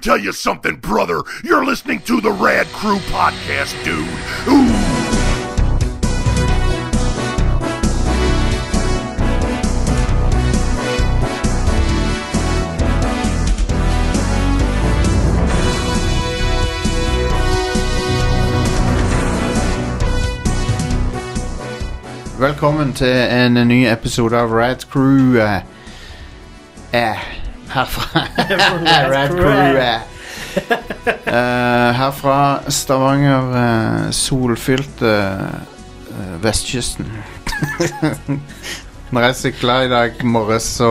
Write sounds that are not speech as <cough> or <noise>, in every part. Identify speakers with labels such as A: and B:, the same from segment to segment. A: tell you something, brother. You're listening to the Rad Crew podcast, dude. Ooh.
B: Velkommen til en ny episode av Rad Crew. eh, eh, herfra <laughs> Rad
C: Crew,
B: Crew. eh. Eh, herfra Stavanger, eh, solfylte eh, vestkysten. <laughs> Når jeg sykla i dag morges, så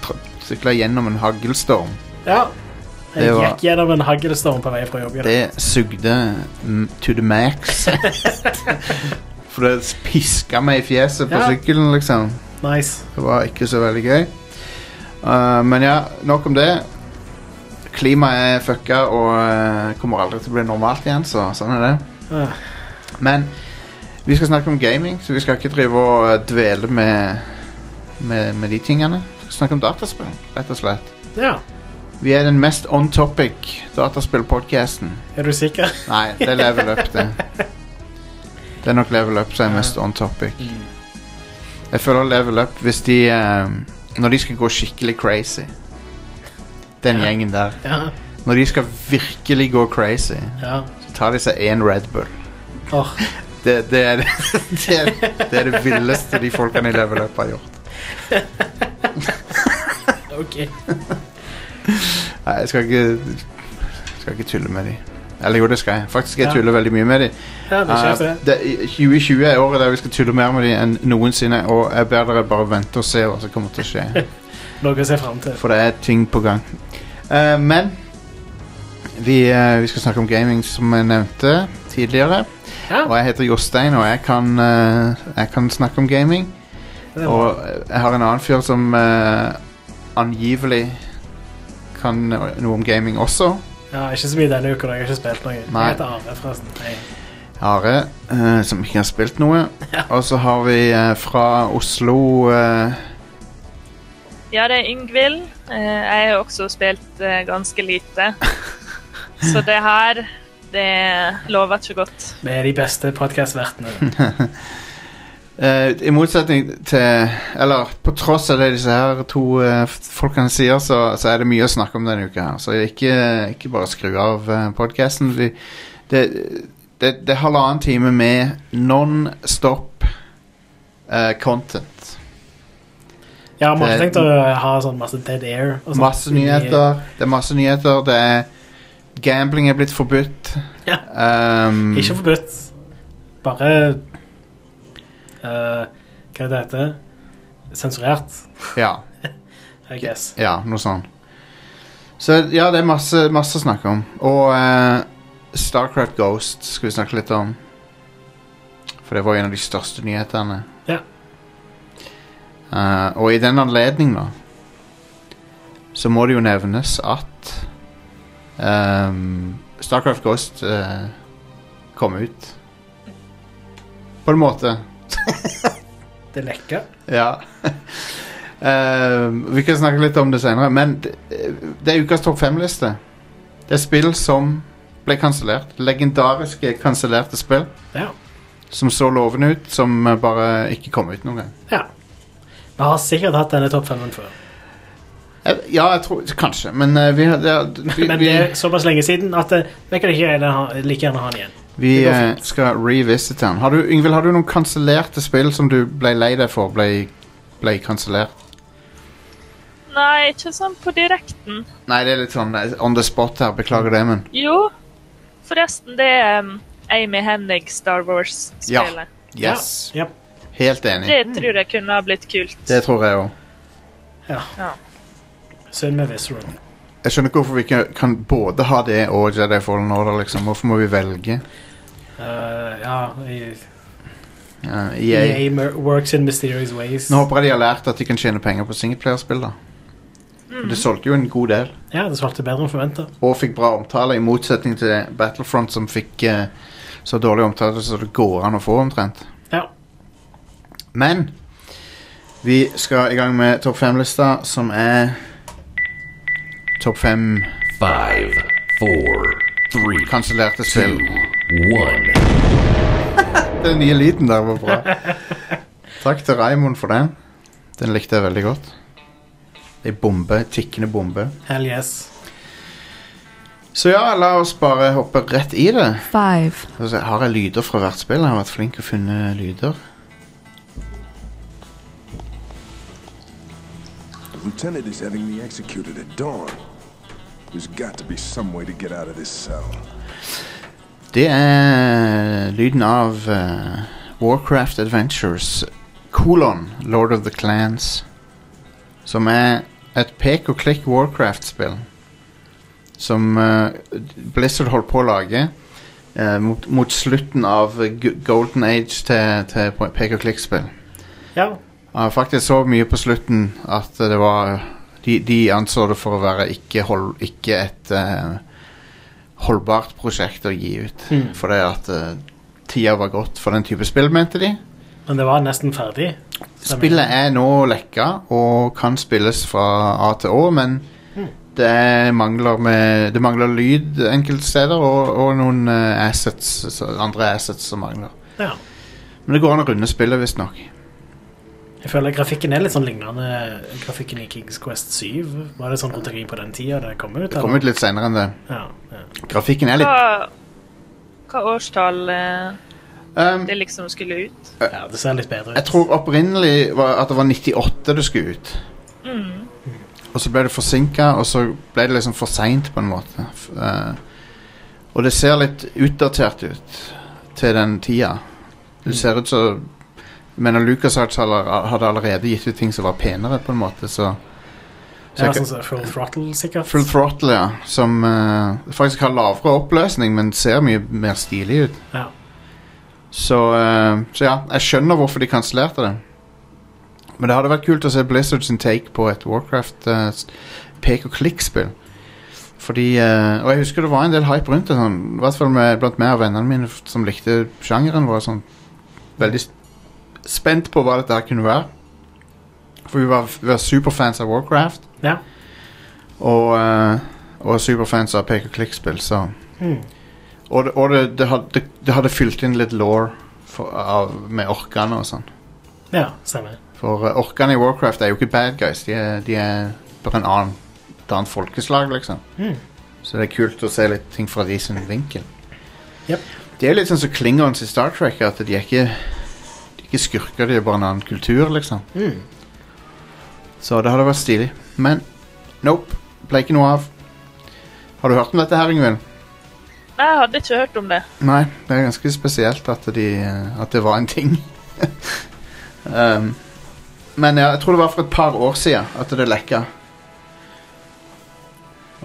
B: tr- sykla jeg gjennom en haglstorm.
C: Ja.
B: Det
C: Jeg
B: var-
C: gikk gjennom en haglstorm på vei fra jobb. i dag.
B: Det sugde mm, to the <laughs> max. For det piska meg i fjeset på
C: Ja.
B: sykkelen, liksom.
C: Nice.
B: Det var ikke så veldig gøy. Uh, men ja, nok om det. Klimaet er fucka og uh, kommer aldri til å bli normalt igjen, så sånn er det.
C: Ja.
B: Men vi skal snakke om gaming, så vi skal ikke drive og uh, dvele med, med, med de tingene. Vi skal snakke om dataspill, rett og slett.
C: ja.
B: Vi er den mest on topic dataspillpodcasten.
C: Er du sikker?
B: Nei, det er level up, det. Det er nok level up som er mest on topic.
C: Mm.
B: Jeg føler level up hvis de ehm, Når de skal gå skikkelig crazy Den
C: Ja.
B: gjengen der
C: Ja.
B: Når de skal virkelig gå crazy
C: ja.
B: Så tar de seg en Red Bull
C: Åh,
B: Det, det, <laughs> er, det, er, det er det villeste de folkene i level up har gjort
C: ok.
B: Nei, jeg skal ikke Skal ikke tulle med de Eller jo, det skal jeg Faktisk skal jeg
C: Ja.
B: tulle veldig mye med de
C: Ja, det skjer det.
B: Eh, det, 2020 er året der vi skal tulle mer med de enn noensinne Og jeg ber dere bare vente og se hva som kommer til å skje
C: <laughs> Noe å se fram til.
B: For det er ting på gang. Eh, men vi, eh, vi skal snakke om gaming, som jeg nevnte tidligere.
C: Ja,
B: Og jeg heter Jostein, og jeg kan, eh, jeg kan snakke om gaming.
C: det er bra.
B: Og jeg har en annen fyr som eh, angivelig kan eh, noe om gaming også.
C: ja, ikke så mye denne uka, da. Jeg har ikke spilt noe.
B: Nei.
C: Jeg heter Are, forresten. Nei.
B: Are, eh, som ikke har spilt noe. Og så har vi eh, fra Oslo eh,
D: Ja, det er Yngvild. Eh, Jeg har jo også spilt eh, ganske
B: <laughs>
D: lite. Så det her, det lover ikke godt.
C: Vi er de beste
B: <laughs>
C: podkastvertene.
B: Eh, I motsetning til Eller på tross av det disse her to eh, f- folkene sier, så, så er det mye å snakke om denne uka. her Så ikke, ikke bare skru av eh, podkasten. Det, det, det er halvannen time med non stop eh, content.
C: Ja, vi har ikke
B: Det-
C: tenkt å ha sånn masse dead air. Og sånn. sånt.
B: Masse nyheter. Det er masse nyheter. Det er Gambling er blitt forbudt.
C: Ja.
B: Ehm,
C: Ikke forbudt. Bare eh, Hva er det det heter? Sensurert,
B: ja,
C: I guess.
B: ja, noe sånt. Så ja, det er masse, masse å snakke om. Og eh, Starcraft Ghost skal vi snakke litt om. For det var en av de største nyhetene.
C: Ja.
B: Eh, og i den anledning, da, så må det jo nevnes at ehm, Starcraft Ghost eh, kom ut. På en måte.
C: Det lekker.
B: Ja. <laughs> Eh, vi kan snakke litt om det senere, men det, det er ukas topp fem-liste. Det er spill som ble kansellert. Legendariske kansellerte spill
C: Ja.
B: som så lovende ut, som eh, bare ikke kom ut noen gang.
C: Ja. Vi har sikkert hatt denne topp femmen før.
B: Eh, Ja, jeg tror Kanskje, men eh, vi, det, vi,
C: <laughs> Men det er såpass lenge siden at eh, vi kan ikke gjerne ha- like gjerne ha den igjen.
B: vi, vi
C: det går
B: eh,
C: fint.
B: skal revisite den. Har du, Yngvild, har du noen kansellerte spill som du ble lei deg for ble, ble kansellert?
D: Nei, ikke sånn på direkten.
B: Nei, det er litt sånn eh, on the spot her. Beklager det, men
D: Jo, forresten, det er um, Amy Hennig Star Wars-spelet.
B: yes.
C: Ja. Yep.
B: Helt enig.
D: Det tror jeg kunne ha blitt kult.
B: Det tror jeg òg.
C: Synd med Visceral.
B: Jeg skjønner ikke hvorfor vi ikke kan både ha det og Jedi Fallen Order, liksom. Hvorfor må vi velge?
C: Eh, ja, i-
B: Uh, EA.
C: EA mer- works in mysterious ways.
B: Nå håper jeg de har lært at de kan tjene penger på singleplayerspill, da. For Det solgte jo en god del,
C: Ja, det svarte bedre enn forventa.
B: og fikk bra omtale, i motsetning til Battlefront, som fikk eh, så dårlig omtale så det går an å få, omtrent.
C: Ja.
B: Men vi skal i gang med topp fem-lista, som er topp fem
E: Five, four, three,
B: Kansellerte spill.
E: two, one.
B: Den nye lyden der var bra. Takk til Raimond for den. Den likte jeg veldig godt. Ei bombe. Tikkende bombe.
C: Hell yes.
B: Så ja, la oss bare hoppe rett i det.
F: Five.
B: Skal vi se, Har jeg lyder fra hvert spill? Jeg har vært flink til å finne lyder.
G: The lieutenant is having me executed at dawn. There's got to be some way to get out of this cell.
B: Det er lyden av eh, Warcraft Adventures kolon Lord of the Clans. Som er et pek-og-klikk Warcraft-spill. Som eh, Blizzard holdt på å lage eh, mot, mot slutten av eh, gu- golden age til, til pek-og-klikk-spill.
C: Ja.
B: Jeg har faktisk så mye på slutten at det var De, de anså det for å være ikke, hold, ikke et eh, holdbart prosjekt å gi ut.
C: Mm.
B: Fordi at eh, tida var gått for den type spill, mente de.
C: Men det var nesten ferdig. Stemmer.
B: Spillet er nå lekka og kan spilles fra A til Å, men
C: Mm.
B: det, er mangler med, det mangler lyd enkelte steder, og, og noen eh, assets, så- andre assets som mangler.
C: Ja.
B: Men det går an å runde spillet, visstnok.
C: Jeg føler grafikken er litt sånn lignende grafikken i Kings Quest 7. Var det sånn rundt omkring på den tida det kom ut?
B: Det kom ut litt seinere enn det.
C: Ja, ja.
B: Grafikken er litt
D: Hva, hva årstall eh,
B: um,
D: det liksom skulle ut?
C: ja, det ser litt bedre ut.
B: Eh, Jeg tror opprinnelig var at det var 98 det skulle ut.
C: Mm.
B: Og så ble det forsinka, og så ble det liksom for seint, på en måte. F- eh, og det ser litt utdatert ut til den tida. Det ser ut som Men Lucas hadde allerede gitt ut ting som var penere, på en måte, så
C: ja,
B: jeg-
C: sånn som Full Throttle, sikkert.
B: Full Throttle, ja. Som eh, faktisk har lavere oppløsning, men ser mye mer stilig ut.
C: Ja.
B: Så, eh, så ja, jeg skjønner hvorfor de kansellerte det. Men det hadde vært kult å se Blizzard sin take på et Warcraft eh, s- pek-og-klikk-spill. Fordi eh, Og jeg husker det var en del hype rundt det, sånn, i hvert fall med, blant meg og vennene mine f- som likte sjangeren. Var sånn veldig s- spent på hva dette her kunne være. For vi var, vi var superfans av Warcraft.
C: ja.
B: Og, eh, og superfans av pek-og-klikk-spill, så
C: Mm.
B: Og, det, og det, det, hadde, det, det hadde fylt inn litt law av, med orkene og sånn.
C: ja, stemmer.
B: For eh, orkene i Warcraft er jo ikke bad guys, de er, de er bare en annen, et annet folkeslag, liksom.
C: Mm.
B: Så det er kult å se litt ting fra de sin vinkel.
C: Jep.
B: Det er jo litt sånn som Klingons i Star Trek, at de er ikke, de er ikke skurker, de er bare en annen kultur, liksom.
C: Mm.
B: Så det hadde vært stilig. Men nope, ble ikke noe av. Har du hørt om dette her, Ingvild?
D: Nei, jeg hadde ikke hørt om det.
B: Nei, det er ganske spesielt at, de, eh, at det var en ting. <laughs> um, men ja, jeg tror det var for et par år siden at det lekka.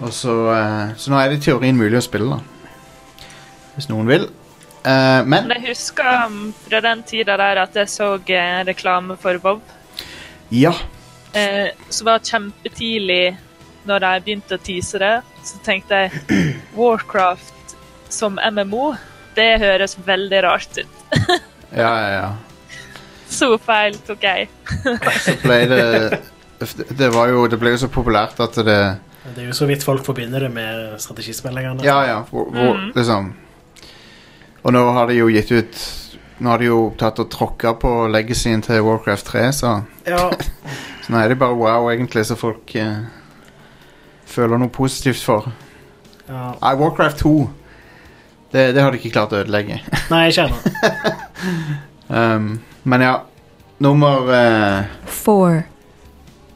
B: Og så, eh, så nå er det i teorien mulig å spille, da. Hvis noen vil. Eh, men
D: Men jeg husker um, fra den tida der at jeg så eh, reklame for Bob,
B: ja.
D: eh, som var kjempetidlig når jeg begynte å tease det. Så tenkte jeg <clears throat> Warcraft som MMO, det høres veldig rart ut.
B: Ja, ja, ja.
D: Så feil tok jeg.
B: Så ble det <laughs> Det, var jo, det ble jo så populært at det
C: Det er jo så vidt folk forbinder det med strategispill lenger.
B: Ja, ja. Hvor, hvor, Liksom. Og nå har de jo gitt ut Nå har de jo tatt og tråkka på legacyen til Warcraft 3, så,
C: Ja,
B: så nå er det bare wow, egentlig, så folk eh, føler noe positivt for.
C: ja.
B: Nei, Warcraft 2 det, det har de ikke klart å ødelegge. <laughs>
C: Nei, ikke ennå.
B: Um, men ja, nummer eh,
F: Four.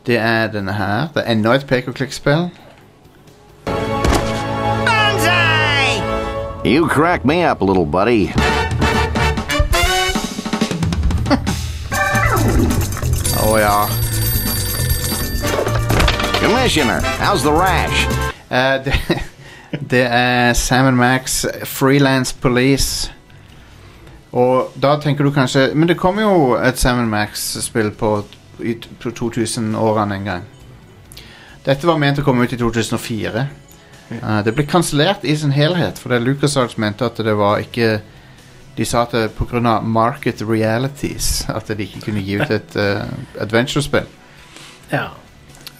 B: Det er denne her. Det er enda et pek-og-klikk-spill.
H: You crack me up, little
B: <laughs>
H: buddy.
B: Å Oh, ja.
H: Commissioner, how's the rash?
B: Eh, det, <laughs> det er Sam Max Freelance Police. Og da tenker du kanskje Men det kom jo et Sam Max-spill på, i t- på 2000-årene en gang. Dette var ment å komme ut i 2004. Eh, det ble kansellert i sin helhet fordi LucasArts mente at det var ikke De sa at det pga. market <laughs> realities at de ikke kunne gi ut et eh, adventure-spill.
C: Ja.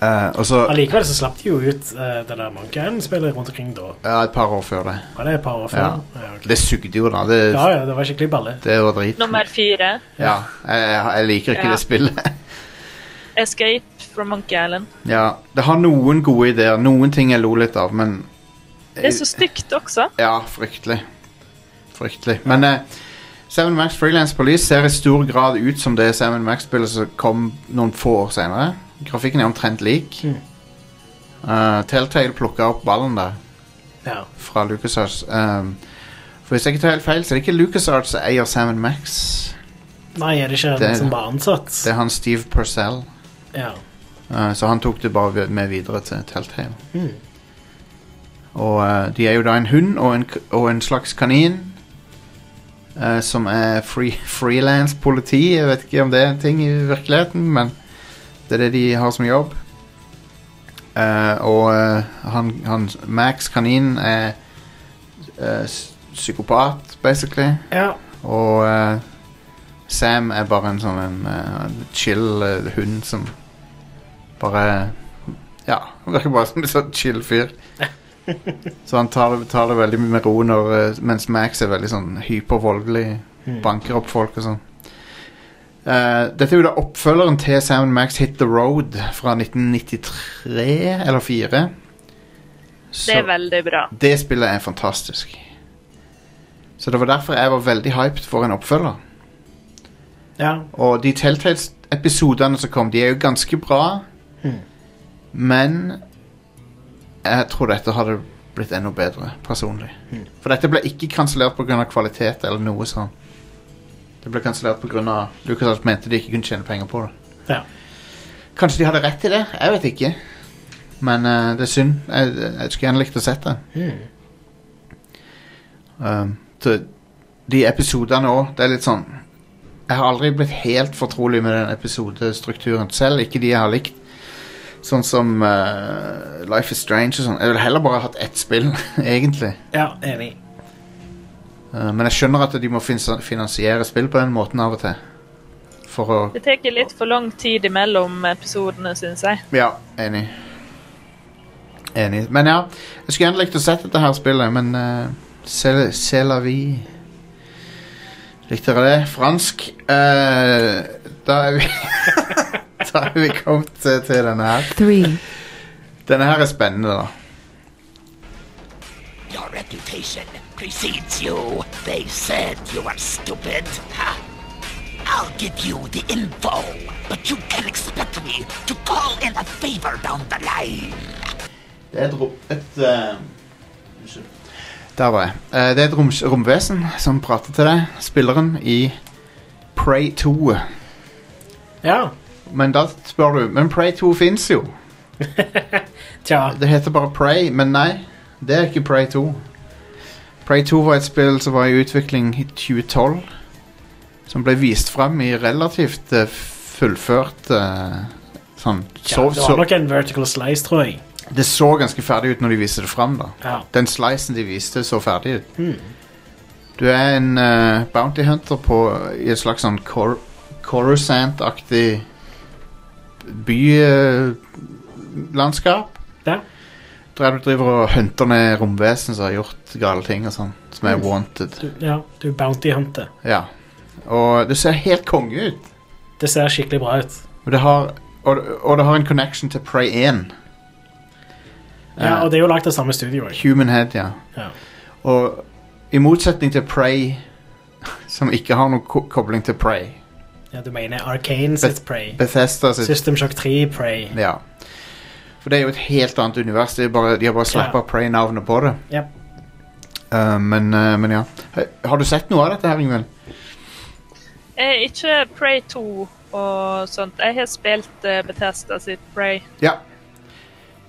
B: Eh, og så
C: Allikevel så slapp de jo ut eh, det der Monkey Island-spillet rundt omkring da.
B: ja, et par år før det.
C: Var det et par år før? Ja, ok.
B: Det sugde jo, da. Det,
C: ja, ja det var skikkelig balle.
B: det var drit.
D: Nummer fire.
B: Ja, jeg, jeg- jeg liker ikke
D: Ja.
B: det spillet. <laughs>
D: 'Escape from Monkey Island'.
B: ja, Det har noen gode ideer, noen ting jeg lo litt av, men
D: Det er så stygt også.
B: Ja, fryktelig. Fryktelig. Men eh, Seven Max Freelance Police ser i stor grad ut som det Seven Max-spillet som kom noen få år senere. Grafikken er omtrent lik. Eh, Telltale plukka opp ballen der
C: Ja.
B: fra LucasArts. Um, for hvis jeg ikke tar helt feil, så er det ikke LucasArts som eier Seven Max.
C: Nei, er det ikke
B: Det-
C: den som var ansatt?
B: Det er han Steve Purcell.
C: Ja.
B: Eh, Så han tok det bare vid- med videre til Telltale. Og eh, de er jo da en hund og en, k- og en slags kanin. eh, som er free, <laughs> freelance politi. Jeg vet ikke om det er en ting i virkeligheten, men det er det de har som jobb. Eh, og eh, han, han Max Kanin er eh, s- psykopat, basically.
C: ja.
B: Og eh, Sam er bare en sånn en, eh, chill eh, hund som bare Ja, han virker bare som en sånn chill fyr. Så han tar det, tar det veldig med ro når, eh, mens Max er veldig sånn hypervoldelig. Banker opp folk og sånn. Eh, dette er jo da oppfølgeren til Sam Max Hit The Road fra 1993 eller 4.
D: Det er veldig bra.
B: Det spillet er fantastisk. Så det var derfor jeg var veldig hyped for en oppfølger.
C: ja.
B: Og de Telltales-episodene som kom, de er jo ganske bra. Men jeg tror dette hadde blitt enda bedre, personlig. For dette ble ikke kansellert pga. kvalitet eller noe sånn. Det ble kansellert pga. LucasArts mente de ikke kunne tjene penger på det.
C: ja.
B: Kanskje de hadde rett i det? Jeg vet ikke. Men eh, det er synd. Jeg, jeg skulle gjerne likt å sett det. Um, så de episodene òg, det er litt sånn Jeg har aldri blitt helt fortrolig med den episodestrukturen selv, ikke de jeg har likt. Sånn som eh, Life is Strange og sånn. Jeg ville heller bare hatt ett spill, <laughs> egentlig.
C: ja enig.
B: Eh, men jeg skjønner at de må fin- finansiere spill på den måten av og til. For å
D: Det tar litt for lang tid imellom episodene, syns jeg.
B: Ja, enig. Enig. Men ja, jeg skulle gjerne likt å sett dette her spillet, men eh, C'est c'est la vie. Likte dere det? Fransk. Eh, da er vi Da er vi <laughs> kommet til, til denne her.
F: three,
B: Denne her er spennende, da.
I: Your reputation precedes you. They said you were stupid. Ha. I'll give you the info, but you can expect me to call in a favor down the line.
B: Det er et rom... Et eh, unnskyld. Der var jeg. Eh, det er et rom, romvesen som prater til deg, spilleren, i Prey 2.
C: Ja.
B: Men da spør du Men Prey 2 fins jo.
C: Tja.
B: Det heter bare Prey, men nei, det er ikke Prey 2. Prey 2 var et spill som var i utvikling i 2012, som ble vist fram i relativt eh, fullført eh, sånn
C: Ja,
B: så,
C: det
B: så,
C: var nok en vertical slice, tror jeg.
B: Det så ganske ferdig ut når de viste det fram, da.
C: Ja.
B: Den slicen de viste, så ferdig ut. Du er en eh, bounty hunter på, i et slags sånn Cor Coruscant-aktig bylandskap.
C: Ja.
B: Der du driver og hunter ned romvesen som har gjort gale ting og sånn. Som er wanted.
C: Du, ja, du bounty hunter.
B: Ja. Og det ser helt konge ut.
C: Det ser skikkelig bra ut.
B: Og det har, og, og det har en connection til Prey 1.
C: Ja,
B: Eh,
C: Og det er jo lagd av samme studio. Ikke?
B: Human Head, ja.
C: Ja.
B: Og i motsetning til Prey, <laughs> som ikke har noen ko kobling til Prey
C: ja, du mener Arcane sitt Prey.
B: Bethesda sitt
C: System Shock 3 Prey.
B: Ja. For det er jo et helt annet univers. Det er bare, de har bare slappa
C: Ja.
B: Prey-navnet på det.
C: Ja.
B: Eh, men, eh, men ja. Hei, Har du sett noe av dette, her, Ingvild?
D: Eh, ikke Prey 2 og sånt. Jeg har spilt eh, Bethesda sitt Prey.
B: Ja.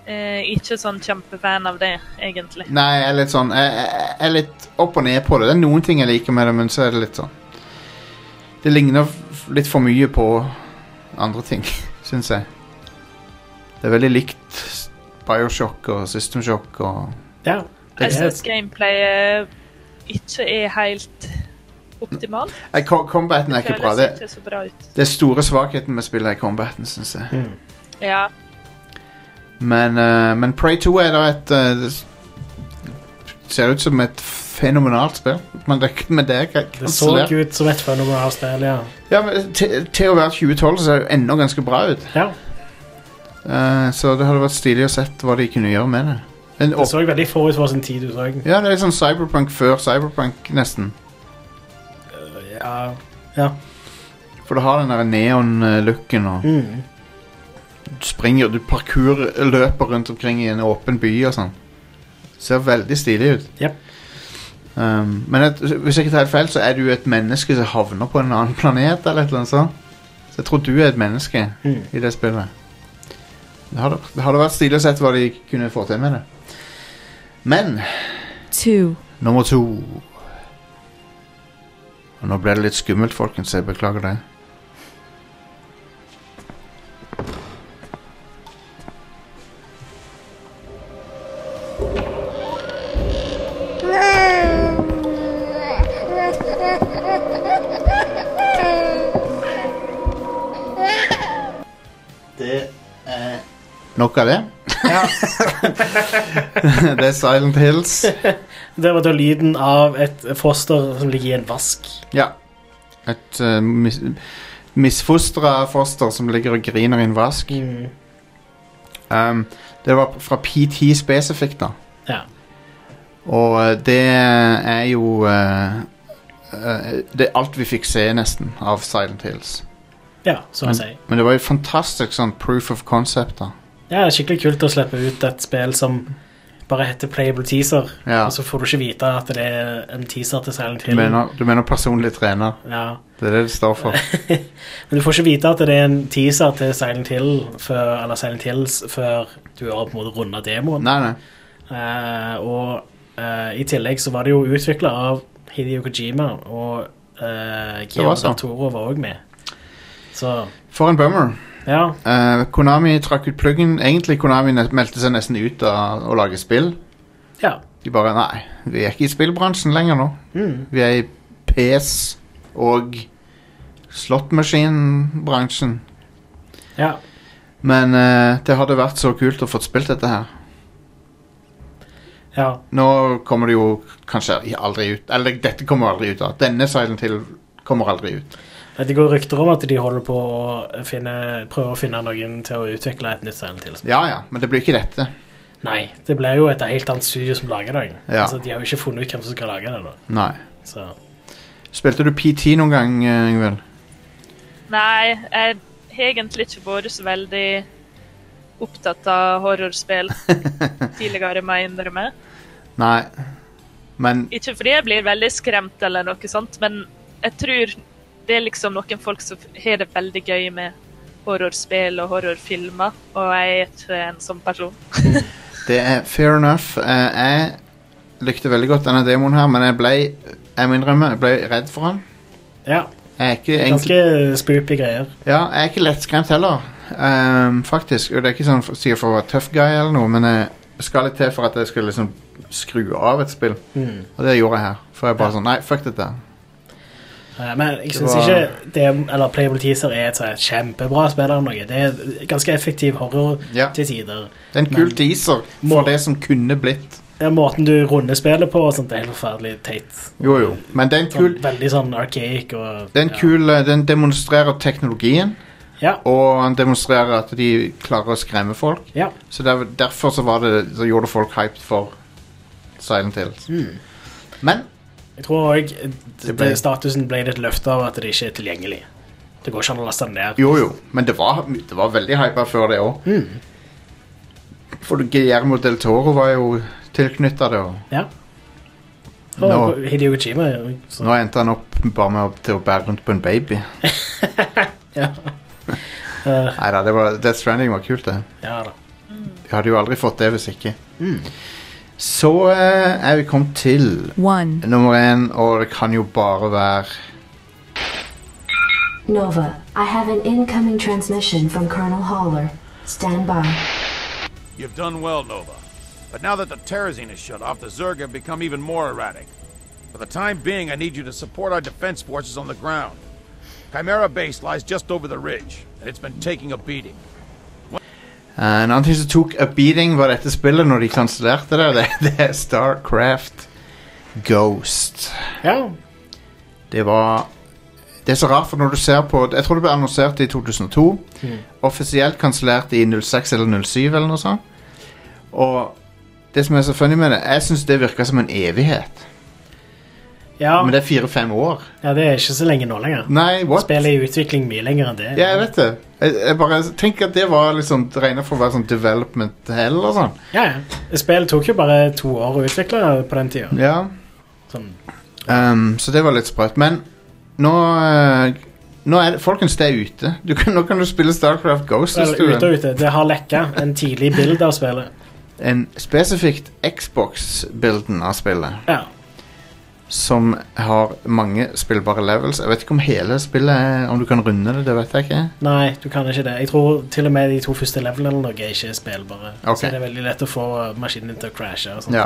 D: Eh, ikke sånn kjempefan av det, egentlig.
B: Nei, jeg er litt sånn jeg, jeg, jeg er litt opp og ned på det. Det er noen ting jeg liker med det, men så er det litt sånn Det ligner f- litt for mye på andre ting, <laughs> syns jeg. Det er veldig likt Bioshock og System Shock og
C: ja. Det
D: Jeg
C: er,
D: syns gameplayet ikke er helt optimalt.
B: Nei, co- Combaten er ikke bra.
D: Føles
B: Det,
D: ikke så bra ut.
B: det er store svakheten med spillet er combaten, syns jeg.
D: Ja.
B: Men, eh, men Pray 2 er da et eh, det s- Ser ut som et fenomenalt spill, men det, men det er ka-
C: Det så
B: kansellert.
C: ut som et fenomen av spill, ja.
B: Ja, men til, til å være 2012 så ser det jo ennå ganske bra ut.
C: ja.
B: Eh, så det hadde vært stilig å sett hva de kunne gjøre med det. En
C: Det så veldig forut for sin tid du så.
B: Ja, det er sånn cyberpunk før cyberpunk, nesten.
C: Ja. ja.
B: For det har den der neon-looken og
C: Mm.
B: Du springer, du parkour-løper rundt omkring i en åpen by og sånn. Ser veldig stilig ut.
C: Jep.
B: Um, men et, hvis jeg ikke tar helt feil, så er du et menneske som havner på en annen planet eller et eller annet sånt. Så jeg tror du er et menneske
C: Mm.
B: i det spillet. Det hadde, det hadde vært stilig å sett hva de kunne få til med det. Men
F: Two.
B: Nummer to. Og nå ble det litt skummelt, folkens. Jeg beklager det. Nok av det? <laughs> det er Silent Hills.
C: Det var da lyden av et foster som ligger i en vask.
B: Ja. Et uh, mis misfostra foster som ligger og griner i en vask. Um, det var fra PT spesifikt, da.
C: Ja.
B: Og eh, det er jo eh, eh, Det er alt vi fikk se, nesten, av Silent Hills.
C: ja, så å si.
B: Men det var jo fantastisk sånn proof of concept, da.
C: Ja, det er skikkelig kult å slippe ut et spill som bare heter Playable Teaser,
B: Ja.
C: og så får du ikke vite at det er en teaser til Silent
B: Du
C: Hill.
B: mener, du mener personlig trener.
C: Ja.
B: Det er det det står for.
C: Men du får ikke vite at det er en teaser til Silent Hill før, eller Silent Hills før du har på en måte runda demoen.
B: Nei, nei.
C: Eh, og eh, i tillegg så var det jo utvikla av Hideo Kojima, og uh, Guillermo
B: var sånn.
C: del Toro var òg med. Så
B: For en bummer.
C: ja.
B: Eh, Konami trakk ut pluggen. Egentlig Konami ne- meldte seg nesten ut av å lage spill.
C: ja.
B: De bare Nei, vi er ikke i spillbransjen lenger nå.
C: Mm.
B: Vi er i PS og slåttmaskinbransjen.
C: ja.
B: Men eh, det hadde vært så kult å få spilt dette her.
C: Ja.
B: Nå kommer det jo kanskje aldri ut Eller dette kommer aldri ut, da. Denne Silent Hill kommer aldri ut.
C: Det går rykter om at de holder på å finne, prøve å finne noen til å utvikle et nytt Silent Hill.
B: Ja ja, men det blir ikke dette.
C: Nei, det blir jo et helt annet studio som lager det.
B: Ja.
C: Altså, de har jo ikke funnet ut hvem som skal lage det. nå.
B: Nei.
C: Så.
B: Spilte du PT noen gang, eh, Ingvild?
D: Nei, jeg har egentlig ikke vært så veldig opptatt av horrorspill tidligere, må jeg innrømme.
B: Nei. Men
D: Ikke fordi jeg blir veldig skremt eller noe sånt, men jeg tror det er liksom noen folk som har det veldig gøy med horrorspill og horrorfilmer, og jeg er ikke en sånn person.
B: det er fair enough. Eh, jeg likte veldig godt denne demoen her, men jeg ble Jeg må innrømme, jeg ble redd for han.
C: Ja,
B: Jeg er ikke, egentlig,
C: ganske spoopy greier.
B: ja, jeg er ikke lettskremt heller, ehm, faktisk. Og det er ikke sånn for- sikkert for å være tøff guy eller noe, men eh, det skal litt til for at jeg skulle liksom skru av et spill.
C: Mm.
B: Og det gjorde jeg her. For jeg bare sånn Nei, fuck dette.
C: Eh, Men jeg
B: Det
C: syns
B: var-
C: ikke det, eller Playable Teaser er et sånn kjempebra spill. eller noe. Det er ganske effektiv horror
B: Ja.
C: til tider.
B: Det er en kul teaser for
C: Må-
B: det som kunne blitt.
C: Det er måten du runder spillet på, og sånt, det er helt forferdelig teit.
B: Jo, jo. Men det er en kul,
C: Sånn, veldig sånn archaic og
B: det er en kul eh, Den demonstrerer teknologien,
C: Ja.
B: og den demonstrerer at de klarer å skremme folk.
C: ja.
B: Så der, derfor så, var det, så gjorde folk hyped for Silent Hills. Men
C: Jeg tror òg
B: Det ble-
C: statusen ble litt løfta av at det ikke er tilgjengelig. Det går ikke an å laste den ned.
B: Jo, jo, men det var, det var veldig hypa før det òg. For Guillermo del Toro var jo tilknytta det, og
C: Ja. Og
B: Nå-
C: Hideo Kojima. Så.
B: nå endte han opp bare med å- til å bære rundt på en baby. <laughs>
C: Ja.
B: Nei da, Death Stranding var kult, det.
C: ja da.
B: Vi hadde jo aldri fått det hvis ikke. Så eh, er vi kommet til
F: One.
B: nummer én, og det kan jo bare være
J: Nova, I have an incoming transmission from Colonel Haller. Stand by.
K: You've done well, Nova. But now that the Terrazine is shut off, the Zerg have become even more erratic. For the time being, I need you to support our defense forces on the ground. Chimera Base lies just over the ridge, and it's been taking a beating.
B: Eh, en annen ting som tok a beating, var dette spillet når de kansellerte det. <laughs> det. Det er Starcraft Ghost.
C: Ja.
B: Det var Det er så rart, for når du ser på Jeg tror det ble annonsert i 2002.
C: Mm.
B: Offisielt kansellert i 06 eller 07 eller noe sånt. Og det som er så funny med det, jeg syns det virka som en evighet.
C: Ja.
B: Men det er fire-fem år.
C: ja, det er ikke så lenge nå lenger.
B: Nei, what?
C: Spillet er i utvikling mye lenger enn det.
B: Ja, jeg vet det. Jeg, jeg bare tenker at det var liksom regna for å være sånn development hell og sånn.
C: Ja, ja. Spillet tok jo bare to år å utvikle på den tida.
B: Ja.
C: Sånn.
B: Ehm, så det var litt sprøtt. Men nå eh, Nå er det, Folkens, det er ute. Du kan, nå kan du spille Starcraft Ghost. hvis
C: Eller
B: du vil.
C: ute og ute. Det har lekka en tidlig bild av spillet.
B: En spesifikt Xbox-bilden av spillet.
C: Ja.
B: Som har mange spillbare levels. Jeg vet ikke om hele spillet er, Om du kan runde det, det vet jeg ikke.
C: Nei, du kan ikke det. Jeg tror til og med de to første levelene eller noe er ikke spillbare.
B: Ok.
C: Så det er veldig lett å få maskinen din til å crashe. Og sånt.
B: Ja.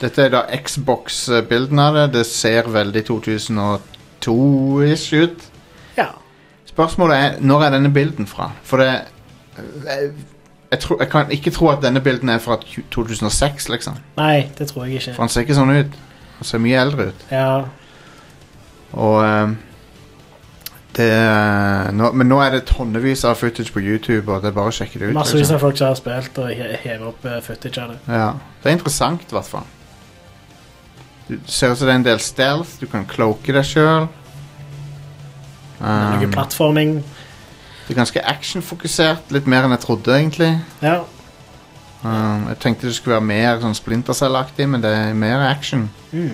B: Dette er da Xbox-bilden av det. Det ser veldig 2002-ish ut.
C: Ja.
B: Spørsmålet er når er denne bilden fra? For det jeg, jeg, tror, jeg kan ikke tro at denne bilden er fra 20- 2006, liksom.
C: Nei, det tror jeg
B: For
C: ikke.
B: han ser ikke sånn ut. Han ser mye eldre ut.
C: Ja,
B: Og ehm, det eh, nå, Men nå er det tonnevis av footage på YouTube, og det er bare å sjekke det ut.
C: Massevis
B: liksom.
C: av folk som har spilt og he- hever opp eh, footage av det.
B: Ja. Det er interessant, i hvert fall. Du det ser ut som det er en del stealth. Du kan cloake deg sjøl.
C: Noe
B: det
C: plattforming.
B: er ganske actionfokusert. Litt mer enn jeg trodde, egentlig.
C: Ja.
B: Um, jeg tenkte det skulle være mer sånn splintercellaktig, men det er mer action.
C: Jeg,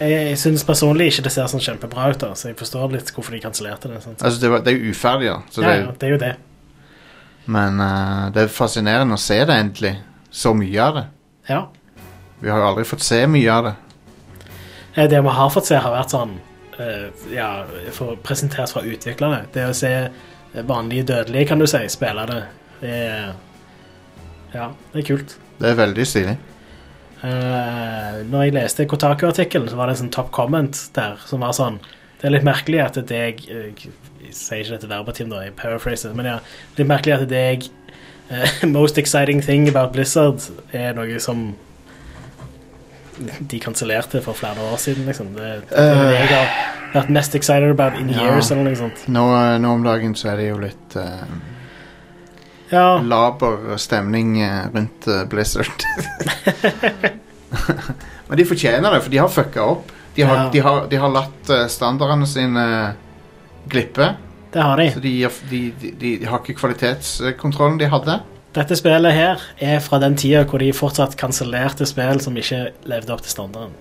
C: jeg syns personlig ikke det ser sånn kjempebra ut, da, så jeg forstår litt hvorfor de kansellerte det. Sant?
B: Altså, det, var, det er jo uferdig, da. Så
C: Ja,
B: det,
C: ja, det er jo det.
B: men eh, det er fascinerende å se det, endelig. Så mye av det.
C: Ja.
B: Vi har jo aldri fått se mye av det.
C: Eh, Det vi har fått se, har vært sånn eh, Ja, for presentert fra utviklerne. Det å se eh, vanlige dødelige, kan du si, spille det, det er, Ja, det er kult.
B: Det er veldig stilig.
C: Eh, når jeg leste Kotaku-artikkelen, så var det en sånn top comment der som var sånn Det er litt merkelig at det jeg eh, Jeg sier ikke dette verbatim, da, jeg paraphraser, men ja. Litt merkelig at det jeg eh, <laughs> Most exciting thing about Blizzard er noe som de kansellerte for flere år siden, liksom. Det, det er det jeg har vært mest excited about in
B: Ja.
C: years, eller noe sånt.
B: Nå, eh, nå om dagen så er det jo litt eh,
C: Ja.
B: laber stemning eh, rundt eh, Blizzard. <laughs> men de fortjener det, for de har fucka opp. De har,
C: Ja.
B: de har, de har latt eh, standardene sine glippe.
C: Det har de.
B: Så de, de, de, de har ikke kvalitetskontrollen de hadde.
C: Dette spillet her er fra den tida hvor de fortsatt kansellerte spill som ikke levde opp til standarden.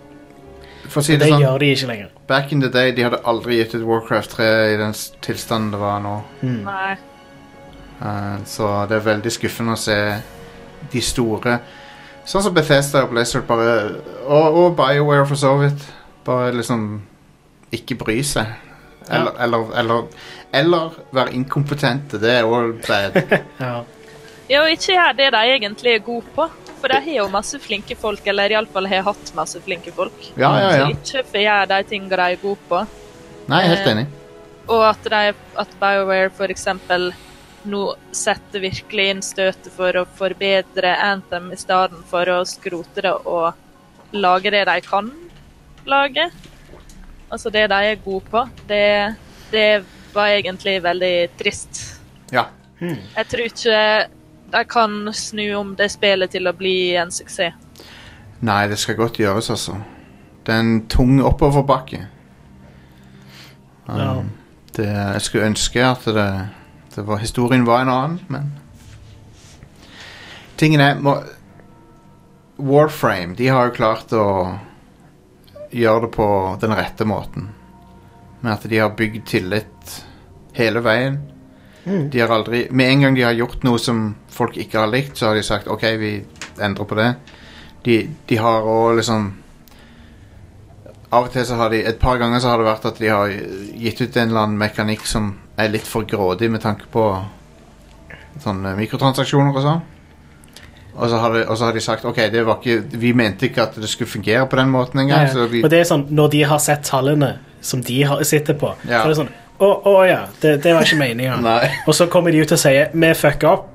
B: For å si det
C: Det
B: sånn,
C: gjør de ikke lenger.
B: back in the day, de hadde aldri gitt ut Warcraft 3 i den s- tilstanden det var nå.
D: <laughs> Nei.
B: Eh, Så det er veldig skuffende å se de store Sånn som Bethesda og Blizzard bare Og, og BioWare for så vidt. Bare liksom ikke bry seg. Eller, eller, eller, eller være inkompetente. Det er òg bad.
C: Ja.
D: Ja, og ikke gjør det de egentlig er gode på. For de har jo masse flinke folk, eller iallfall har hatt masse flinke folk.
B: Ja, ja, ja.
D: Så ikke får gjøre de tingene de er gode på.
B: Nei, helt enig.
D: Og at, de, at BioWare for eksempel nå setter virkelig inn støtet for å forbedre Anthem i stedet for å skrote det og lage det de kan lage. Altså det de er gode på. Det, det var egentlig veldig trist.
B: Ja.
D: Jeg tror ikke de kan snu om det spillet til å bli en suksess.
B: Nei, det skal godt gjøres, altså. Det er en tung oppoverbakke.
C: Ja.
B: Det, jeg skulle ønske at det, det var, historien var en annen, men Tingen er må, Warframe de har jo klart å gjøre det på den rette måten. Med at de har bygd tillit hele veien.
C: Mm.
B: De har aldri Med en gang de har gjort noe som folk ikke har likt, så har de sagt OK, vi endrer på det. De, de har òg liksom av og til så har de Et par ganger så har det vært at de har gitt ut en eller annen mekanikk som er litt for grådig med tanke på sånne mikrotransaksjoner og sånn. Og så, har de, og så har de sagt OK, det var ikke, vi mente ikke at det skulle fungere på den måten engang.
C: Ja, ja.
B: så vi-
C: Og det er sånn, når de har sett tallene som de har, sitter på,
B: Ja.
C: så er det sånn Å å, ja, det, det var ikke meninga. og så kommer de ut og sier vi fucka opp.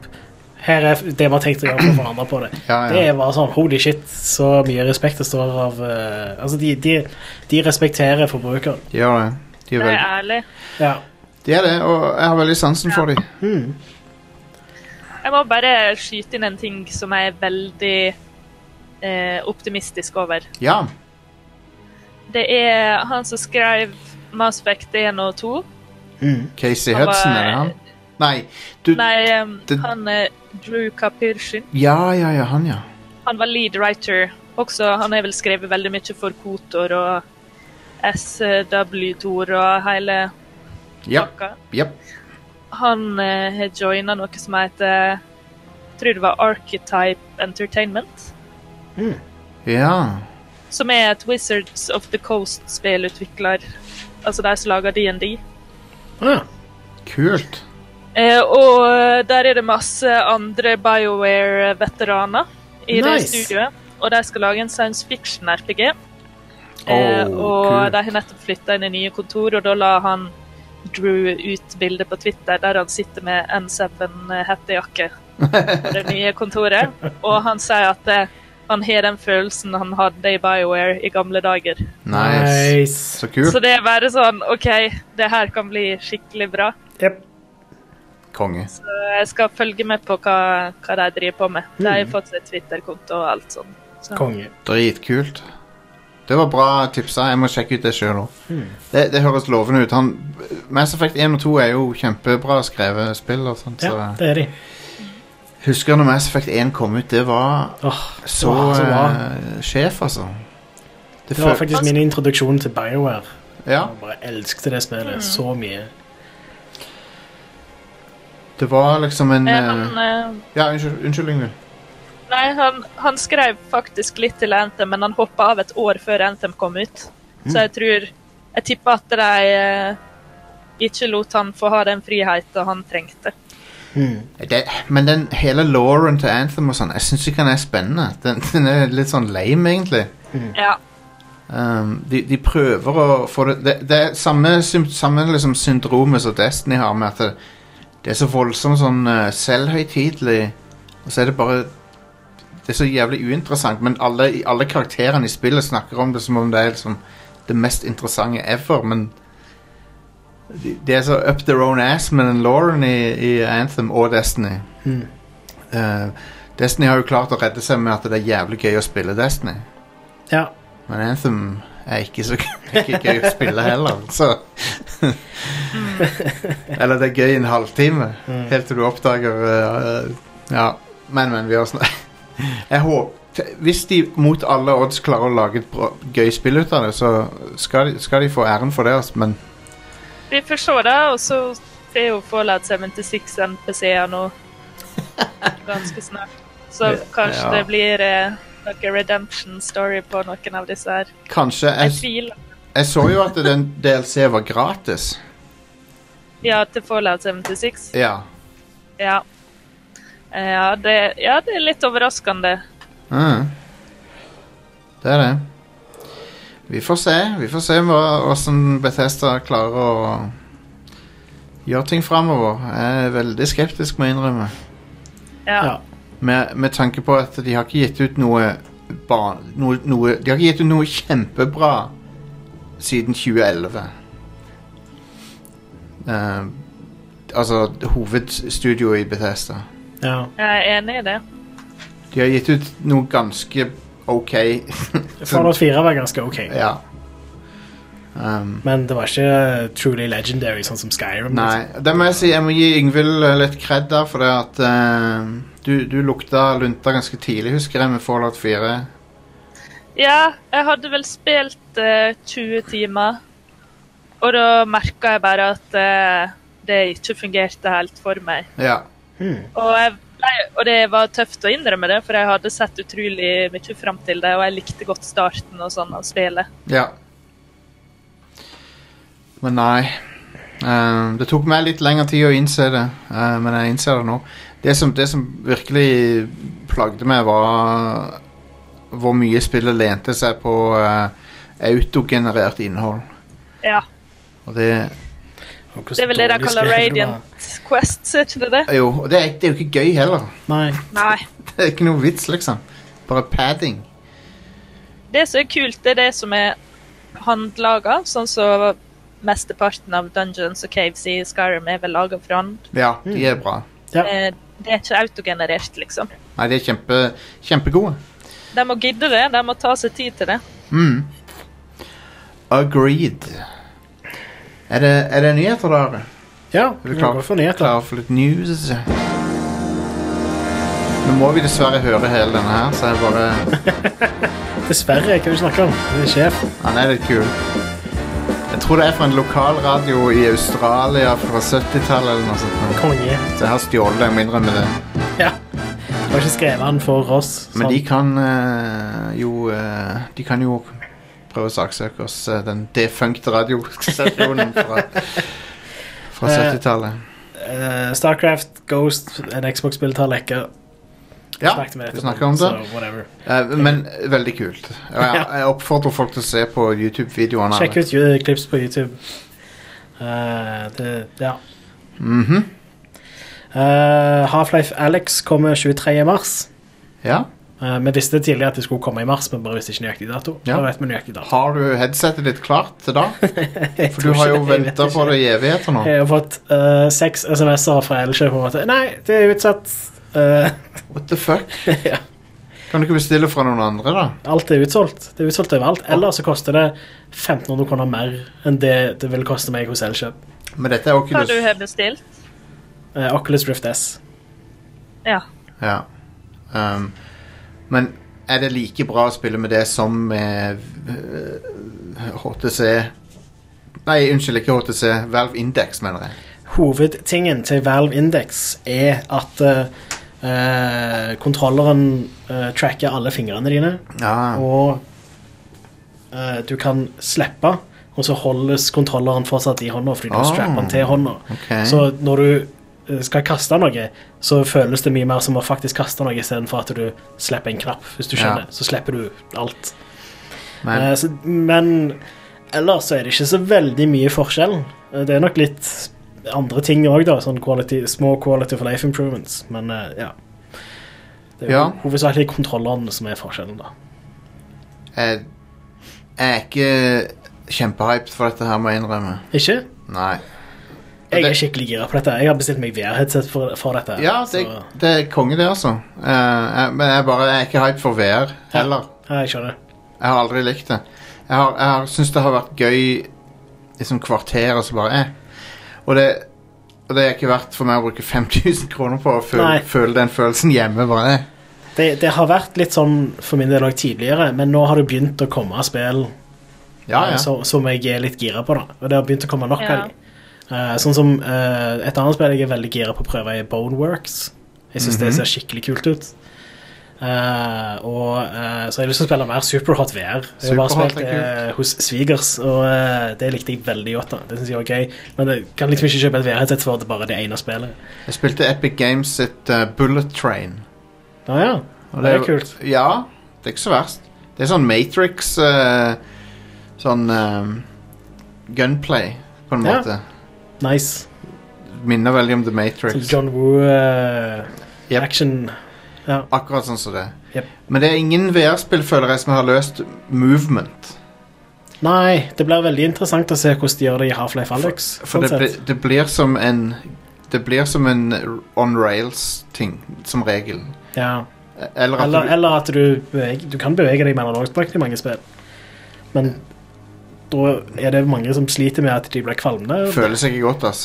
C: Her er f- det vi har tenkt å gjøre for å forandre på det.
B: Ja, ja.
C: Det er bare sånn holy shit, så mye respekt det står av eh, Altså, de, de, de respekterer forbrukeren.
B: De gjør det. De er,
D: Det er
B: veldig,
D: ærlig.
C: Ja.
B: de er det, og jeg har veldig sansen for dem.
D: Jeg må bare skyte inn en ting som jeg er veldig eh, optimistisk over.
B: Ja.
D: Det er han som skrev Mass Effect 1 og 2.
B: Casey
D: Han var-
B: Hudson, er det han? Nei. Du,
D: Nei, em,
B: det-
D: han eh, Drew Kapyrshin.
B: Ja, ja, ja, han, ja.
D: Han var lead writer også. Han har vel skrevet veldig mye for Kotor og SW-tor og hele
B: Ja.
D: pakka.
B: Jep.
D: Han eh, har joina noe som heter jeg tror det var Archetype Entertainment.
B: Ja.
D: Som er et Wizards of the Coast-spillutvikler. Altså de som lager DND.
C: Ah,
B: Kult.
D: Eh, og eh, der er det masse andre BioWare-veteraner i det
C: Nice.
D: studioet. Og de skal lage en science fiction-RPG.
B: Åh,
D: Eh, og
B: kult.
D: de har nettopp flytta inn i nye kontor, og da la han Drew ut bilde på Twitter der han sitter med N7-hettejakke på det
B: <laughs>
D: nye kontoret. Og han sier at eh, han har den følelsen han hadde i BioWare i gamle dager.
B: Nice. Så kult.
D: Så det er bare sånn OK, det her kan bli skikkelig bra.
C: Jep.
B: Konge.
D: Så Eh, jeg skal følge med på hva, hva de driver på med. De
B: Mm.
D: har fått seg Twitter-konto og alt sånt. Så.
C: Konge.
B: Dritkult. Det var bra tipsa. Jeg må sjekke ut det sjøl òg.
C: Hmm.
B: Det, det høres lovende ut. Han, Mass Effect 1 og 2 er jo kjempebra skrevet spill. og sånt,
C: Ja,
B: så,
C: det er de.
B: Husker når Mass Effect 1 kom ut. Det var
C: Åh,
B: så,
C: det var så bra.
B: eh, sjef, altså. Det
C: Det var
B: føl-
C: faktisk min introduksjon til BioWare.
B: Ja,
C: Jeg bare elsket det spillet så mye.
B: det var liksom en
D: Eh,
B: eh,
D: Han, eh,
B: Ja, unnskyld, unnskyld Yngvild.
D: nei, han, han skrev faktisk litt til Anthem, men han hoppa av et år før Anthem kom ut. Så
B: Mm.
D: jeg tror Jeg tipper at de eh, ikke lot han få ha den friheten han trengte.
B: Det, men den hele lauren til Anthem og sånn, jeg syns ikke den er spennende. Den, den er litt sånn lame, egentlig.
D: Ja.
B: Um, de, de prøver å få det Det, det er samme, sym- samme liksom syndromet som Destiny har, med at det, det er så voldsomt sånn eh, selvhøytidelig, og så er det bare Det er så jævlig uinteressant, men alle, alle karakterene i spillet snakker om det som om det er liksom det mest interessante ever, men de, de er så up their own ass med den lauren i, i Anthem og Destiny.
C: Mm.
B: Eh, Destiny har jo klart å redde seg med at det er jævlig gøy å spille Destiny.
C: Ja.
B: Men Anthem er ikke så <laughs> ikke gøy å spille heller, så
D: Mm.
B: <laughs> Eller det er gøy i en halvtime,
C: Mm.
B: helt til du oppdager eh, Ja, men, men, vi har snakket <laughs> Jeg håper Hvis de mot alle odds klarer å lage et bra, gøy spill ut av det, så skal de, skal de få æren for det, altså, men
D: Vi får se, da. Og så er jo Fallout 76 NPC-er nå ganske snart. Så kanskje
B: Ja.
D: det blir eh, noe redemption story på noen av disse her.
B: kanskje
D: Jeg
B: Jeg,
D: tviler.
B: jeg så jo at den DLC var gratis.
D: Ja, til Fallout 76.
B: Ja.
D: Ja. Eh, Ja, det, ja, det er litt overraskende.
B: Mm. Det er det. Vi får se. Vi får se hva, hvordan Bethesda klarer å gjøre ting framover. Jeg er veldig skeptisk, må jeg innrømme.
D: Ja.
C: Ja.
B: Med, med tanke på at de har ikke gitt ut noe, ba, noe, noe De har ikke gitt ut noe kjempebra siden 2011. Eh, altså hovedstudioet i Bethesda.
C: ja.
D: Jeg er enig i det.
B: De har gitt ut noe ganske OK.
C: Fallout 4 var ganske ok,
B: ja. Um,
C: men det var ikke truly legendary, sånn som Skyrim.
B: Nei, det må jeg si. Jeg må gi Yngvild eh, litt kred der, for det at eh, du, du lukta lunta ganske tidlig, husker jeg, med Fallout 4.
D: Ja, jeg hadde vel spilt eh, 20 timer, og da merka jeg bare at eh, det ikke fungerte helt for meg.
B: Ja.
D: Og, jeg, nei, og det var tøft å innrømme det, for jeg hadde sett utrolig mye fram til det, og jeg likte godt starten og sånn av spillet.
B: ja. Men nei. Eh, det tok meg litt lengre tid å innse det, eh, men jeg innser det nå. Det som, det som virkelig plagde meg, var hvor mye spillet lente seg på eh, autogenerert innhold.
D: Ja.
B: Og det
C: Liksom. om hvordan
D: Det er vel det de
C: dårlig
D: kaller
C: skrevet det var.
D: Radiant Quests, er ikke det det?
B: Jo, og det er, det er jo ikke gøy heller.
C: Nei.
D: Nei.
B: Det er ikke noe vits, liksom. Bare padding.
D: Det som er kult, det er det som er håndlaga, sånn som mesteparten av Dungeons og Caves i Skyrim er vel laga for hånd.
B: Ja, de er bra.
D: Eh, Det er ikke autogenerert, liksom.
B: Nei, de er kjempe, kjempegode.
D: De må gidde det, de må ta seg tid til det.
B: Mm. Agreed. Er det, er det nyheter, da?
C: Ja,
B: er du
C: vi går
B: klar,
C: for nyheter.
B: klar for litt news? Nå må vi dessverre høre hele denne her, så jeg bare
C: Dessverre, jeg kan ikke snakke om. Det er sjef.
B: Han er litt kul. Jeg tror det er fra en lokalradio i Australia fra 70-tallet eller noe sånt.
C: Konge.
B: Så jeg har stjålet det, jeg må innrømme det.
C: Ja. Du har ikke skrevet den for oss.
B: Men
C: sånn.
B: de kan eh, jo eh, De kan jo prøve å saksøke oss, eh, den defunkte
C: <laughs>
B: radiostasjonen fra, fra
C: Eh,
B: 70-tallet.
C: Eh, Starcraft, Ghost, en Xbox-spill tar lekker.
B: Ja,
C: Snakket vi
B: vi
C: etterpå,
B: snakker om det.
C: så whatever.
B: Eh, men veldig kult. Og Jeg, jeg oppfordrer folk til å se på YouTube-videoene.
C: Sjekk ut eh, clips på YouTube. Eh, det, ja.
B: Mhm.
C: Eh, Half-Life Alex kommer 23. mars.
B: Ja.
C: Eh, vi visste tidligere at det skulle komme i mars, men bare visste ikke nøyaktig dato.
B: Ja.
C: Nå vet vi nøyaktig dato.
B: Har du headsetet ditt klart til da?
C: <laughs> Jeg
B: For
C: tror
B: du har jo
C: ikke det, jeg vet
B: venta på
C: ikke.
B: det i evigheter nå.
C: Jeg har fått eh, seks SMS-er fra Elkjøp om at nei, det er utsatt. Eh,
B: What the fuck?
C: <laughs> Ja.
B: Kan du ikke bestille fra noen andre, da?
C: alt er utsolgt. Det er utsolgt overalt. Eller så koster det 1500 kroner mer enn det det vil koste meg hos Elkjøp.
B: Men dette er
D: Hva
B: Oculus.
D: du har bestilt.
C: Eh, Oculus Rift S.
D: Ja.
B: Ja. Um, men er det like bra å spille med det som med eh, HTC Nei, unnskyld, ikke HTC. Valve Index, mener jeg.
C: Hovedtingen til Valve Index er at eh, eh, kontrolleren eh, tracker alle fingrene dine,
B: Ja.
C: og eh, du kan slippe, og så holdes kontrolleren fortsatt i hånda fordi du
B: Ah.
C: strapper den til hånda.
B: ok.
C: Så når du eh, skal kaste noe, så føles det mye mer som å faktisk kaste noe istedenfor at du slipper en knapp, hvis du skjønner.
B: Ja.
C: Så slipper du alt.
B: Men
C: Eh, så, men ellers så er det ikke så veldig mye forskjell. Eh, Det er nok litt andre ting òg, da. Sånn quality, små quality for life improvements. Men eh, ja. Det er jo
B: Ja.
C: hovedsakelig kontrollene som er forskjellen, da.
B: jeg, jeg er ikke kjempehyped for dette her, må jeg innrømme.
C: Ikke?
B: Nei.
C: Jeg
B: Det-
C: er skikkelig gira på dette. Jeg har bestilt meg VR-headset for, for dette.
B: Ja, det,
C: så,
B: det er konge, det, altså. Eh, jeg- men jeg, bare, jeg er ikke hyped for VR heller.
C: ja, jeg skjønner.
B: Jeg har aldri likt det. Jeg har, jeg har syntes det har vært gøy i sånn kvarter, og så bare eh. Og det, og det er ikke verdt for meg å bruke 5000 kroner på å føle,
C: Nei.
B: føle den følelsen hjemme, bare eh.
C: Det, det har vært litt sånn for min del òg tidligere, men nå har det begynt å komme spill
B: Ja,
C: eh,
B: ja.
C: så- som jeg er litt gira på. da Og det har begynt å komme nok
D: Ja.
C: av de. Eh, Sånn som eh, et annet spill jeg er veldig gira på å prøve, er Boneworks. Jeg syns
B: Mhm.
C: det ser skikkelig kult ut. Eh, og eh, så har jeg lyst til å spille mer Superhot VR. Jeg har bare
B: Superhot er
C: spilt eh, hos svigers, og eh, det likte jeg veldig godt. da Det synes jeg var gøy Men jeg kan liksom ikke kjøpe et VR-headset for det bare det ene spillet.
B: Jeg spilte Epic Games sitt eh, Bullet Train.
C: Nå ja,
B: Og
C: det er kult.
B: Ja, det er ikke så verst. Det er sånn Matrix eh, Sånn eh, gunplay, på en
C: Ja.
B: måte.
C: Nice.
B: Minner veldig om The
C: Sånn
B: Matrix.
C: John Woo eh,
B: Yep.
C: action. Ja.
B: Akkurat sånn som det.
C: Jep.
B: Men det er ingen VR-spill, føler jeg, som har løst movement.
C: Nei, det blir veldig interessant å se hvordan de gjør det i Half-Life Alex.
B: For det,
C: sånn
B: bli,
C: sett.
B: det blir som en Det blir som en on rails-ting, som regel.
C: ja.
B: Eller at
C: Eller,
B: du,
C: eller at du, beveg- du kan bevege deg med analogspakt i mange spill. Men da er det mange som sliter med at de blir kvalme.
B: føler seg ikke godt, ass.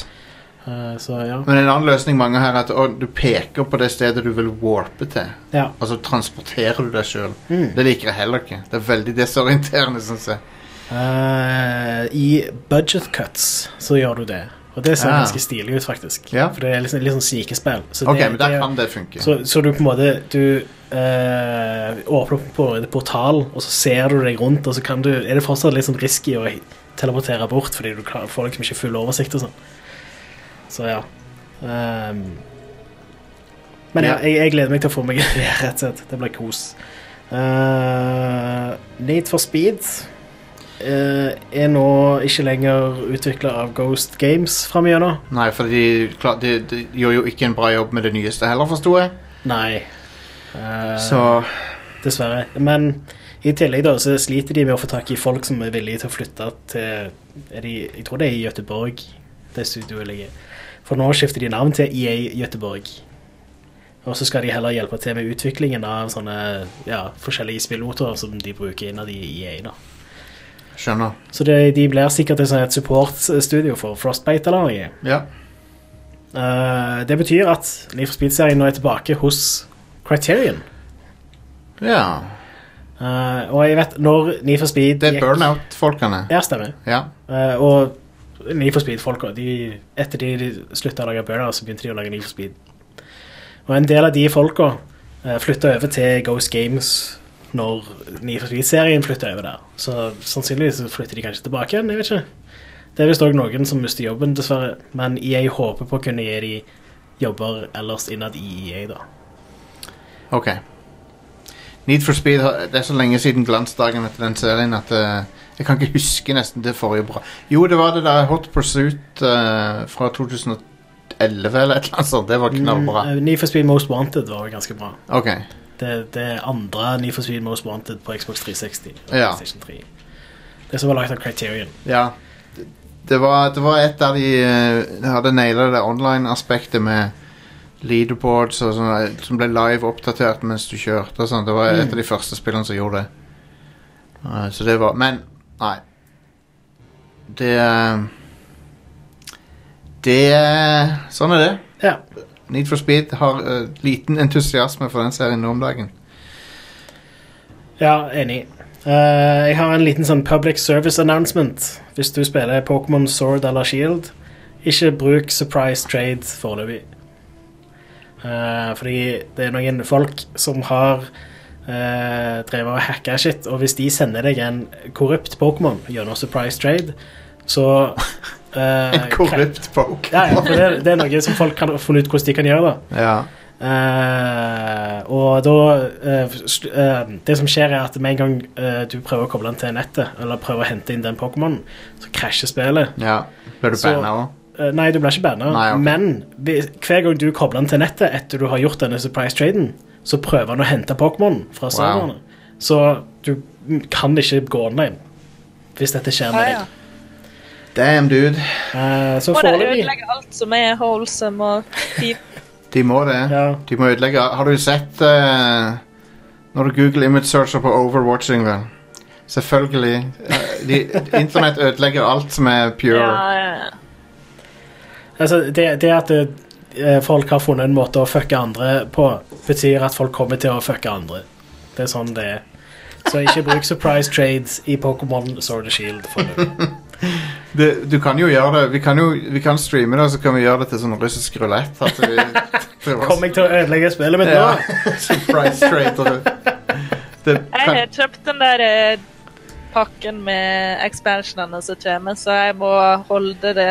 C: Eh, Så ja.
B: Men en annen løsning mange har, er at å, du peker på det stedet du vil warpe til.
C: ja.
B: Og så transporterer du deg sjøl.
C: Mm.
B: Det liker jeg heller ikke. Det er veldig desorienterende, syns jeg.
C: Eh, I budget cuts så gjør du det. Og det ser
B: Ah.
C: ganske stilig ut, faktisk.
B: Ja.
C: For det er liksom, litt sånn snikespill. Så
B: Ok,
C: det-
B: men der
C: det-
B: kan det funke.
C: Så, så du på en måte Du eh, åpner opp på en portal, og så ser du deg rundt, og så kan du Er det fortsatt litt sånn risky å teleportere bort fordi du klar, får liksom ikke full oversikt og sånn. Så ja. Ehm. men ja,
B: Ja.
C: jeg, jeg gleder meg til å få meg <laughs> det, rett og slett. Det blir kos. Eh, Need for speed. eh, er nå ikke lenger utvikla av Ghost Games framigjennom.
B: Nei, for de, klar, de, de gjør jo ikke en bra jobb med det nyeste heller, forsto jeg.
C: Nei. Eh,
B: Så
C: Dessverre. Men i tillegg da, så sliter de med å få tak i folk som er villige til å flytte til er de, Jeg tror det er i Gøteborg det studioet ligger. For nå skifter de navn til EA Gøteborg. Og så skal de heller hjelpe til med utviklingen av sånne ja, forskjellige spillmotorer som de bruker innad i EA. da.
B: Skjønner.
C: Så det, de blir sikkert et, sånn et supportstudio for Frostbite eller noe.
B: Ja.
C: Eh, det betyr at Liv Speed-serien nå er tilbake hos Criterion.
B: Ja.
C: Eh, og jeg vet når Need for Speed
B: Det er
C: gikk-
B: burnout-folkene.
C: Ja, stemmer.
B: Ja.
C: Eh, og Need for Speed-folka de, Etter de, de slutta å lage Burner, så begynte de å lage Need for Speed. Og en del av de folka uh, flytta over til Ghost Games når Need for Speed-serien flytta over der. Så sannsynligvis så flytter de kanskje tilbake igjen, jeg vet ikke. Det er visst òg noen som mister jobben, dessverre. Men jeg håper på å kunne gi de jobber ellers innad i EA, da.
B: Ok. Need for Speed har- Det er så lenge siden glansdagen etter den serien at eh, jeg kan ikke huske nesten det forrige bra. Jo, det var det der Hot Pursuit eh, fra 2011 eller et eller annet sånt. Det var knallbra.
C: Mm, eh, Need for Speed Most Wanted var jo ganske bra.
B: Ok.
C: det, det andre Need for Speed Most Wanted på Xbox 360 og
B: Ja.
C: PlayStation 3. Det som var lagt av Criterion.
B: Ja. Det- Det var, det var et der de eh, hadde naila det online-aspektet med leaderboards og sånn, som ble live oppdatert mens du kjørte og sånn. Det var et av de
C: Mm.
B: første spillene som gjorde det. Eh, så det var Men nei. Det eh, Det eh, Sånn er det.
C: Ja.
B: Need for Speed har eh, liten entusiasme for den serien nå om dagen.
C: Ja, enig. Eh, jeg har en liten sånn public service announcement hvis du spiller Pokémon Sword eller Shield. Ikke bruk surprise trade foreløpig. Eh, fordi det er noen folk som har eh, drevet og hacka shit, og hvis de sender deg en korrupt Pokémon gjennom surprise trade, så
B: <laughs>
C: eh,
B: Korrupt poke.
C: Ja, ja, for det, det er noe som folk kan ha funnet ut hvordan de kan gjøre. da
B: Ja.
C: Eh, Og da eh, sl- eh, Det som skjer, er at med en gang eh, du prøver å koble den til nettet, eller prøver å hente inn den Pokémonen, så krasjer spillet.
B: ja. Ble du
C: Så-
B: banna òg?
C: Eh, nei, du blir ikke banna,
B: Nei, ok.
C: men hvis- hver gang du kobler den til nettet etter du har gjort denne surprise traden, så prøver han å hente Pokémonen fra serverne. Så du kan ikke gå online hvis dette skjer med
D: Ah,
C: deg.
D: ja.
B: Damn, dude.
C: Eh, så
D: Må de
C: foreløpig
D: ødelegge alt som er wholesome og fint?
B: De må det.
C: ja.
B: De må ødelegge Har du sett eh, Når du Google image searcher på overwatching vel? Selvfølgelig Eh, de, Internett ødelegger alt som er pure
D: Ja, ja.
C: Altså, det, det at eh, folk har funnet en måte å fucke andre på, betyr at folk kommer til å fucke andre. Det er sånn det er. Så ikke bruk surprise trades i Pokémon Sword and Shield. For
B: <laughs>
C: det.
B: det, Du kan jo gjøre det Vi kan jo vi kan streame det Og så kan vi gjøre det til sånn russisk roulette at vi, til oss.
C: Kommer jeg til å ødelegge spillet mitt
B: ja.
C: nå?
B: Surprise traitor det,
D: Jeg
B: kan,
D: har kjøpt den der eh, pakken med expansionene som kommer, så jeg må holde det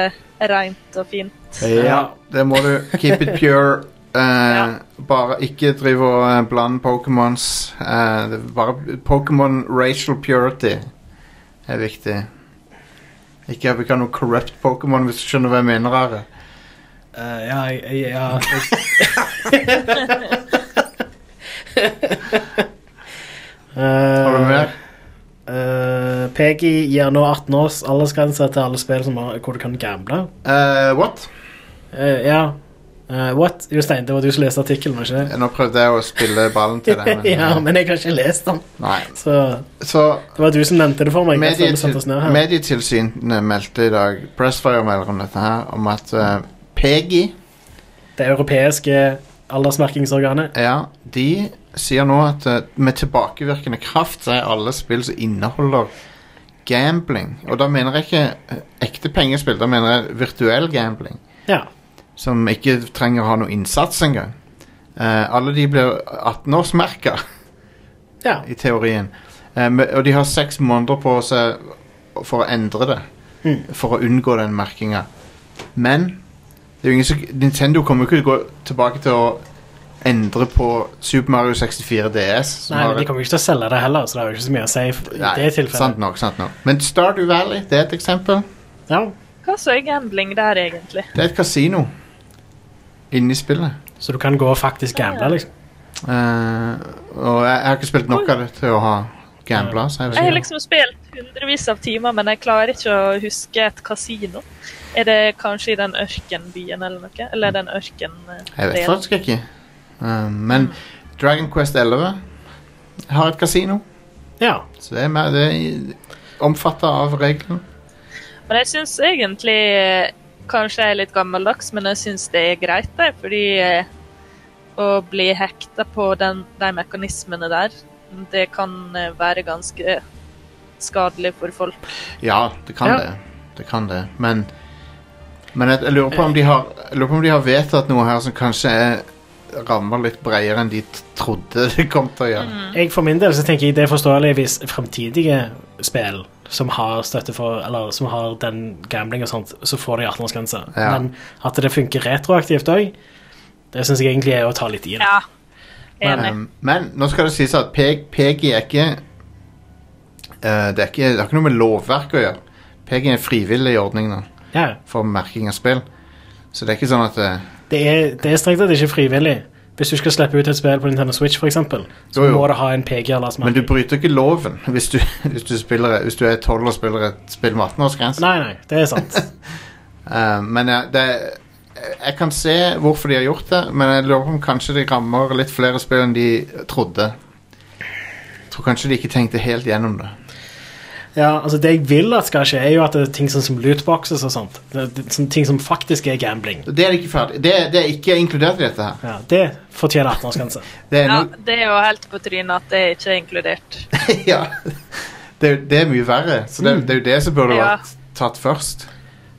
D: rent og fint.
B: ja, det må du Keep it
C: <laughs>
B: pure Eh, Bare ikke drive og eh, blande Pokémons Eh, det er Bare Pokémon racial purity Er viktig Ikke at vi kan noe corrupt Pokémon Hvis du skjønner hva jeg mener her
C: Eh, ja, jeg- jeg- ja.
B: <laughs> Har du mer?
C: Eh, Peggy gir nå 18 års aldersgrense til alle spill som har, hvor du kan gamble.
B: Eh, what?
C: Eh, ja. Eh, what? Jostein, det var du som leste artikkelen, var ikke det?
B: Nå prøvde jeg å spille ballen til deg men,
C: <laughs>
B: eh,
C: ja, men jeg har ikke lest den.
B: Nei
C: Så
B: Så
C: det var du som nevnte det for meg. Medie, vi satte oss ned
B: medietil,
C: her.
B: Medietilsynet meldte i dag Pressfire melder om dette her Om at eh, Peggy
C: Det europeiske aldersmerkingsorganet.
B: Ja, de sier nå at eh, med tilbakevirkende kraft så er alle spill som inneholder gambling. Og da mener jeg ikke eh, ekte pengespill, da mener jeg virtuell gambling.
C: Ja.
B: Som ikke trenger å ha noe innsats engang. Eh, alle de blir 18-årsmerka,
C: ja.
B: i teorien. Eh, men- og de har seks måneder på seg for å endre det.
C: Mm.
B: For å unngå den merkinga. Men det er jo ingen som, Nintendo kommer jo ikke til å gå tilbake til å endre på Super Mario 64 DS. som
C: Nei,
B: har
C: men De
B: et-
C: kommer jo ikke til å selge det heller, så det har jo ikke så mye å si f- i
B: Nei,
C: det tilfellet.
B: Sant nok, sant nok. Men Stardew Valley, det er et eksempel.
D: Hva så jeg gambling der, egentlig?
B: Det er et kasino inni spillet.
C: Så du kan gå og faktisk gamble, liksom.
B: Eh, og jeg, jeg har ikke spilt nok av det til å ha gambla. Så jeg
D: Jeg har
B: vet ikke.
D: liksom spilt hundrevis av timer, men jeg klarer ikke å huske et kasino. Er det kanskje i den ørkenbyen eller noe? Eller er det en ørken... eh,
B: Jeg vet
D: del?
B: faktisk ikke. Eh, men Dragon Quest 11 har et kasino.
C: Ja.
B: Så det er, mer- det er omfatta av reglene.
D: Men jeg syns egentlig eh, Kanskje jeg er litt gammeldags, men jeg syns det er greit, det, fordi eh, å bli hekta på den, de mekanismene der, det kan eh, være ganske skadelig for folk.
B: Ja, det kan
D: Ja.
B: det. Det kan det, men Men jeg, jeg, lurer på om de har, jeg lurer på om de har vedtatt noe her som kanskje er rammer litt bredere enn de t- trodde <laughs> det kom til å gjøre.
C: Jeg For min del så tenker jeg det er forståelig hvis fremtidige spill som har støtte for Eller som har den gambling og sånt, så får de 18-årsgrense.
B: Ja.
C: Men at det funker retroaktivt òg, det syns jeg egentlig er å ta litt i det.
D: Ja.
B: Men,
D: Enig.
B: um, men nå skal det sies at P- PG er ikke eh, det, er ikke det har ikke noe med lovverk å gjøre. PG er en frivillig ordning nå,
C: Ja.
B: for merking av spill. Så det er ikke sånn at eh,
C: Det, er, det er strengt tatt ikke frivillig. Hvis du skal slippe ut et spill på Nintendo Switch, for eksempel, så
B: Jo, jo.
C: må det ha en PG eller
B: Men du
C: smak.
B: bryter ikke loven <laughs> hvis du, hvis du, spiller, hvis du er 12 og spiller et spill med 18-årsgrense.
C: Nei, nei, det er sant.
B: <laughs> Eh, men jeg, det, jeg kan se hvorfor de har gjort det, men jeg lurer på om kanskje de rammer litt flere spill enn de trodde. Jeg tror kanskje de ikke tenkte helt gjennom det.
C: Ja, altså Det jeg vil at skal skje, er jo at det er ting sånn som lootboxes og sånt. Det, det, sånn ting som faktisk er gambling.
B: Det er ikke ferdig. Det, det er ikke inkludert i dette her.
C: Ja, Det fortjener 18-årsgrense.
B: Det er,
D: Ja,
B: no,
D: det er jo helt på trynet at det ikke er inkludert.
B: <laughs> ja. det, er- det er mye verre, så det, det er jo det som burde
D: Ja.
B: vært tatt først.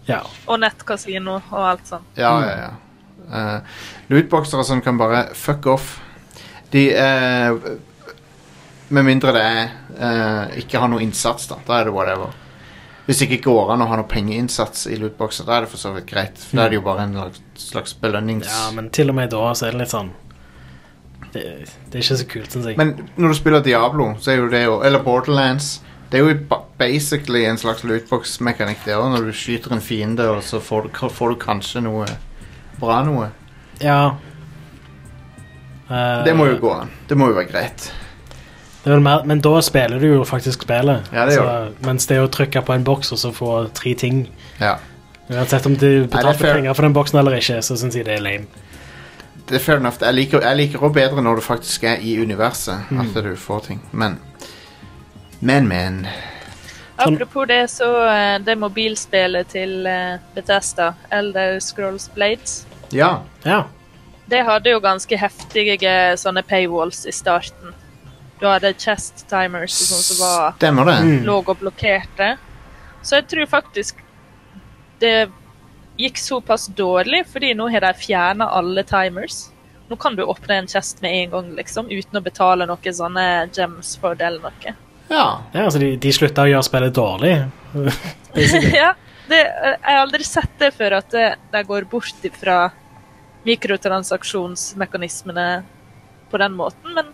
C: Ja.
D: Og nettkasino og alt sånt.
B: Ja, ja, ja. Eh, lootboxere som kan bare fuck off. De eh, Med mindre det er eh, ikke har noe innsats, da. Da er det whatever. Hvis det ikke går an å ha noe pengeinnsats i lootboxer, da er det for så vidt greit. For da er det jo bare en slags- slags belønnings...
C: ja, men til og med da så er det litt sånn Det, det er ikke så kult, syns jeg.
B: Men når du spiller Diablo, så er jo det jo Eller Borderlands. Det er jo ba- basically en slags lootbox-mekanikk, det òg. Når du skyter en fiende, og så får du, får du kanskje noe bra noe.
C: ja. Eh,
B: Det må jo gå an. Det må jo være greit.
C: det er vel mer, men da spiller du jo faktisk spillet.
B: Ja, det
C: så,
B: gjør
C: mens det å trykke på en boks og så få tre ting
B: Ja.
C: Uansett om du betalte
B: fair.
C: penger for den boksen eller ikke, så syns jeg det er lame.
B: det er fair enough. Jeg liker, jeg liker også bedre når du faktisk er i universet.
C: Mm.
B: At du får ting. Men, men, men.
C: Sånn-
D: Apropos det, så eh, det mobilspillet til eh, Bethesda, Elder Scrolls Blades,
B: Ja.
C: Ja.
D: det hadde jo ganske heftige eh, sånne paywalls i starten. Du hadde chest timers og sånn som var
B: Stemmer det.
C: Mm.
D: lå og blokkerte. Så jeg tror faktisk det gikk såpass dårlig, fordi nå har de fjerna alle timers. Nå kan du åpne en chest med en gang, liksom, uten å betale noen sånne gems for det eller noe.
B: Ja.
C: ja, så de, de slutta å gjøre spillet
B: <laughs>
C: dårlig.
D: <laughs> ja, det, eh, jeg har aldri sett det før, at det- de går bort fra mikrotransaksjonsmekanismene på den måten. Men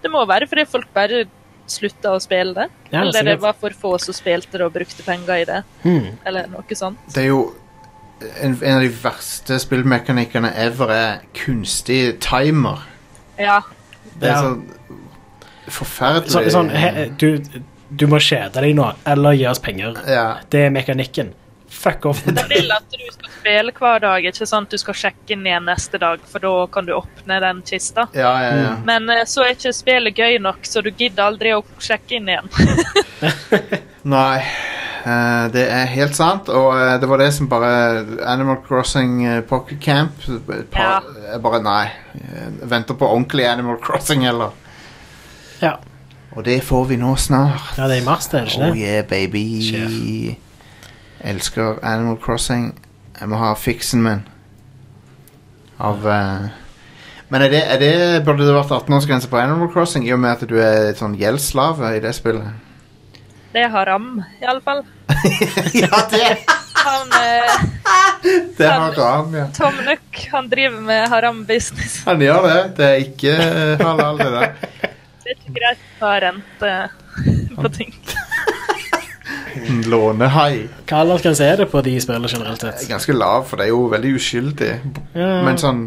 D: det må være fordi folk bare slutta å spille det.
C: Ja,
D: eller det
C: sikkert.
D: var for få som spilte det og brukte penger i det.
C: Hmm.
D: Eller noe sånt.
B: Det er jo en, en av de verste spillmekanikkene ever er kunstig timer.
D: Ja.
B: Det er
C: Ja.
B: sånn forferdelig.
C: Så, sånn, he, du, du må kjede deg nå, eller gi oss penger.
B: ja.
C: Det er mekanikken. Fuck
B: <laughs>
C: off.
D: De vil at du skal spille hver dag, ikke sant? Du skal sjekke inn igjen neste dag, for da kan du åpne den kista.
B: Ja, ja, ja.
C: Mm.
D: Men eh, så er ikke spillet gøy nok, så du gidder aldri å sjekke inn igjen. <laughs>
B: Nei, eh, det er helt sant, og eh, det var det som bare Animal Crossing eh, Pocket Camp et par, Jeg Bare nei. eh, venter på ordentlig Animal Crossing, eller?
C: Ja.
B: Og det får vi nå snart.
C: Ja, det er i mars, det er ikke det?
B: Oh yeah, baby.
C: Sjef.
B: Elsker Animal Crossing. Jeg må ha fiksen min. Av eh, Men er det, er det burde det vært 18-årsgrense på Animal Crossing, i og med at du er et sånn gjeldsslave i det spillet?
D: Det har ram, iallfall.
B: <laughs> ja, det
D: Han eh,
B: Det har Ram, ja.
D: Tom Nook, han driver med haram-business.
B: Han gjør det. Det er ikke eh, halal, det der.
D: Det er ikke greit å ta rente på ting.
B: En Lånehai.
C: Hva aldersgrense er det på de spillene generelt
B: Det
C: sett?
B: er ganske lav, for det er jo veldig uskyldig.
C: Ja.
B: Men sånn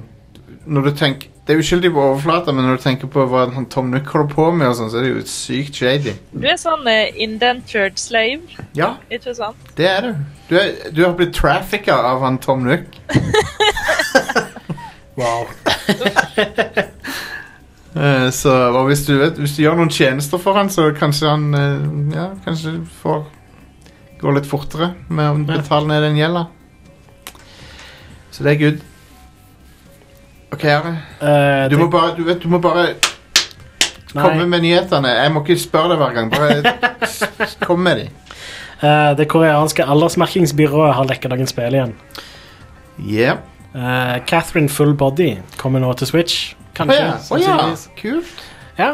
B: når du tenker, Det er uskyldig på overflata, men når du tenker på hva han Tom Nook holder på med, og sånn, så er det jo sykt shady.
D: Du er sånn eh, indentured slave,
B: Ja,
D: ikke sant?
B: det er du. Du, er, du har blitt trafficka av han Tom Nook.
C: <laughs> Wow.
B: <laughs> Eh, så og hvis, du vet, hvis du gjør noen tjenester for han, så kanskje han eh, Ja, kanskje du får gå litt fortere med å betale ned den gjelda. Så det er good. OK, Are.
C: Eh,
B: Du må
C: tenk-
B: bare, du vet, du må bare
C: Nei.
B: komme med nyhetene. Jeg må ikke spørre deg hver gang.
C: <laughs>
B: Bare s- kom med de.
C: eh, det koreanske aldersmerkingsbyrået har lekket noen spill igjen.
B: Yep.
C: Eh, Catherine Full Body kommer nå til Switch.
B: Å
C: Kanskje.
B: ja. å ja.
C: sannsynligvis.
B: Kult.
C: ja.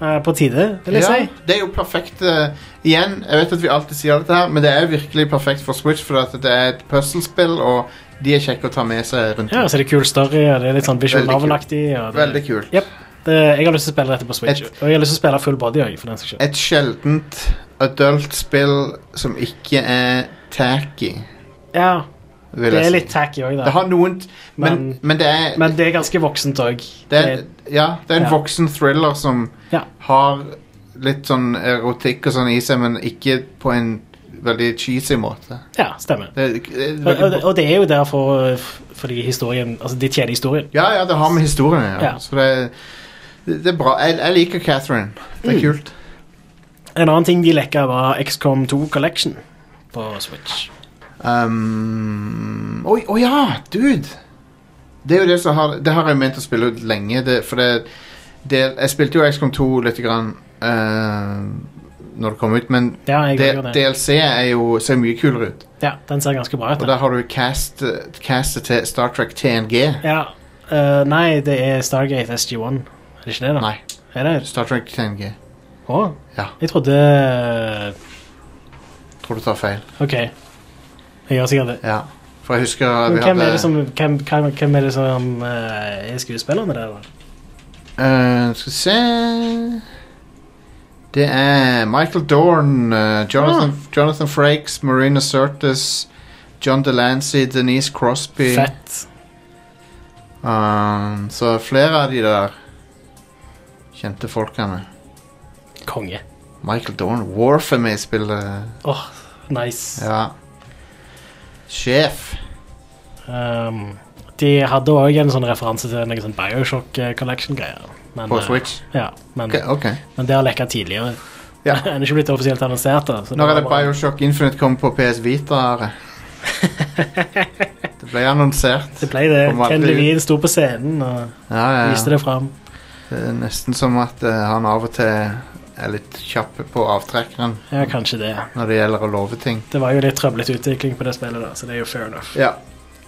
C: Eh, på tide, vil jeg
B: Ja,
C: si.
B: det er jo perfekt. eh, igjen, jeg vet at vi alltid sier dette her, men det er virkelig perfekt for Switch, for at det er et puslespill, og de er kjekke å ta med seg rundt.
C: Ja, så er det kul story, og det er litt sånn visual
B: Veldig kul.
C: novel-aktig. og det-
B: Veldig kult.
C: Jep. Det, jeg har lyst til å spille dette på Switch.
B: Et-
C: og jeg har lyst til å spille full body òg, for den saks skyld.
B: Et sjeldent adult spill som ikke er tacky,
C: Ja,
B: vil jeg
C: det
B: si.
C: er litt tacky òg,
B: Det
C: da.
B: har noen t- men, men,
C: Men-
B: det er,
C: Men det er ganske voksent òg.
B: det er Ja, det er en
C: Ja.
B: voksen thriller som
C: Ja.
B: har litt sånn erotikk og sånn i seg, men ikke på en veldig cheesy måte.
C: Ja, stemmer.
B: Det, er- det er
C: Og, og,
B: veldig,
C: og det er jo derfor eh, f- fordi historien Altså, de tjener historien.
B: ja, ja, det har med historien å gjøre.
C: Ja.
B: Så det, er- det det er bra. Jeg, jeg liker Catherine. Det
C: Mm.
B: er kult.
C: En annen ting de lekka, var XCOM 2 Collection på Switch.
B: Um, oi, å ja, dude! Det er jo det som har Det har jeg ment å spille ut lenge, det, for det, det Jeg spilte jo XCOM 2 lite grann eh, når det kom ut, men
C: Ja, jeg
B: D-
C: gjør det.
B: DLC er jo, ser mye kulere ut.
C: Ja, den ser ganske bra ut.
B: Og
C: da.
B: der har du cast, castet til Star Trek TNG.
C: Ja. eh, nei, det er Stargate SG1. Er det ikke det, da?
B: Nei,
C: Er det?
B: Star Trek TNG.
C: Å?
B: Ja.
C: Jeg trodde
B: Tror du tar feil.
C: OK. Jeg gjør sikkert det.
B: Ja. For jeg husker
C: Men
B: vi
C: hvem,
B: hadde
C: er det som, hvem, hvem, hvem er det som eh, er skuespillerne der, da?
B: Eh, Skal vi se Det er Michael Dorn, eh,
C: Ah.
B: Jonathan, Jonathan Frakes, Marina Sirtis, John Delancey, Denise Crosby
C: Fett.
B: Um, Så flere av de der kjente folkene.
C: Konge.
B: Michael Dorn. Worf er med i spillet.
C: Åh, nice.
B: Ja. Sjef.
C: Um, de hadde òg en sånn referanse til noen sånn Bioshock eh, Collection-greier. Men,
B: På
C: eh,
B: Switch?
C: Ja, men,
B: Ok,
C: <laughs>
B: ok.
C: men det har lekka tidligere. <laughs>
B: Ja.
C: Den er ikke blitt offisielt annonsert. da så
B: Når er det
C: var bare-
B: Bioshock Infinite kommer på PS Vita?
C: <laughs>
B: Are? det ble annonsert.
C: Det ble det.
B: Kommer
C: Ken
B: aldri ut.
C: Levine sto på scenen og
B: Ja, ja,
C: viste
B: ja.
C: det fram.
B: Det er nesten som at eh, han av og til er litt kjapp på avtrekkeren
C: Ja, kanskje det.
B: når det gjelder å love ting.
C: Det var jo litt trøblete utvikling på det spillet, da, så det er jo fair enough.
B: Ja,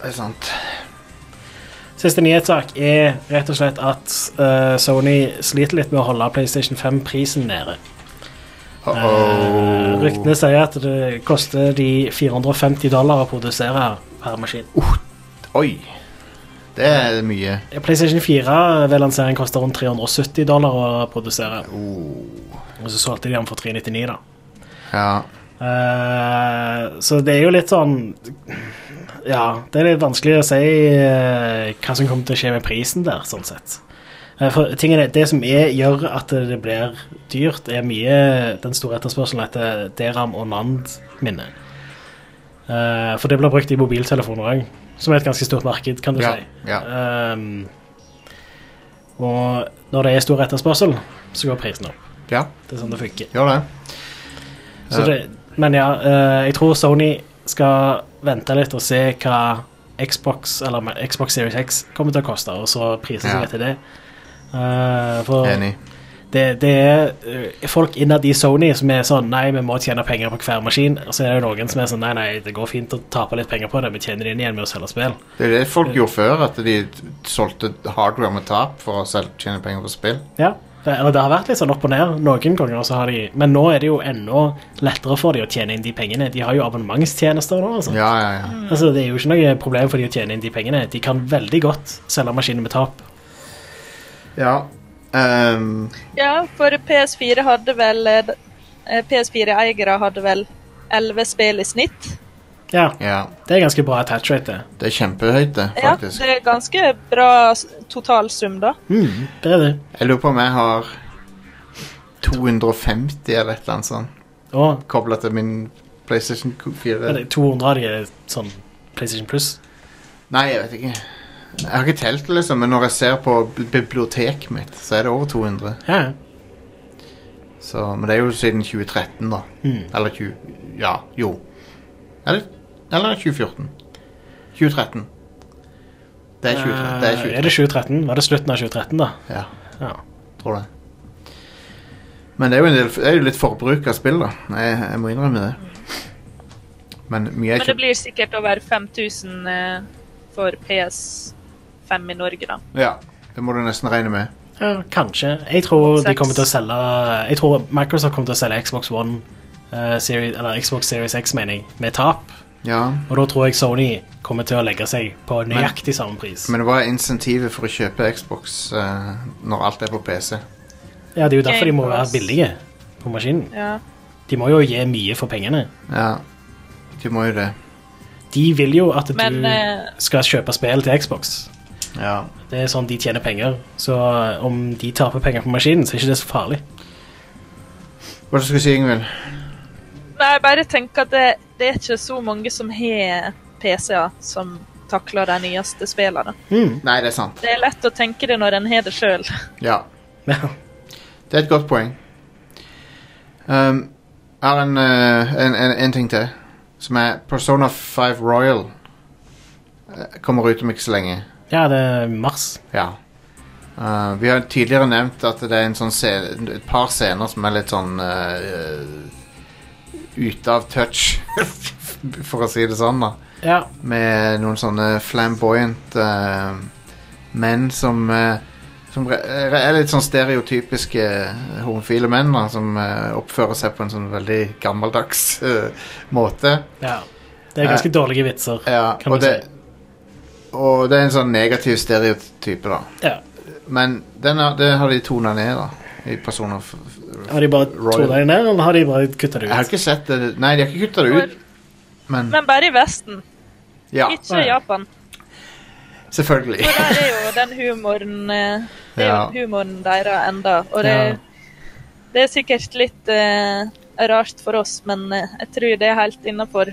B: det er sant.
C: Siste nyhetssak er rett og slett at eh, Sony sliter litt med å holde PlayStation 5-prisen nede. Eh,
B: Uh-oh.
C: ryktene sier at det koster de 450 dollar å produsere per maskin.
B: Oi. Det er mye.
C: PlayStation 4 ved lansering koster rundt 370 dollar å produsere. Og så solgte de den for 399, da.
B: Ja.
C: Eh, så det er jo litt sånn Ja, det er litt vanskelig å si eh, hva som kommer til å skje med prisen der, sånn sett. Eh, for tingen er, Det som er, gjør at det blir dyrt, er mye den store etterspørselen etter DRAM og NAND-minne. Eh, for det blir brukt i mobiltelefoner òg, som er et ganske stort marked, kan du
B: Ja,
C: si.
B: ja.
C: Ehm, og når det er stor etterspørsel, så går prisen opp.
B: ja.
C: Det er sånn det funker.
B: Gjør det.
C: Så det, men ja, eh, jeg tror Sony skal vente litt og se hva Xbox, eller men- Xbox Series X kommer til å koste, og så priser seg
B: Ja.
C: etter det. Eh, for
B: Enig.
C: Det, det er eh, folk innad i Sony som er sånn Nei, vi må tjene penger på hver maskin. Og så er det jo noen som er sånn Nei, nei, det går fint å tape litt penger på det, vi tjener det inn igjen med å selge spill.
B: Det er det folk gjorde før, at de solgte hardware med tap for å selv tjene penger på spill.
C: Ja. Det, eller det har vært litt sånn opp og ned noen ganger, så har de, men nå er det jo enda lettere for de å tjene inn de pengene. De har jo abonnementstjenester nå. Altså.
B: Ja, ja, ja.
C: Altså, det er jo ikke noe problem for de å tjene inn de pengene. De kan veldig godt selge maskiner med tap.
B: Ja. ehm,
D: Ja, for PS4 hadde vel eh, PS4-eiere hadde vel 11 spill i snitt.
C: Ja,
B: ja.
C: det er ganske bra attach rate, det.
B: Det er kjempehøyt, det,
D: Ja,
B: faktisk.
D: det er ganske bra s- totalsum, da.
C: Mm, det er det.
B: Jeg lurer på om jeg har 250 eller et eller annet sånt
C: Og
B: kobla til min PlayStation 4.
C: eller 200 av de er sånn PlayStation Plus.
B: Nei, jeg vet ikke. Jeg har ikke telt, det, liksom, men når jeg ser på bi- biblioteket mitt, så er det over 200.
C: Ja, ja.
B: Så, men det er jo siden 2013, da.
C: Mm.
B: Eller 20... Ja, jo. Eller, eller 2014. 2013. Det er 2013. Det er 2013.
C: Eh, er det 2013? Var det slutten av 2013, da?
B: Ja,
C: Ja.
B: tror det. Men det er jo, en del, det er jo litt forbruk av spill, da. Jeg, jeg må innrømme det. Men mye er
D: Men det
B: ikke
D: blir sikkert over 5000 eh, for PS5 i Norge, da.
B: Ja, det må du nesten regne med.
C: Ja, kanskje. Jeg tror de
D: Seks.
C: kommer til å selge Jeg tror Microsoft kommer til å selge Xbox One eh, Series, Eller Xbox Series X, mener jeg, med tap.
B: Ja,
C: Og da tror jeg Sony kommer til å legge seg på nøyaktig samme pris.
B: Men hva er insentivet for å kjøpe Xbox eh, når alt er på PC?
C: ja, Det er jo derfor de må
D: Game
C: være
D: Pass.
C: billige på maskinen.
D: Ja.
C: De må jo gi mye for pengene.
B: Ja, de må jo det.
C: De vil jo at du
D: Men eh,
C: skal kjøpe spill til Xbox.
B: Ja.
C: Det er sånn de tjener penger. Så om de taper penger på maskinen, så er ikke det så farlig. <laughs>
B: Hva er det du skulle si, Ingvild?
D: Nei, jeg bare tenker at det, det er ikke så mange som har PC-er som takler de nyeste spillene.
B: Nei, det er sant.
D: Det er lett å tenke det når en har det sjøl.
B: Ja,
C: Ja.
B: det er et godt poeng. Um, jeg har en, eh, en, en, en ting til, som er Persona 5 Royal. Eh, Kommer ut om ikke så lenge.
C: Ja, det er mars.
B: Ja. Eh, vi har tidligere nevnt at det er en sånn scene, et par scener som er litt sånn eh, Ute av touch, <laughs> for å si det sånn, da.
C: Ja,
B: Med noen sånne flamboyant eh, menn som eh, Som re- er litt sånn stereotypiske eh, homofile menn, da. Som eh, oppfører seg på en sånn veldig gammeldags eh, måte.
C: ja. Det er ganske dårlige vitser.
B: Ja,
C: Kan
B: og,
C: man
B: det, og det er en sånn negativ stereotype, da.
C: Ja.
B: Men den har, det har de tona ned, da. I personer f- f-
C: Har de bare
B: Royal.
C: tona det ned, eller har de bare kutta det
B: Jeg har
C: ut?
B: ikke sett det Nei, de har ikke kutta det ut, men
D: <laughs> Men bare i Vesten,
B: Ja,
D: ikke i Japan.
B: selvfølgelig.
D: <laughs> For der er jo den humoren eh, Det er
B: Ja.
D: jo humoren deres enda. Og det,
C: Ja.
D: det er sikkert litt eh, rart for oss, men eh, jeg tror det er helt innafor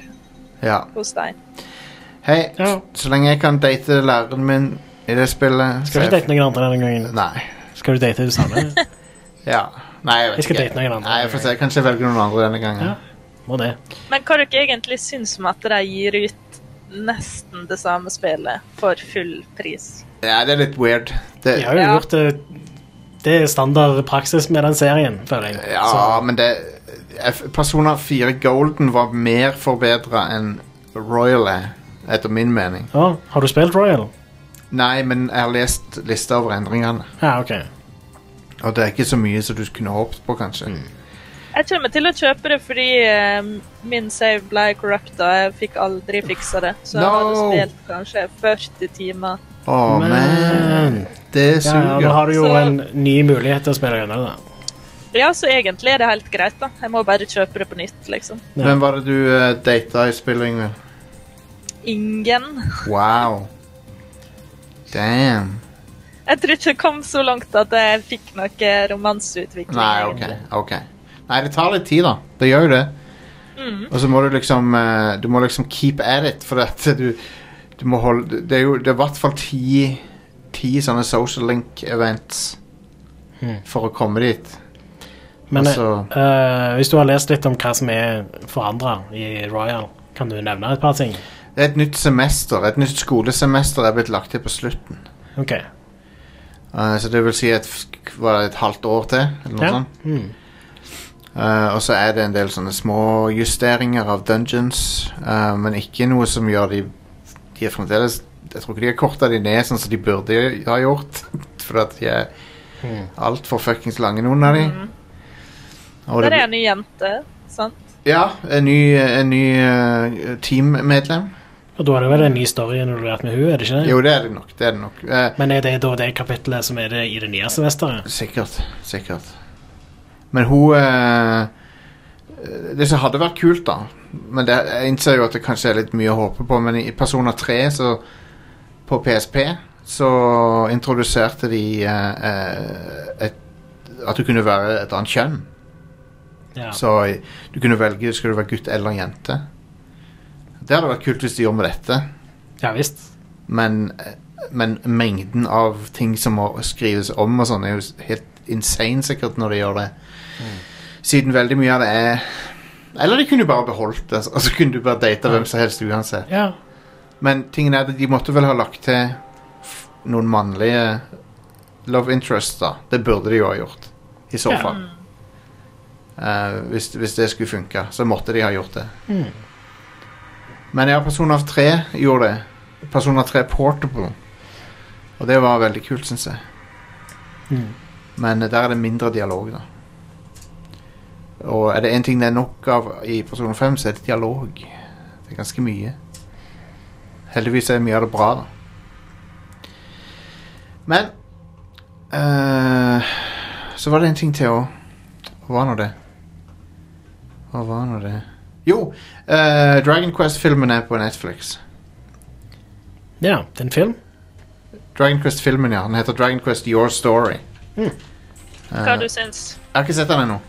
B: Ja.
D: hos dem.
B: Hei,
C: Ja.
B: så lenge jeg kan date læreren min i det spillet
C: Skal du ikke date noen andre denne gangen?
B: Nei.
C: Skal du date det samme?
B: Ja. Nei, jeg vet
C: Jeg skal
B: ikke.
C: date noen andre.
B: Nei, jeg får se. Kanskje jeg velger noen andre denne gangen.
C: Ja. Må
B: <laughs>
C: det.
D: Men hva dere egentlig syns om at de gir ut nesten det samme spillet for full pris?
B: Ja, det er litt weird. Det,
C: De har jo
D: Ja.
C: gjort det Det er standard praksis med den serien, føler jeg.
B: ja, men det jeg- Persona 4 Golden var mer forbedra enn Royal er, etter min mening.
C: Så, ja, har du spilt Royal?
B: Nei, men jeg har lest lista over endringene.
C: Ja, OK.
B: Og det er ikke så mye som du kunne håpet på, kanskje.
D: Jeg kommer til å kjøpe det fordi eh, min save ble corrupta. Jeg fikk aldri fiksa det. Så jeg hadde
B: No!
D: spilt kanskje 40 timer.
B: Å, men Det
C: Ja, ja,
B: suger.
C: nå har du jo
D: Så-
C: en ny mulighet til å spille gjennom det. da.
D: Ja, så egentlig er det helt greit, da. Jeg må bare kjøpe det på nytt, liksom.
C: Ja.
B: Hvem var det du uh, data i spillet, Ingvild?
D: Ingen.
B: Wow. Damn.
D: Jeg tror ikke jeg kom så langt at jeg fikk noe romanseutvikling.
B: Nei, ok.
D: egentlig.
B: ok. Nei, det tar litt tid, da. Det gjør jo det. Og så må du liksom eh, Du må liksom keep at it, for at du, du må holde Det er jo det er i hvert fall ti, ti sånne social link-events for å komme dit.
C: Men
B: Altså-
C: eh, hvis du har lest litt om hva som er forandra i Royal, kan du nevne et par ting?
B: Det er et nytt semester. Et nytt skolesemester er blitt lagt til på slutten.
C: OK.
B: Eh, så det vil si et, f- var det et halvt år til, eller noe
C: Ja.
B: sånt.
C: Mm.
B: Eh, og så er det en del sånne små justeringer av dungeons, eh, men ikke noe som gjør de De <laughs> er fremdeles Jeg tror ikke de har korta de ned sånn som de burde ha gjort. For at de er altfor fuckings lange, noen av de. Og Mhm.
D: Der
B: det
D: er
B: blir-
D: en ny jente, sant?
B: Ja, en ny, en ny eh, teammedlem.
C: Og da er det vel en ny story involvert med hun, er det ikke det?
B: Jo, det er det nok. Det er det nok. Eh,
C: Men er det da det kapittelet som er det i det nye semesteret?
B: Sikkert. Sikkert. Men hun eh, Det som hadde vært kult, da Men det, Jeg innser jo at det kanskje er litt mye å håpe på, men i Persona 3 så, på PSP så introduserte de eh, eh, et, at du kunne være et annet kjønn.
C: Ja.
B: Så i- du kunne velge skal du være gutt eller jente. Det hadde vært kult hvis de gjorde med dette.
C: ja visst.
B: Men, men mengden av ting som må skrives om og sånn, er jo s- helt insane sikkert når de gjør det. Siden veldig mye av det er Eller de kunne jo bare beholdt det, og så kunne du bare date hvem som helst uansett.
C: Ja.
B: Men tingen er at de måtte vel ha lagt til f- noen mannlige love interests, da. Det burde de jo ha gjort, i så
C: Ja.
B: fall. Eh, hvis, hvis det skulle funke, så måtte de ha gjort det.
C: Mm.
B: Men ja, Persona 3 gjorde det. Persona 3 Portable. Og det var veldig kult, syns jeg.
C: Mm.
B: Men eh, der er det mindre dialog, da. Og er det én ting det er nok av i Persona 5, så er det dialog. Det er ganske mye. Heldigvis er mye av det bra, da. Men eh, Så var det en ting til òg. Hva var nå det? Hva var nå det Jo, eh, Dragon Quest-filmen er på Netflix.
C: ja. Det er en film.
B: Dragon Quest-filmen, ja. Den heter Dragon Quest Your Story.
D: Hva du syns
B: Jeg har ikke sett den ennå.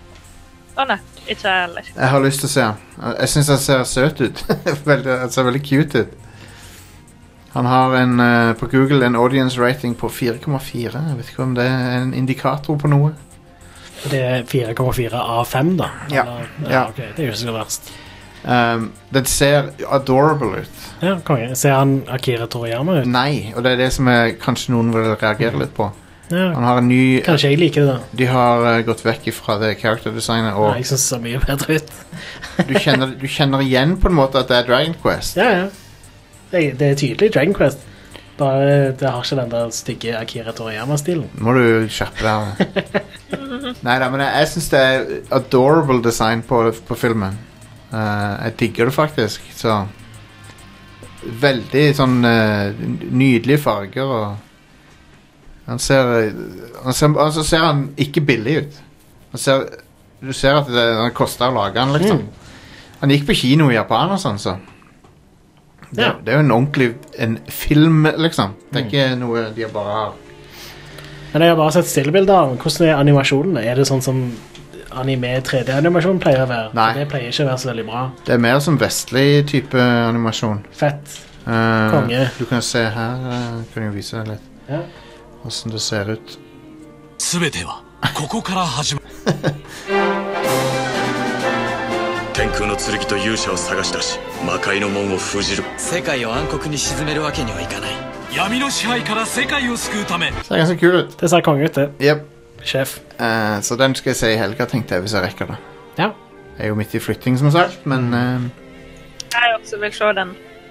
D: Å nei, ikke jeg heller.
B: Jeg har lyst til å se den. Jeg syns den ser søt ut. <laughs> veldig, den ser veldig cute ut. Han har en, eh, på Google en audience rating på 4,4. Jeg vet ikke om det er en indikator på noe.
C: Det er 4,4 av 5, da.
B: Ja.
C: Eller,
B: Ja.
C: ok, Det er jo ikke så verst.
B: Um, den ser adorable ut.
C: Ja, konge. Ser han Akira Toriyama ut?
B: Nei, og det er det som jeg, kanskje noen vil reagere litt på.
C: Ja.
B: Han har en ny
C: Kanskje jeg liker det, da.
B: De har eh, gått vekk ifra det characterdesignet,
C: Nei,
B: og
C: jeg syns det ser mye bedre ut.
B: du kjenner, du kjenner igjen på en måte at det er Dragon Quest.
C: Ja, ja. Det, det er tydelig Dragon Quest. Bare det har ikke den der stygge Akira Toriyama-stilen.
B: Må du skjerpe deg. Nei da, men jeg, jeg syns det er adorable design på, på filmen. Eh, jeg digger det faktisk, så Veldig sånn eh, nydelige farger og Han ser eh, han ser, altså ser han ikke billig ut. Han ser, du ser at det, han kosta å lage han, liksom. Han gikk på kino i Japan og sånn, så. Det,
C: Ja.
B: det er jo en ordentlig en film, liksom. Det er ikke noe de bare har
C: Men jeg har bare sett stillebilder av den. Hvordan er animasjonene? Er det sånn som anime 3D-animasjon pleier å være?
B: Nei.
C: Det pleier ikke å være så veldig bra.
B: Det er mer som vestlig type animasjon.
C: Fett.
B: Eh,
C: Konge.
B: Du kan se her eh, Kan jeg vise deg litt
C: Ja.
B: åssen det ser ut. Det ser ganske kul ut.
C: Det ser konge ut, det.
B: Jep.
C: Sjef.
B: Eh, så den skal jeg se i helga, tenkte jeg, hvis jeg rekker det.
C: Ja.
B: Jeg er jo midt i flytting, som sagt, men
C: Mm.
B: eh,
D: Jeg også vil se den.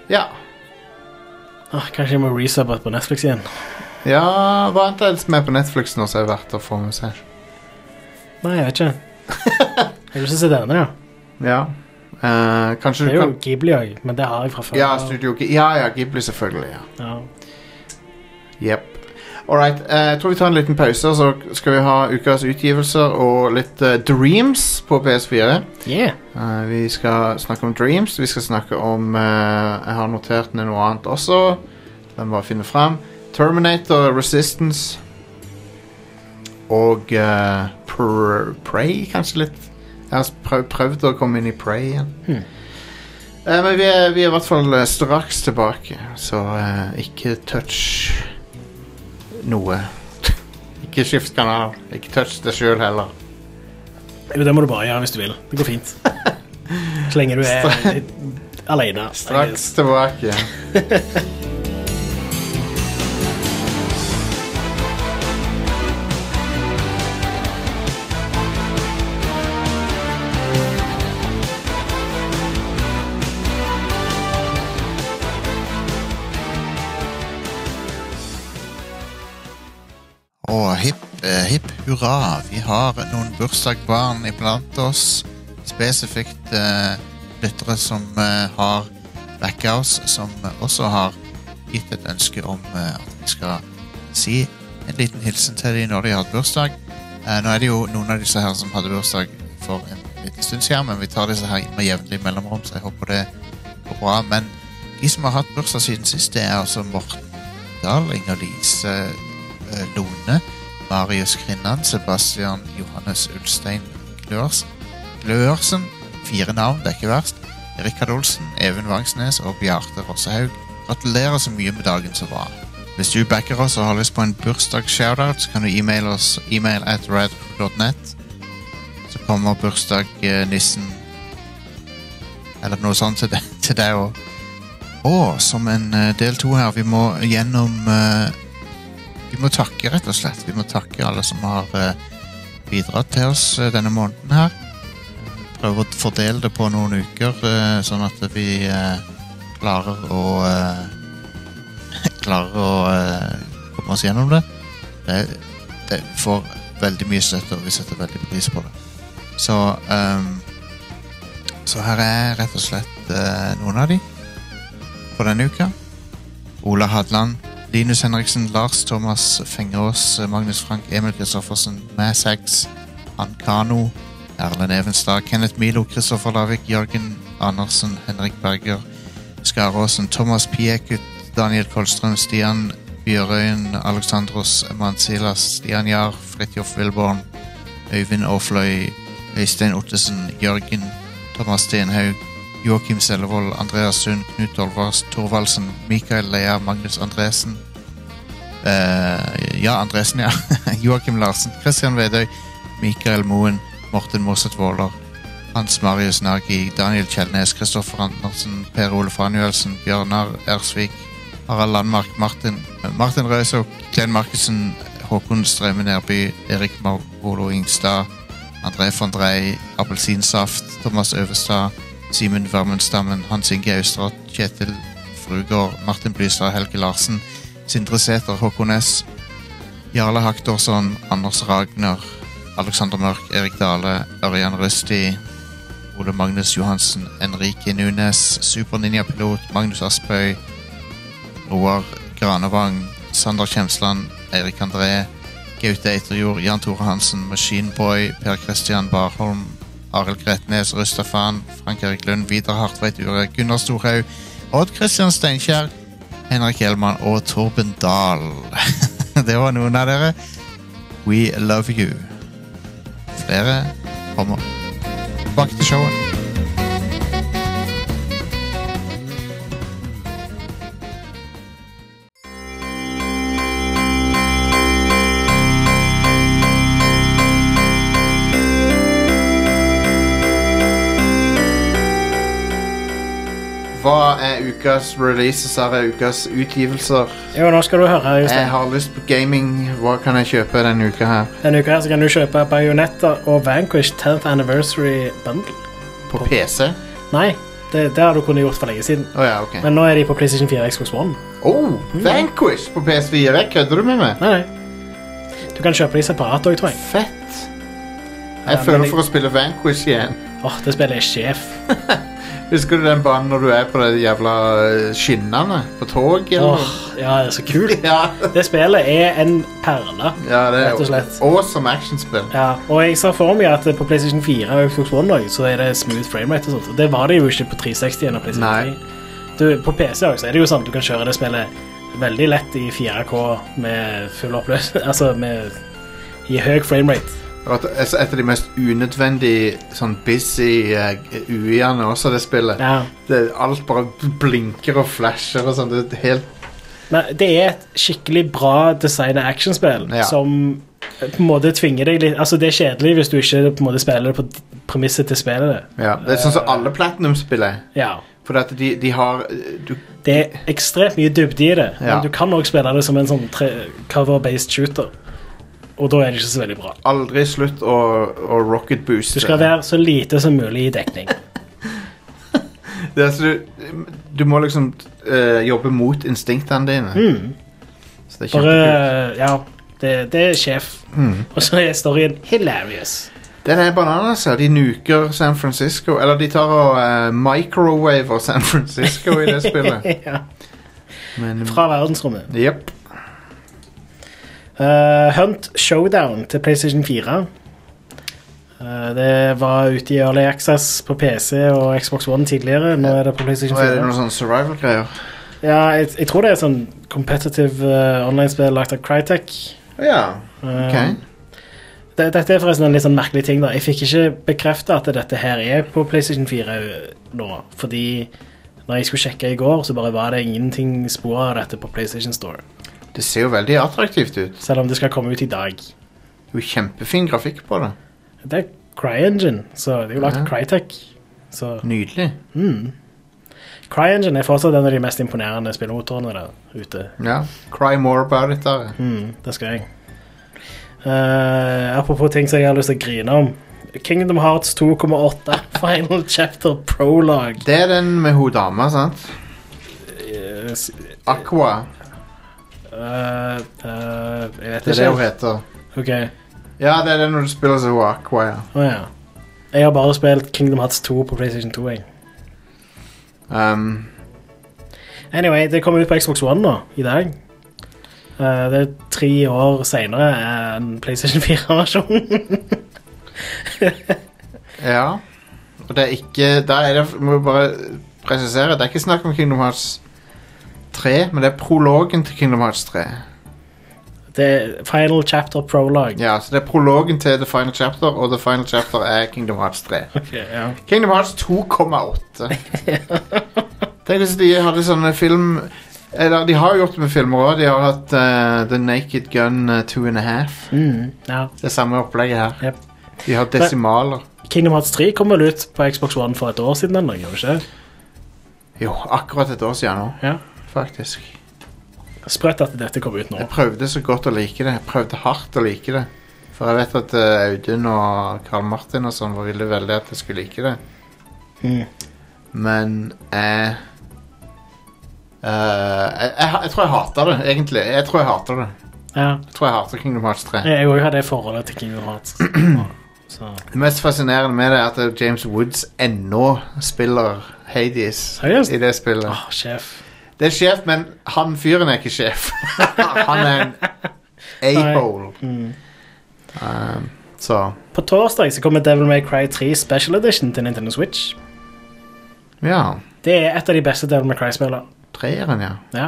B: ja.
C: Ah, kanskje jeg må resubbe på Netflix igjen.
B: Ja, Hva annet er det som er på Netflix nå som er verdt å få med seg?
C: Nei, jeg
B: <laughs>
C: vet ikke. Jeg har lyst til å se denne, ja.
B: Ja. Eh, kanskje
C: Det
B: du
C: er jo
B: kan
C: Ghibli òg, men det har jeg fra før.
B: Ja, Studio G ja, ja, Ghibli, selvfølgelig. ja
C: Ja.
B: Jep. Alright, eh, jeg tror vi tar en liten pause, og så skal vi ha ukas utgivelser og litt eh, Dreams på PS4.
C: Yeah.
B: Eh, vi skal snakke om Dreams, vi skal snakke om eh, Jeg har notert ned noe annet også. Den bare finne fram. Terminator, Resistance og eh, Pr- Prey, kanskje litt. Jeg har prøv, prøvd å komme inn i Prey igjen.
C: Hmm.
B: Eh, men vi er, vi er i hvert fall eh, straks tilbake, så eh, ikke touch noe. <laughs> ikke skift kanal. Ikke touch deg sjøl heller.
C: Jo, det må du bare gjøre hvis du vil. Det går
B: <laughs>
C: fint. Så lenge du er aleine.
B: Straks tilbake.
F: Og hipp, eh, hipp
B: hurra, vi har noen bursdagsbarn iblant oss. Spesifikt eh, lyttere som eh, har backa oss, som også har gitt et ønske om eh, at vi skal si en liten hilsen til dem når de har hatt bursdag. Eh, nå er det jo noen av disse her som hadde bursdag for en liten stund siden, men vi tar disse her med jevnlig mellomrom, så jeg håper det går bra. Men de som har hatt bursdag siden sist, det er altså Morten Dahl, Inger Lise eh, Lone, Marius Krinnan, Sebastian Johannes Ulstein Glørs- Glørsen. Fire navn, det er ikke verst. Rikard Olsen, Even Vangsnes og Bjarte Rossehaug. Gratulerer så mye med dagen som var. Hvis du backer oss og har lyst på en bursdags-shoutout, så kan du e-mail oss e-mail at radcrew.net. Så kommer bursdag-nissen eller noe sånt til deg, til deg også. Og som en eh, del to her, vi må gjennom eh, Vi må takke, rett og slett. Vi må takke alle som har eh, bidratt til oss eh, denne måneden her. Prøve å fordele det på noen uker, eh, sånn at vi eh, klarer å eh, <laughs> Klarer å eh, komme oss gjennom det. det. Det får veldig mye støtte, og vi setter veldig pris på det. Så ehm, Så her er rett og slett eh, noen av de på denne uka. Ola Hadland, Linus Henriksen, Lars Thomas Fengerås, Magnus Frank, Emil Kristoffersen, Massax, Ann Kano, Erlend Evenstad, Kenneth Milo, Kristoffer Lavik, Jørgen Andersen, Henrik Berger, Skaråsen, Thomas Piekut, Daniel Kolstrøm, Stian Bjørøyen, Alexandros Mansilas, Stian Jahr, Fridtjof Wilborn, Øyvind Aafløy, Øystein Ottesen, Jørgen, Thomas Stenhaug, Joakim Sellevold, Andreas Sund, Knut Olvers, Thorvaldsen, Mikael Leia, Magnus Andresen, Eh, ja, Andresen, ja. <laughs> Joakim Larsen, Christian Vedøy, Mikael Moen, Morten Mosset Våler, Hans Marius Nagi, Daniel Kjellnes, Kristoffer Andersen, Per Ole Fanuelsen, Bjørnar Ersvik, Harald Landmark, Martin, eh, Martin Røisok, Glenn Markussen, Håkon Strømme Nærby, Erik Marvolo Ingstad, André von Drey, Appelsinsaft, Thomas Øvestad, Simen Vermundstammen, Hans Inge Austrat, Kjetil Frugård, Martin Blystad, Helge Larsen, Sindre Sæther, Håkon S. Jarle Hakdorsson, Anders Ragner, Alexander Mørk, Erik Dale, Ørjan Røsti, Ole Magnus Johansen, Enrique Nunes, Super Ninja-pilot, Magnus Aspøy, Roar Granevang, Sander Kjemsland, Eirik André, Gaute Eiterjord, Jan Tore Hansen, Machine Boy, Per Christian Barholm, Arild Gretnes, Rustafan, Frank Erik Lund, Vidar Hartveit Ure, Gunnar Storhaug, Odd Christian Steinkjer, Henrik Hjelmann og Torben Dahl. <laughs> Det var noen av dere. We love you. Flere kommer. Tilbake til showet.
L: Hva er ukas releases? Her er ukas utgivelser.
C: Jo, nå skal du høre. Jostein.
L: Jeg har lyst på gaming. Hva kan jeg kjøpe denne uka her?
C: Denne uka her så kan du kjøpe Bayonetta og Vanquish 10th Anniversary Bundle.
L: På PC?
C: Nei, det, det har du kunnet gjort for lenge siden.
L: Å ja, ok.
C: Men nå er de på PlayStation 4 og Xbox One.
L: Oh, Vanquish på PS4. Kødder du med meg?
C: Nei, nei. Du kan kjøpe de separat òg, tror jeg.
L: Fett.
C: Ja,
L: Jeg føler
C: men-
L: for å spille Vanquish igjen.
C: Åh, det spiller jeg sjef.
L: Husker du den banen når du er på de jævla eh, skinnene? På tog,
C: Åh,
L: eller?
C: ja, det er så kult.
L: <laughs> Ja.
C: Det spillet er en perle.
L: ja, det
C: Rett og
L: er
C: slett.
L: awesome actionspill.
C: Ja, og jeg ser for meg at på PlayStation 4 og Xbox One også, så er det smooth framerate og sånt. Og Det var det jo ikke på 360 og PlayStation 3. Du, på PC også, er det jo sånn at du kan kjøre det spillet veldig lett i 4K med full oppløs... <laughs> Altså med i høy framerate.
L: Og at- altså, Et av de mest unødvendige sånn busy eh, UI-ene også, det spillet.
C: Ja.
L: Det, alt bare blinker og flasher og sånn. Det er helt
C: Men det er et skikkelig bra designa actionspill
L: Ja.
C: som eh, på en måte tvinger deg litt Altså, det er kjedelig hvis du ikke på en måte spiller det på d- premisset til spillet.
L: Ja, Det er sånn som alle Platinum-spill er.
C: Ja.
L: For at de, de har eh, du,
C: Det er ekstremt mye dybde i det,
L: Ja.
C: men du kan òg spille det som en sånn tre- cover-based shooter. Og da er det ikke så veldig bra.
L: aldri slutt å, å rocket booste.
C: Du skal være så lite som mulig i dekning.
L: Det er så du, du må liksom eh, jobbe mot instinktene dine.
C: Mm.
L: Så det er
C: Bare
L: kjempekult.
C: ja, Det, det er sjef.
B: Mm.
C: Og så er storyen hilarious.
B: Den er bananas, ja. De nuker San Francisco. Eller de tar og eh, microwaver San Francisco i det spillet.
C: <laughs> ja.
B: Men
C: Fra verdensrommet.
B: Jepp.
C: Eh, Hunt Showdown til PlayStation 4. Eh, det var ute i Early Access på PC og Xbox One tidligere. Nå er det på PlayStation
B: Nå er det sånn-
C: 4.
B: noen sånne survival-greier.
C: Ja, jeg, jeg tror det er sånn competitive eh, online-spill lagt av Crytek.
B: Ja,
C: Eh,
B: ok.
C: det, dette er forresten en litt sånn merkelig ting. da Jeg fikk ikke bekrefta at dette her er på PlayStation 4 nå. Fordi når jeg skulle sjekke i går, så bare var det ingenting spor av dette på PlayStation Store.
B: Det ser jo veldig attraktivt ut.
C: Selv om det skal komme ut i dag.
B: Det er jo kjempefin grafikk på det.
C: Det er CryEngine, så det er jo lagt av Crytek. Så
B: Nydelig.
C: mm. CryEngine er fortsatt en av de mest imponerende spillmotorene der ute.
B: Ja. Cry more about it der.
C: Mm, det skal jeg. Eh, apropos ting som jeg har lyst til å grine om. Kingdom Hearts 2,8 <laughs> Final Chapter Prologue.
B: Det er den med hun dama, sant?
C: Eh, s-
B: Aqua.
C: eh, eh, jeg vet
B: Det er det hun
C: ikke.
B: heter.
C: Ok,
B: Ja, det er den når du spiller som hun Aqua, ja.
C: å ja. Jeg har bare spilt Kingdom Hearts 2 på PlayStation 2. Jeg.
B: Um,
C: Anyway, det kommer ut på Xbox One nå, i dag. Eh, det er tre år seinere enn PlayStation <laughs> 4-versjonen.
B: ja. Og det er ikke Da er det Må jo bare presisere, det er ikke snakk om Kingdom Hearts 3, men det er prologen til Kingdom Hearts 3.
C: det er Final Chapter Prologue.
B: Ja, så det er prologen til The Final Chapter, og The Final Chapter er Kingdom Hearts 3.
C: Ok, ja.
B: Kingdom Hearts
C: <laughs>
B: 2,8. Tenk hvis de hadde sånne film Eller de har gjort det med filmer òg. De har hatt eh, The Naked Gun eh, 2,5.
C: Mm, ja.
B: Det samme opplegget her.
C: Jep.
B: De har desimaler.
C: Kingdom Hearts 3 kom vel ut på Xbox One for et år siden eller noe, gjorde det ikke?
B: Jo, akkurat et år siden nå,
C: Ja.
B: faktisk.
C: Sprøtt at dette kom ut nå.
B: Jeg prøvde så godt å like det. Jeg prøvde hardt å like det. For jeg vet at eh, Audun og Karl Martin og sånn ville veldig at jeg skulle like det.
C: Mm.
B: Men jeg eh, jeg, jeg, jeg tror jeg hater det, egentlig. Jeg tror jeg hater det.
C: Ja.
B: Jeg tror jeg hater Kingdom Hearts 3.
C: Jeg òg har det forholdet til Kingdom <clears throat> Hearts. Så.
B: Det mest fascinerende med det er at James Woods ennå spiller Hades
C: Seriøst?
B: i det spillet.
C: Åh, sjef.
B: Det er sjef, men han fyren er ikke sjef. <laughs> han er en a-hole.
C: Mm.
B: Um, så
C: På torsdag så kommer Devil May Cry 3 Special Edition til Nintendo Switch.
B: ja.
C: Det er et av de beste Devil May Cry-spillene.
B: Treeren, ja.
C: Ja.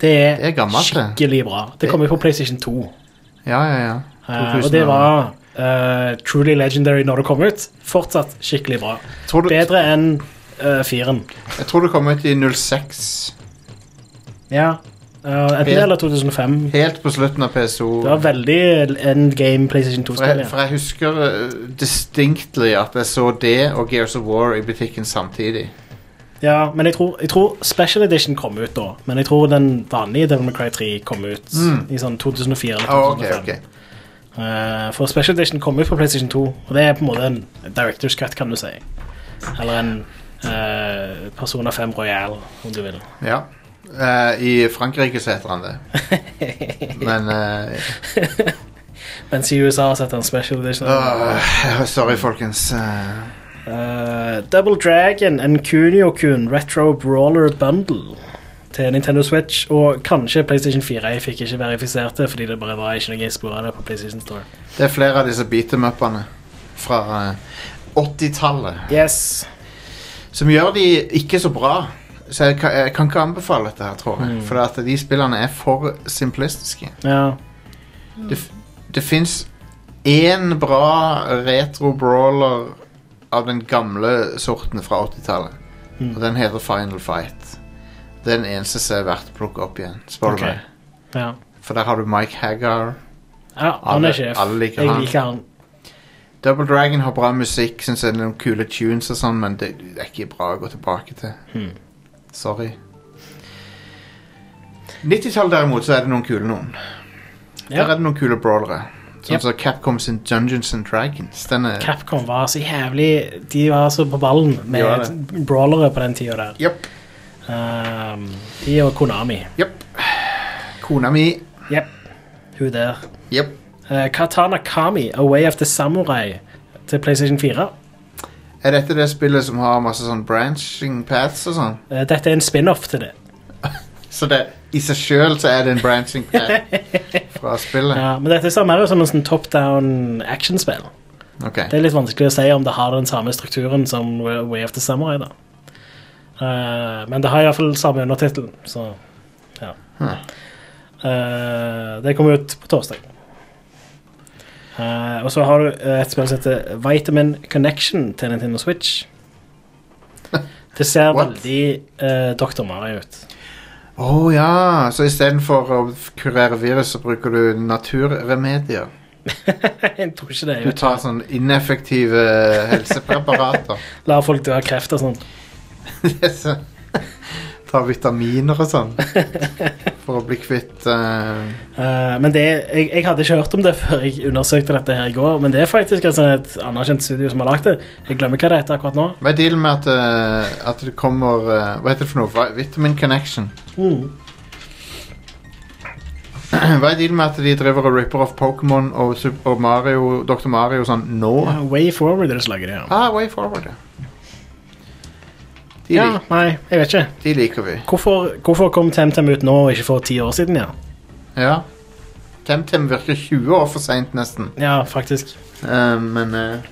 C: Det er,
B: Det er gammelt, det.
C: skikkelig bra. Det kom jo på PlayStation 2.
B: Ja, ja, ja.
C: eh,
B: 2000
C: og det var eh, truly legendary når det kom ut. Fortsatt skikkelig bra.
B: Tror du-
C: Bedre enn uh, firen.
B: Jeg tror det kom ut i 06.
C: Ja. Uh, enten det eller 2005.
B: Helt på slutten av PSO.
C: Det var veldig end game PlayStation
B: For jeg,
C: 2-spill.
B: for jeg husker uh, distinctly at jeg så det og Gears of War i butikken samtidig.
C: Ja, men jeg tror, jeg tror Special Edition kom ut da. Men jeg tror den vanlige Devil May Cry 3 kom ut
B: Mm.
C: i sånn 2004 eller 2005.
B: Oh, ok, ok.
C: Eh, for Special Edition kom ut på PlayStation 2, og det er på en måte en Directors Cut, kan du si. Eller en eh, Persona 5 Royal, om du vil.
B: Ja. Eh, I Frankrike så heter
C: <laughs>
B: han det. Men eh,
C: Mens i USA setter han Special Edition.
B: åh, Sorry, folkens. Eh,
C: Eh, Double Dragon and Kunio-kun Retro Brawler Bundle til Nintendo Switch og kanskje PlayStation 4. Jeg fikk ikke verifisert det fordi det bare var ikke noe spor av det på PlayStation Store.
B: det er flere av disse beat-em-upene fra eh, 80-tallet
C: Yes.
B: som gjør de ikke så bra. Så jeg kan, jeg kan ikke anbefale dette her, tror jeg.
C: Mm.
B: For at de spillene er for simplistiske.
C: Ja.
B: Det, f- det fins én bra retro-brawler av den gamle sorten fra 80-tallet.
C: Mm.
B: Og den heter Final Fight. Det er den eneste som er verdt å plukke opp igjen. Spør
C: Ok.
B: du meg.
C: ja.
B: For der har du Mike Haggar.
C: ja han
B: Alle-
C: er sjef.
B: alle liker
C: jeg
B: han.
C: liker han.
B: Double Dragon har bra musikk, syns jeg det er noen kule tunes og sånn, men det, det er ikke bra å gå tilbake til.
C: Hmm.
B: Sorry. 90-tallet derimot, så er det noen kule noen. Der
C: Ja.
B: er det noen kule brawlere. Sånn
C: Yep.
B: som Capcom sin Dungeons and Dragons. Den er
C: Capcom var så jævlig De var så på ballen med
B: De var det.
C: brawlere på den tida der.
B: Jepp.
C: Um, de og Konami.
B: Jepp. Kona mi
C: Yep. Hun der.
B: Yep.
C: Eh, Katana Kami, A Way of the Samurai til PlayStation 4.
B: Er dette det spillet som har masse sånn branching paths og sånn?
C: Eh, dette er en spin-off til det.
B: Så det, i seg sjøl så er det en branching path
C: <laughs>
B: fra spillet?
C: Ja, Uh, men dette ser mer ut som en sånn top down actionspill.
B: Ok.
C: Det er litt vanskelig å si om det har den samme strukturen som Wa- Way of the Samurai. da. Eh, men det har iallfall samme undertittel, så ja.
B: Huh.
C: Eh, det kommer ut på torsdag. Eh, og så har du eh, et spill som heter Vitamin Connection til
B: <laughs>
C: Nintendo Switch. Det ser
B: What?
C: veldig eh, Dr. Mario ut. <laughs>
B: Å ja, så istedenfor å f- kurere virus, så bruker du naturremedier.
C: jeg tror ikke det.
B: Du tar sånn ineffektive helsepreparater.
C: <laughs>
B: <laughs>
C: La folk dø av kreft og sånn.
B: Det er så- tar vitaminer og sånn for å bli kvitt eh,
C: Eh, men det, jeg, jeg hadde ikke hørt om det <laughs> før jeg undersøkte dette her i går, men det er faktisk altså, et anerkjent studio som har lagd det. Jeg glemmer hva det heter akkurat nå.
B: Hva er dealen med at, eh, at det kommer eh, Hva heter det for noe? Vi- Vitamin Connection. <clears throat> Hva er dealen med at de driver og ripper off Pokémon og, Sup- og Mario, Dr. Mario sånn nå?
C: Ja, Eh, Way Forward er det som lager det, ja.
B: Ah, Way Forward, ja. De,
C: ja.
B: lik,
C: Nei, jeg vet ikke.
B: de liker vi.
C: Hvorfor, hvorfor kom TemTem ut nå og ikke for ti år siden, ja?
B: Ja. TemTem virker 20 år for seint, nesten.
C: Ja, faktisk. <laughs>
B: Eh, men eh,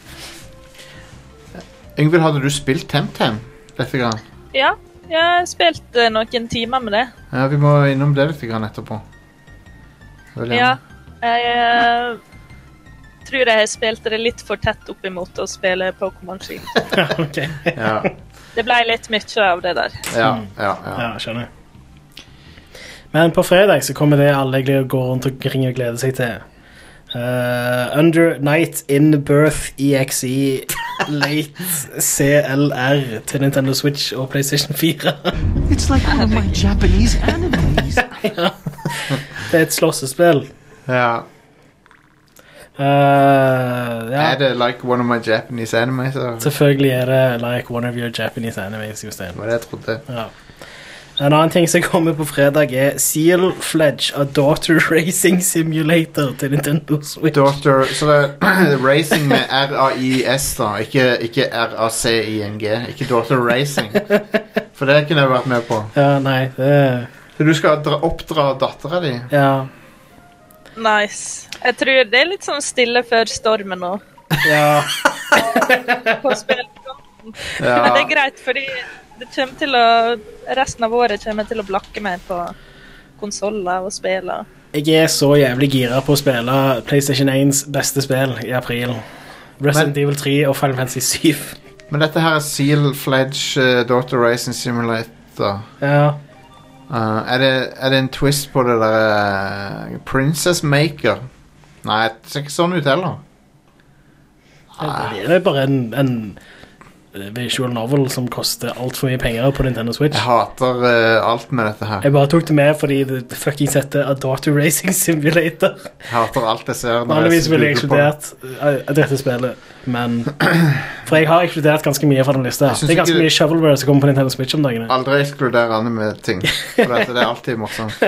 B: Yngvild, hadde du spilt TemTem lite grann?
D: Ja, jeg har spilt eh, noen timer med det.
B: Ja, vi må innom det lite grann etterpå. Jeg vil gjerne-
D: Ja. Jeg eh, tror jeg har spilt det litt for tett opp imot å spille Pokémon Ski.
C: ok.
B: Ja,
D: Det ble litt mye av det der.
B: ja, ja, ja.
C: Ja, skjønner. Men på fredag så kommer det alle gl- går rundt og ringer og gleder seg til. Eh, under Night in Birth
B: <laughs>
C: EXE Late CLR til Nintendo Switch og PlayStation 4.
M: It's like one of my Japanese
C: <laughs>
M: animes.
C: Det er et slåssespill.
B: ja.
C: Eh, ja,
B: Er det like one of my Japanese animes? eller?
C: selvfølgelig er det like one of your Japanese animes, Jostein.
B: Det var det jeg trodde.
C: Ja. En annen ting som kommer på fredag, er Seal Fledge A Daughter Racing Simulator til Nintendo Switch.
B: Daughter, så det er <clears throat> racing med R-A-I-S da, ikke, ikke R-A-C-I-N-G, ikke daughter racing. For det kunne jeg vært med på.
C: Ja, nei, det
B: Så du skal dra, oppdra datteren din?
C: Ja.
D: Nice. Jeg tror det er litt sånn stille før stormen nå.
C: ja.
D: På spill. Men <laughs> det er
B: <laughs> Ja,
D: greit, fordi det kommer til å, resten av året kommer jeg til å blakke mer på konsoller og spill. og-
C: Jeg er så jævlig gira på å spille PlayStation 1s beste spill i april. Resident Evil 3 og Final Fantasy 7.
B: men dette her er Seal-Fledge eh, Daughter Racing Simulator.
C: Ja.
B: Uh, er, det, er det en twist på det der eh, Princess Maker? Nei, det ser ikke sånn ut heller.
C: Det er bare en, en eh, visual novel som koster altfor mye penger på Nintendo Switch.
B: Jeg hater eh, alt med dette her.
C: Jeg bare tok det med fordi det fuckings heter A Daughter Racing Simulator.
B: Jeg hater alt jeg ser. når jeg
C: Vanligvis ville jeg
B: googler på det.
C: ekskludert eh, dette spillet, men For jeg har ekskludert ganske mye fra den lista.
B: Jeg synes
C: Det er ganske
B: ikke-
C: mye shovelware som kommer på Nintendo Switch om dagene.
B: Aldri ekskludere anime-ting. For dette, det er alltid morsomt.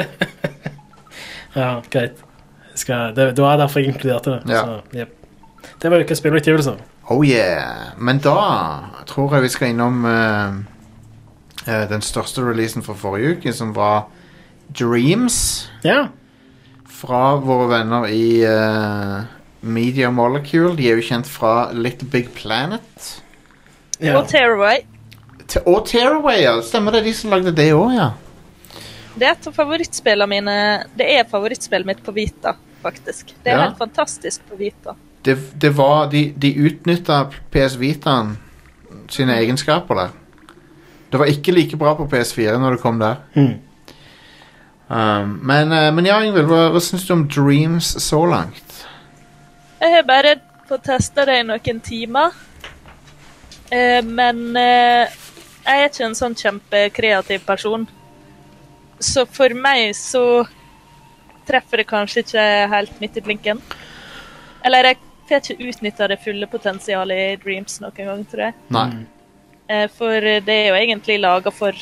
C: Ja, greit. Skal, det, det var derfor jeg inkluderte det.
B: Ja.
C: Så, jep. Det var ukas spillutgivelser.
B: Oh yeah. Men da tror jeg vi skal innom eh, eh, den største releasen for forrige uke, som var Dreams.
C: Ja.
B: Fra våre venner i eh, Media Molecule. De er jo kjent fra Little Big Planet.
C: ja.
D: Og Tearaway.
B: Te- Og Tearaway, ja. Stemmer det, de som lagde det òg, ja.
D: Det er et av favorittspillene mine. Det er favorittspillet mitt på Vita, faktisk. Det er
B: Ja.
D: helt fantastisk på Vita.
B: Det, det var De, de utnytta PS Vitaen sine egenskaper der. Det var ikke like bra på PS4 når det kom der.
C: Hmm.
B: Um, men, eh, men ja, Ingvild, hva, hva syns du om Dreams så langt?
D: Jeg har bare fått testa det i noen timer. Eh, men eh, jeg er ikke en sånn kjempekreativ person. Så for meg så treffer det kanskje ikke helt midt i blinken. Eller jeg får ikke utnytta det fulle potensialet i Dreams noen gang, tror jeg.
B: Nei.
D: Eh, for det er jo egentlig laga for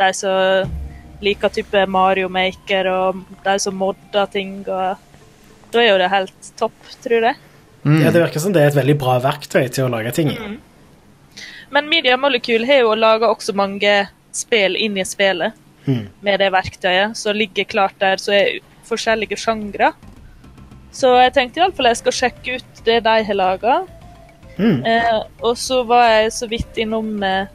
D: de som liker type Mario Maker, og de som modder ting og Da er jo det helt topp, tror jeg.
B: Mm.
C: Ja, det virker som det er et veldig bra verktøy til å lage ting i.
D: Men Media Molecule har jo laga også mange spill inn i spillet
C: Mm.
D: med det verktøyet, som ligger klart der, så er forskjellige sjangre. Så jeg tenkte iallfall jeg skal sjekke ut det de har laga.
C: Mm.
D: Eh, og så var jeg så vidt innom eh,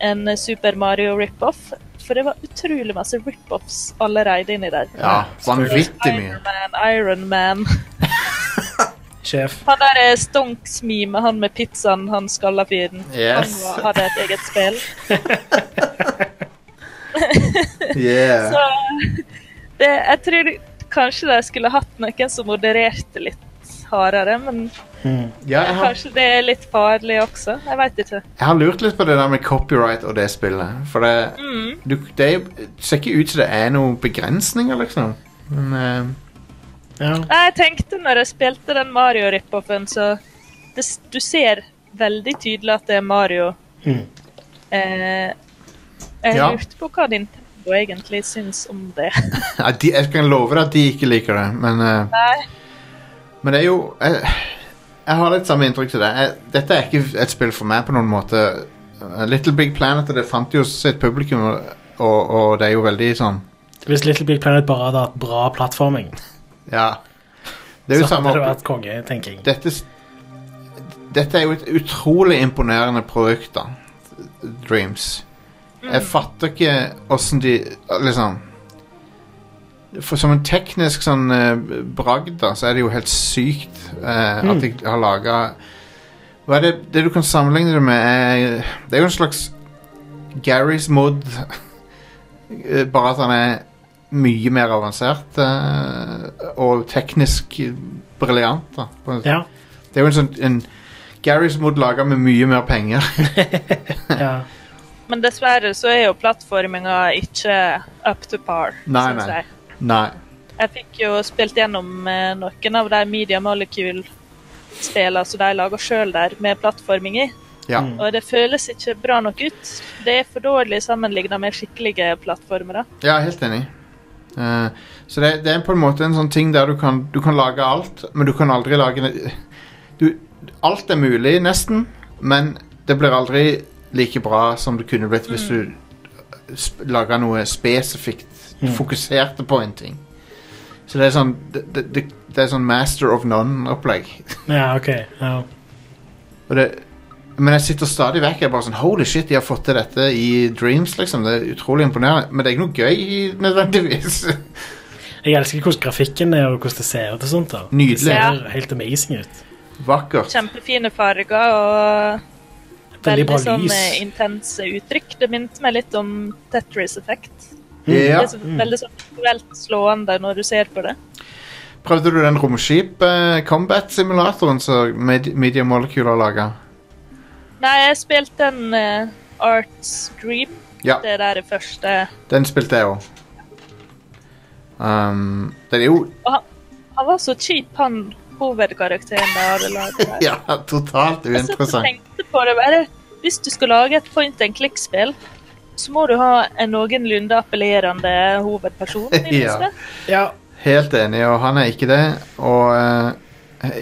D: en Super Mario rip-off, for det var utrolig masse rip-offs allerede inni der.
B: Ja, vanvittig mye.
D: Iron Man, Iron Man. <laughs>
C: Sjef.
D: Han der er stonksmime, han med pizzaen, han skalla fyren.
B: Yes.
D: Han var- hadde et eget spill.
B: Yeah.
D: <laughs> Så det, jeg tror kanskje de skulle hatt noen som modererte litt hardere, men
B: Ja, jeg, har,
D: kanskje det er litt farlig også. Jeg veit ikke.
B: jeg har lurt litt på det der med copyright og det spillet. For det,
D: Mm.
B: du, det er jo- det ser ikke ut som det er noen begrensninger, liksom. Men eh,
D: Nei, Jeg tenkte når jeg spilte den Mario rip-offen, så det, s- du ser veldig tydelig at det er Mario.
C: Mm.
D: Eh, jeg
B: Ja.
D: lurte på hva Nintendo egentlig syns om det. <laughs>
B: ja, de, jeg kan love deg at de ikke liker det, men eh,
D: Nei.
B: Men det er jo Jeg, jeg har litt samme inntrykk til det. Jeg, dette er ikke et spill for meg på noen måte. Eh, Little Big Planet og det fant jo sitt publikum, og, og, og det er jo veldig sånn
C: Hvis Little Big Planet bare hadde hatt bra plattforming,
B: Ja. Det er jo
C: så
B: samme
C: hadde det
B: opp-
C: vært konge, tenker jeg.
B: dette, s- dette er jo et utrolig imponerende produkt, da. Dreams. Jeg fatter ikke åssen de Liksom for Som en teknisk sånn eh, bragd, da, så er det jo helt sykt eh,
C: Mm.
B: at de har laga Hva er det, det du kan sammenligne det med? Er, det er jo en slags Gary's Mod, eh, bare at han er mye mer avansert eh, og teknisk briljant. da, på en-
C: Ja.
B: Det er jo en sånn en Gary's Mod laga med mye mer penger. <laughs>
C: Ja.
D: Men dessverre så er jo plattforminga ikke up to par,
B: Nei,
D: synes
B: nei.
D: jeg.
B: Nei.
D: Jeg fikk jo spilt gjennom eh, noen av de Media Molecule-spillene som de lager sjøl der, med plattforming i.
B: Ja.
C: Mm.
D: Og det føles ikke bra nok ut. Det er for dårlig sammenligna med skikkelige plattformer. da.
B: Ja, helt enig. Eh, så det, det er på en måte en sånn ting der du kan, du kan lage alt, men du kan aldri lage ne- du, Alt er mulig, nesten, men det blir aldri like bra som det kunne blitt hvis du eh, sp laga noe spesifikt. Du
C: Mm.
B: fokuserte på en ting. Så det er sånn det, det, det, det er sånn master of none-opplegg.
C: Ja, ok. Ja.
B: Og det men jeg sitter stadig vekk og bare sånn Holy shit, de har fått til dette i Dreams, liksom. Det er utrolig imponerende. Men det er ikke noe gøy, i- nødvendigvis. <laughs>
C: Jeg elsker hvordan grafikken er, og hvordan det ser ut og sånt. da.
B: Nydelig.
C: Det ser
D: Ja.
C: helt amazing ut.
B: Vakkert.
D: Kjempefine farger og
C: Veldig bra
D: sånn
C: lys.
D: eh, intense uttrykk. Det minte meg litt om Tetris Effect.
B: Ja.
D: Det er så,
C: Mm.
D: veldig sånn visuelt slående når du ser på det.
B: Prøvde du den romskip-combat-simulatoren som Med- Media Molecule har laga?
D: Nei, jeg spilte en eh, Arts Dream.
B: Ja.
D: Det der er første
B: Den spilte jeg òg. Um, den er jo
D: Og han, han var så kjip, han hovedkarakteren der. Eller, der.
B: <laughs> ja, totalt
D: Jeg satt og
B: uinteressant.
D: tenkte på det bare. Hvis du skal lage et point and click-spill, så må du ha en noenlunde appellerende hovedperson. i
B: <laughs>
D: det
B: Ja.
D: minste.
C: Ja.
B: Helt enig, og han er ikke det. Og eh,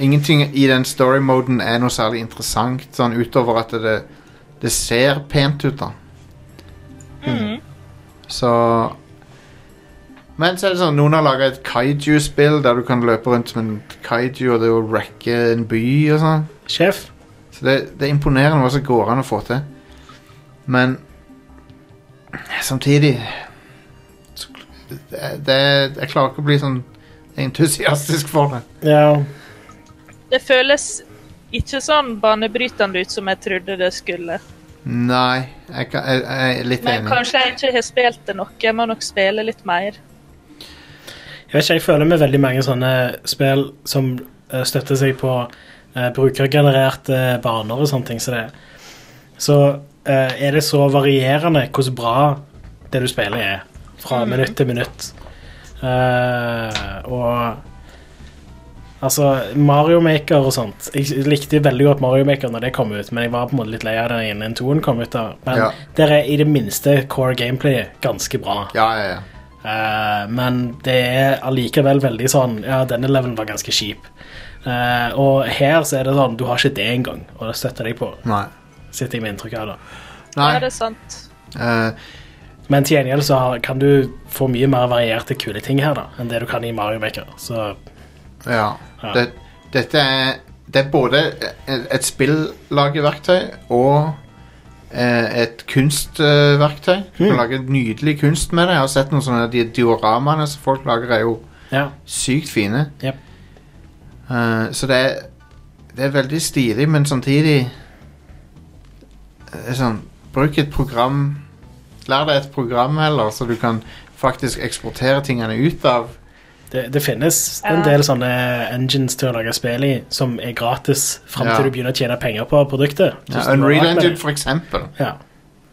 B: ingenting i den story-moden er noe særlig interessant, sånn utover at det, det ser pent ut, da. Mm.
D: Mhm.
B: Så Men så er det sånn, noen har laga et kaiju-spill der du kan løpe rundt som en kaiju og det å wracke en by og sånn.
C: Sjef.
B: Så det, det er imponerende hva som går an å få til. Men samtidig så- det, det, Jeg klarer ikke å bli sånn entusiastisk for det.
C: Ja.
D: Det føles ikke sånn banebrytende ut som jeg trodde det skulle.
B: Nei, jeg, kan, jeg, jeg er litt
D: Men
B: enig.
D: kanskje jeg ikke har spilt det nok. Jeg må nok spille litt mer.
C: Jeg vet ikke, jeg føler med veldig mange sånne spill som eh, støtter seg på eh, brukergenererte eh, baner og sånne ting som det. Så eh, er det så varierende hvor bra det du spiller er, fra
D: Mm.
C: minutt til minutt. Eh, og Altså, Mario Maker og sånt Jeg likte veldig godt Mario Maker når det kom ut, men jeg var på en måte litt lei av det innen toen kom ut. da Men
B: Ja.
C: der er i det minste core gameplay ganske bra.
B: Ja, ja, ja.
C: Eh, men det er allikevel veldig sånn Ja, denne levelen var ganske kjip. Eh, og her så er det sånn, du har ikke det engang, og det støtter deg på.
B: Nei.
C: Sitter jeg med inntrykk av, da.
D: Ja, det er sant.
B: eh,
C: Men til gjengjeld så har- kan du få mye mer varierte kule ting her da, enn det du kan i Mario Maker. Så
B: Ja.
C: Ja.
B: Det, dette er, det er både et- et spillagerverktøy og eh, et kunstverktøy. Du kan lage nydelig kunst med det. Jeg har sett noen sånne de dioramaene som folk lager, er jo
C: Ja.
B: sykt fine.
C: Jep.
B: Eh, så det er, det er veldig stilig, men samtidig eh, sånn, Bruk et program Lær deg et program heller, så du kan faktisk eksportere tingene ut av.
C: det, det finnes en
B: Ja.
C: del sånne engines til å lage spill i som er gratis fram
B: Ja.
C: til du begynner å tjene penger på produktet.
B: Ja,
C: Så
B: Unreal
C: du har alt med
B: Engine,
C: det.
B: for eksempel.
C: Ja.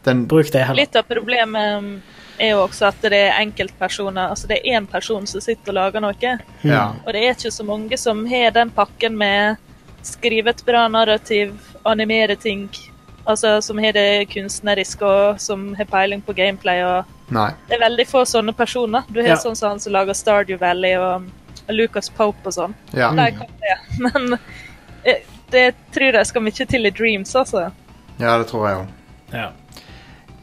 B: Den,
C: Bruk det heller.
D: Litt av problemet um, er jo også at det er enkeltpersoner. Altså det er én person som sitter og lager noe.
B: Ja.
D: Og det er ikke så mange som har den pakken med skrive et bra narrativ, animere ting. Altså som har det kunstneriske og som har peiling på gameplay og
B: Nei.
D: Det er veldig få sånne personer. Du har
B: Ja.
D: sånn som han som lager Stardew Valley og og Lucas Pope og sånn.
B: Ja.
C: Mm.
D: De kan det. <laughs> Men eh, det tror jeg skal mye til i Dreams, altså.
B: Ja, det tror jeg òg.
C: Ja.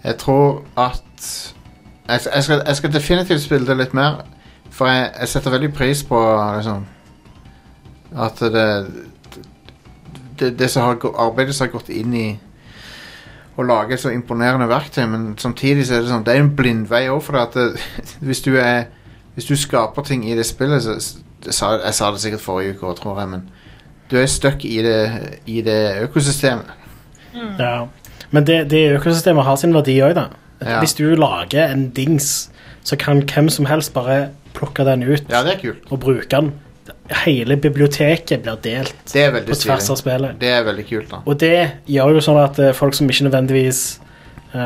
B: Jeg tror at jeg, jeg, skal, jeg skal definitivt spille det litt mer, for jeg, jeg setter veldig pris på liksom, at det det, det som har, gå- arbeidet som har gått inn i å lage et så imponerende verktøy, men samtidig så er det sånn det er en blindvei òg, for at det, <laughs> hvis du er hvis du skaper ting i det spillet så, det sa, Jeg sa det sikkert forrige uke òg, tror jeg, men du er stuck i det, i det økosystemet.
C: Ja. Men det, det økosystemet har sin verdi òg, da.
B: Ja.
C: Hvis du lager en dings, så kan hvem som helst bare plukke den ut og bruke den. Hele biblioteket blir delt
B: Det er veldig
C: på tvers
B: stilig.
C: av spillet.
B: Det er veldig kult, da.
C: Og det gjør jo sånn at eh, folk som ikke nødvendigvis eh,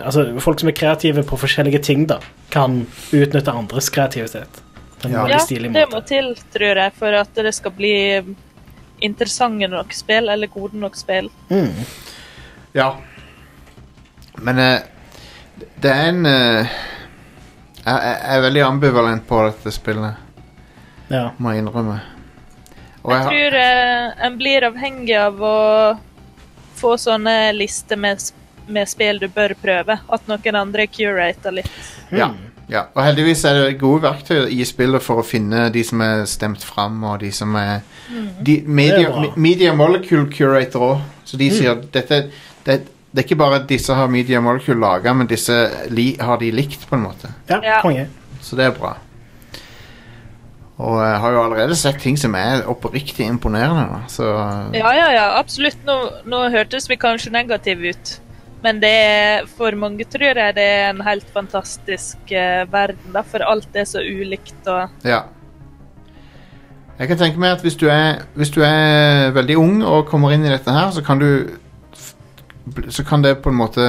C: Altså folk som er kreative på forskjellige ting, da, kan utnytte andres kreativitet. På en veldig stilig
D: det
C: måte.
D: må til, tror jeg, for at det skal bli interessante nok spill, eller gode nok spill.
B: Ja. Men eh, det er en eh, jeg, jeg jeg er veldig ambivalent på dette spillet,
C: Ja.
B: må jeg innrømme. Og
D: Jeg tror eh, en blir avhengig av å få sånne lister med, s- med spill du bør prøve. At noen andre curater litt.
B: ja, ja. Og heldigvis er det gode verktøy i spillet for å finne de som er stemt fram, og de som er
A: Mm.
B: de,
A: Det er
B: media,
A: bra.
B: me- media Molecule Curator òg, så de
A: Mm.
B: sier dette det, det er ikke bare at disse har Media Molecule laga, men disse li, har de likt, på en måte.
C: Ja, konge.
B: Så det er bra. Og jeg har jo allerede sett ting som er oppriktig imponerende. Da. Så
D: Ja, ja, ja, absolutt. Nå, nå hørtes vi kanskje negative ut. Men det er, for mange tror jeg det er en helt fantastisk eh, verden, da, for alt er så ulikt. og...
B: ja. Jeg kan tenke meg at hvis du, er, hvis du er veldig ung og kommer inn i dette her, så kan du f- bl- Så kan det på en måte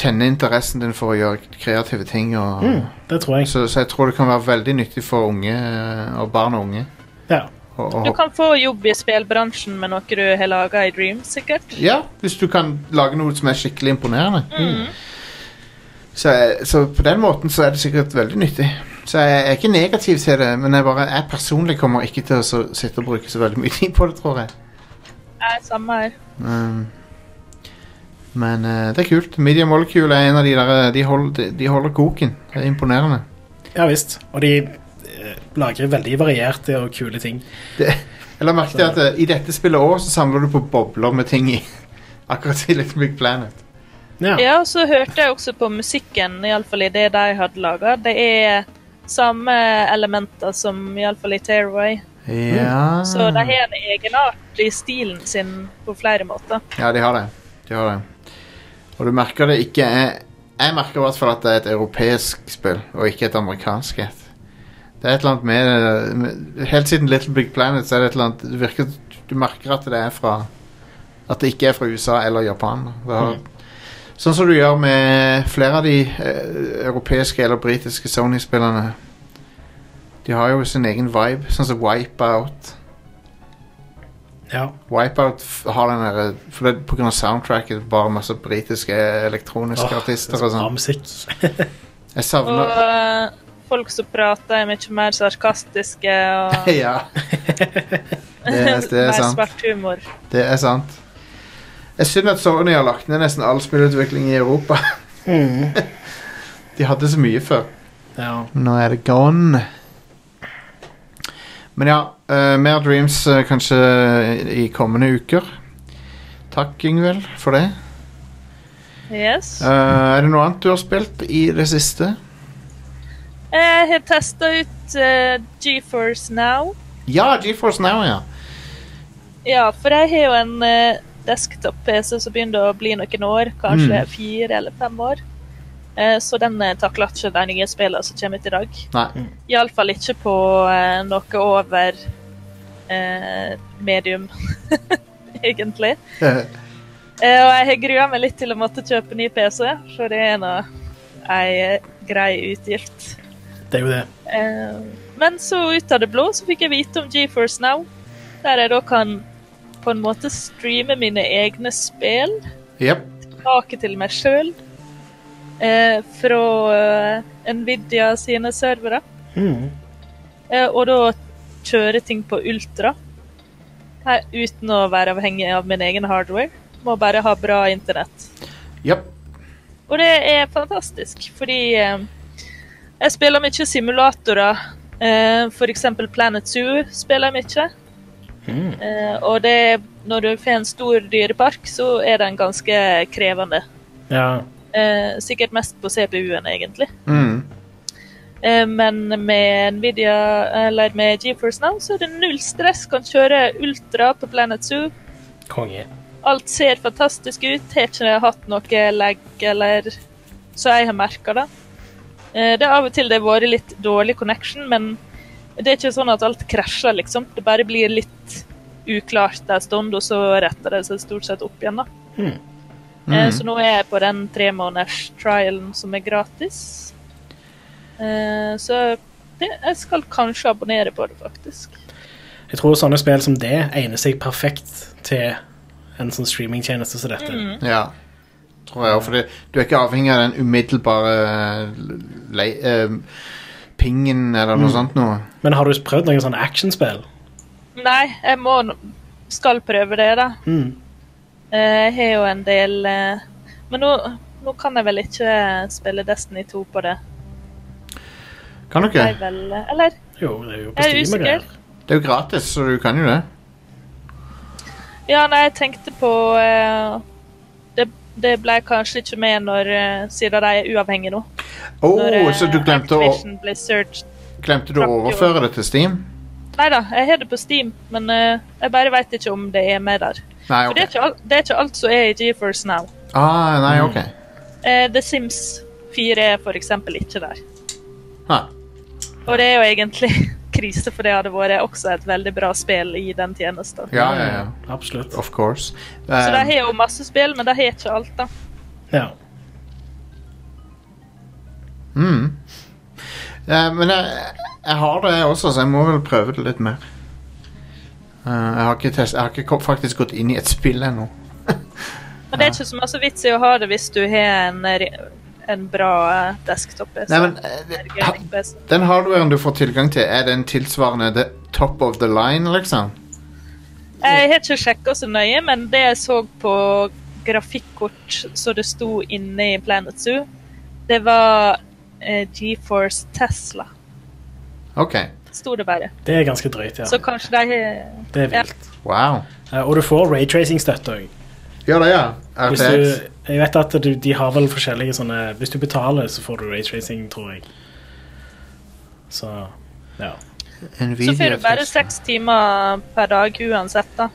B: tenne interessen din for å gjøre kreative ting. Og,
C: Mm, det tror jeg.
B: Så, så jeg tror det kan være veldig nyttig for unge eh, og barn og unge.
C: Ja.
B: Og, og,
D: Du kan få jobb i spillbransjen med noe du har laga i Dream, sikkert.
B: Ja, hvis du kan lage noe som er skikkelig imponerende.
D: Mm.
B: Så, jeg- så på den måten så er det sikkert veldig nyttig. Så jeg er ikke negativ til det, men jeg, bare, jeg personlig kommer ikke til å så- sitte og bruke så veldig mye tid på det, tror jeg.
D: Ja, samme her.
B: Um, men eh, det er kult. Media Molecule er en av de der eh, De, hold, de, de holder koken. Det er imponerende.
C: Ja visst. Og de eh, lager veldig varierte og kule ting.
B: Jeg la merke til at eh, i dette spillet òg så samler du på bobler med ting i. <laughs> Akkurat i Little Big Planet.
C: Ja.
D: og så hørte jeg også på musikken, iallfall i det de hadde laga. Det er samme elementer som iallfall i Tearaway.
B: Ja.
D: Så de har en egenart i stilen sin på flere måter.
B: Ja, de har det. De har det. Og du merker det ikke er Jeg merker i hvert fall at det er et europeisk spill, og ikke et amerikansk et. Det er et eller annet med det med- Helt siden Little Big Planet så er det et eller annet det virker, Du merker at det er fra At det ikke er fra USA eller Japan. Det har,
A: Mhm.
B: Sånn som du gjør med flere av de eh, europeiske eller britiske Sony-spillerne. De har jo sin egen vibe, sånn som Wipeout.
C: Ja.
B: Wipeout f- har den der For det er på grunn av soundtracket bare masse britiske elektroniske
C: Åh,
B: artister
C: det er
B: og
C: så
B: sånn. <laughs>
C: Bra musikk.
B: Jeg savner
D: Og eh, folk som prater, er mye mer sarkastiske og
B: <laughs> Ja.
C: <laughs>
B: Det, det er
D: <laughs> mer
B: sant.
D: svart humor.
B: Det er sant. Jeg synd at Sony har lagt ned nesten all spillutvikling i Europa. <laughs> De hadde så mye før.
C: Ja.
B: Nå er det gone. Men ja, eh, mer Dreams eh, kanskje i kommende uker. Takk, Yngvild, for det.
D: Yes.
B: Eh, er det noe annet du har spilt i det siste?
D: Jeg har testa ut eh, GeForce Now.
B: Ja, GeForce Now, ja.
D: Ja, for jeg har jo en eh, desktop-PC som begynner å bli noen år, kanskje
B: Mm.
D: fire eller fem år. Eh, så den eh, takler ikke de nye spillene som kommer ut i dag.
B: Nei.
D: Iallfall ikke på eh, noe over eh, medium, <laughs> egentlig.
B: Mm. <laughs>
D: Eh, og jeg har grua meg litt til å måtte kjøpe ny PC, for det er nå ei eh, grei utgift.
C: Det er jo det.
D: Eh, Men så ut av det blå så fikk jeg vite om GeForce Now, der jeg da kan på en måte streame mine egne spill
B: Jepp.
D: tilbake til meg sjøl eh, fra eh, Nvidia sine servere.
C: Mm.
D: Eh, og da kjøre ting på ultra. Her, uten å være avhengig av min egen hardware. Må bare ha bra internett.
B: Japp.
D: Og det er fantastisk, fordi eh, jeg spiller mye simulatorer. Eh, for eksempel Planet Zoo spiller jeg mye. Eh, og det, når du får en stor dyrepark, så er den ganske krevende.
C: Ja.
D: Eh, sikkert mest på CPU-en, egentlig.
B: Mm.
D: Eh, Men med Nvidia, eh, eller med GeForce Now, så er det null stress. Kan kjøre ultra på Planet Zoo.
C: Konge.
D: Alt ser fantastisk ut. Har ikke hatt noe lag eller Så jeg har merka det. Eh, Det er av og til det har vært litt dårlig connection, men det er ikke sånn at alt krasjer, liksom. Det bare blir litt uklart en stund, og så retter det seg stort sett opp igjen, da.
C: Mm.
D: Eh, Så nå er jeg på den tre måneders trialen som er gratis. Eh, Så det, jeg skal kanskje abonnere på det, faktisk.
C: Jeg tror sånne spill som det egner seg perfekt til en sånn streamingtjeneste som dette.
D: Mm.
B: Ja. Tror jeg òg, for du er ikke avhengig av den umiddelbare eh, le, eh, pingen eller noe
C: Mm.
B: sånt noe.
C: Men har du prøvd noen sånne actionspill?
D: Nei, jeg må nå- skal prøve det, da.
C: Mm.
D: Eh, Jeg har jo en del eh, Men nå, nå kan jeg vel ikke spille Destiny 2 på det.
B: Kan du ikke?
D: Jeg vel, eh, eller?
C: Jo, det er jo
D: Jeg er
C: på Steam.
D: usikker.
B: Det er jo gratis, så du kan jo det.
D: Ja, nei, jeg tenkte på eh, det, det ble kanskje ikke med når eh, siden de er uavhengige nå.
B: Å,
D: eh,
B: så du glemte å,
D: Activision Blizzard
B: glemte du å overføre det til Steam?
D: Nei da, jeg har det på Steam, men eh, jeg bare veit ikke om det er med der.
B: Nei,
D: For
B: ok.
D: det er, ikke alt, det er ikke alt som er i GeForce Now.
B: Ah, nei, ok.
D: Eh, The Sims 4 er for eksempel ikke der.
B: Ha.
D: Og det er jo egentlig <laughs> krise, for det hadde vært også et veldig bra spill i den tjenesten.
B: Ja, ja, ja.
C: Absolutt.
B: Of course.
D: Så de
B: Um,
D: har jo masse spill, men de har ikke alt, da.
C: Ja.
B: mm. Eh, men jeg, jeg har det også, så jeg må vel prøve det litt mer. Eh, jeg har ikke, test, jeg har ikke kom- faktisk gått inn i et spill ennå.
D: Men det er ikke så masse vits i å ha det hvis du har en, re- en bra eh, desktop-PC.
B: Nei, men, eh, det-
D: Eller gaming-PC.
B: Den hardwaren du får tilgang til, er den tilsvarende the top of the line, liksom?
D: Jeg har ikke sjekka så nøye, men det jeg så på grafikkort som det sto inne i Planet Zoo, det var eh, GeForce Tesla,
B: Ok.
D: sto det bare.
C: Det er ganske drøyt, ja.
D: Så kanskje de har
C: Det er
D: Ja.
C: vilt.
B: Wow.
C: Eh, Og du får raytracing-støtte òg.
B: Ja, det er.
C: Hvis
B: RTX.
C: du, jeg vet at du, de har vel forskjellige sånne Hvis du betaler, så får du raytracing, tror jeg. Så ja.
D: Så får du bare seks timer per dag uansett, da,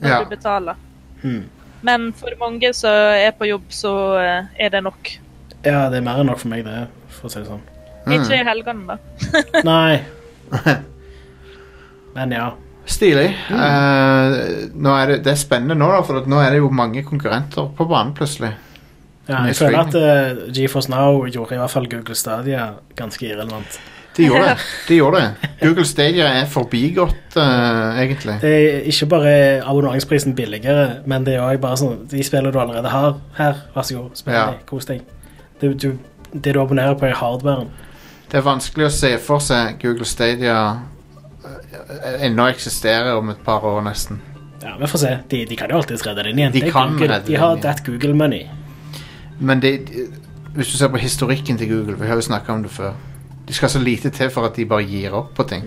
D: når
C: Ja.
D: du betaler.
C: Hmm.
D: Men for mange som er på jobb, så eh, er det nok.
C: ja, det er mer enn nok for meg, det. For å si det sånn.
B: Hmm.
D: Ikke i helgene, da.
B: <laughs>
D: <laughs>
C: Nei. Men ja.
B: Stilig. Eh, nå er det, det er spennende nå, da, for at nå er det jo mange konkurrenter på banen plutselig.
C: ja
B: Med
C: jeg føler at
B: streaming.
C: eh, GeForce Now gjorde i hvert fall Google Stadia ganske irrelevant.
B: De gjorde det. <laughs> De gjorde det. Google Stadia er forbigått, eh, egentlig.
C: Det er ikke bare abonnementsprisen billigere, men det er òg bare sånn De spillene du allerede har her, vær så god, spill
B: Ja.
C: de, kos deg. Du, du det du abonnerer på, er hardwaren.
B: Det er vanskelig å se for seg Google Stadia eh, ennå eksisterer om et par år, nesten.
C: Ja, Vi får se. De, de kan jo alltids redde den igjen.
B: De
C: Det er
B: kan
C: Google.
B: redde
C: de har
B: den
C: that Google money.
B: Men det, hvis du ser på historikken til Google Vi har jo snakket om det før De skal så lite til for at de bare gir opp på ting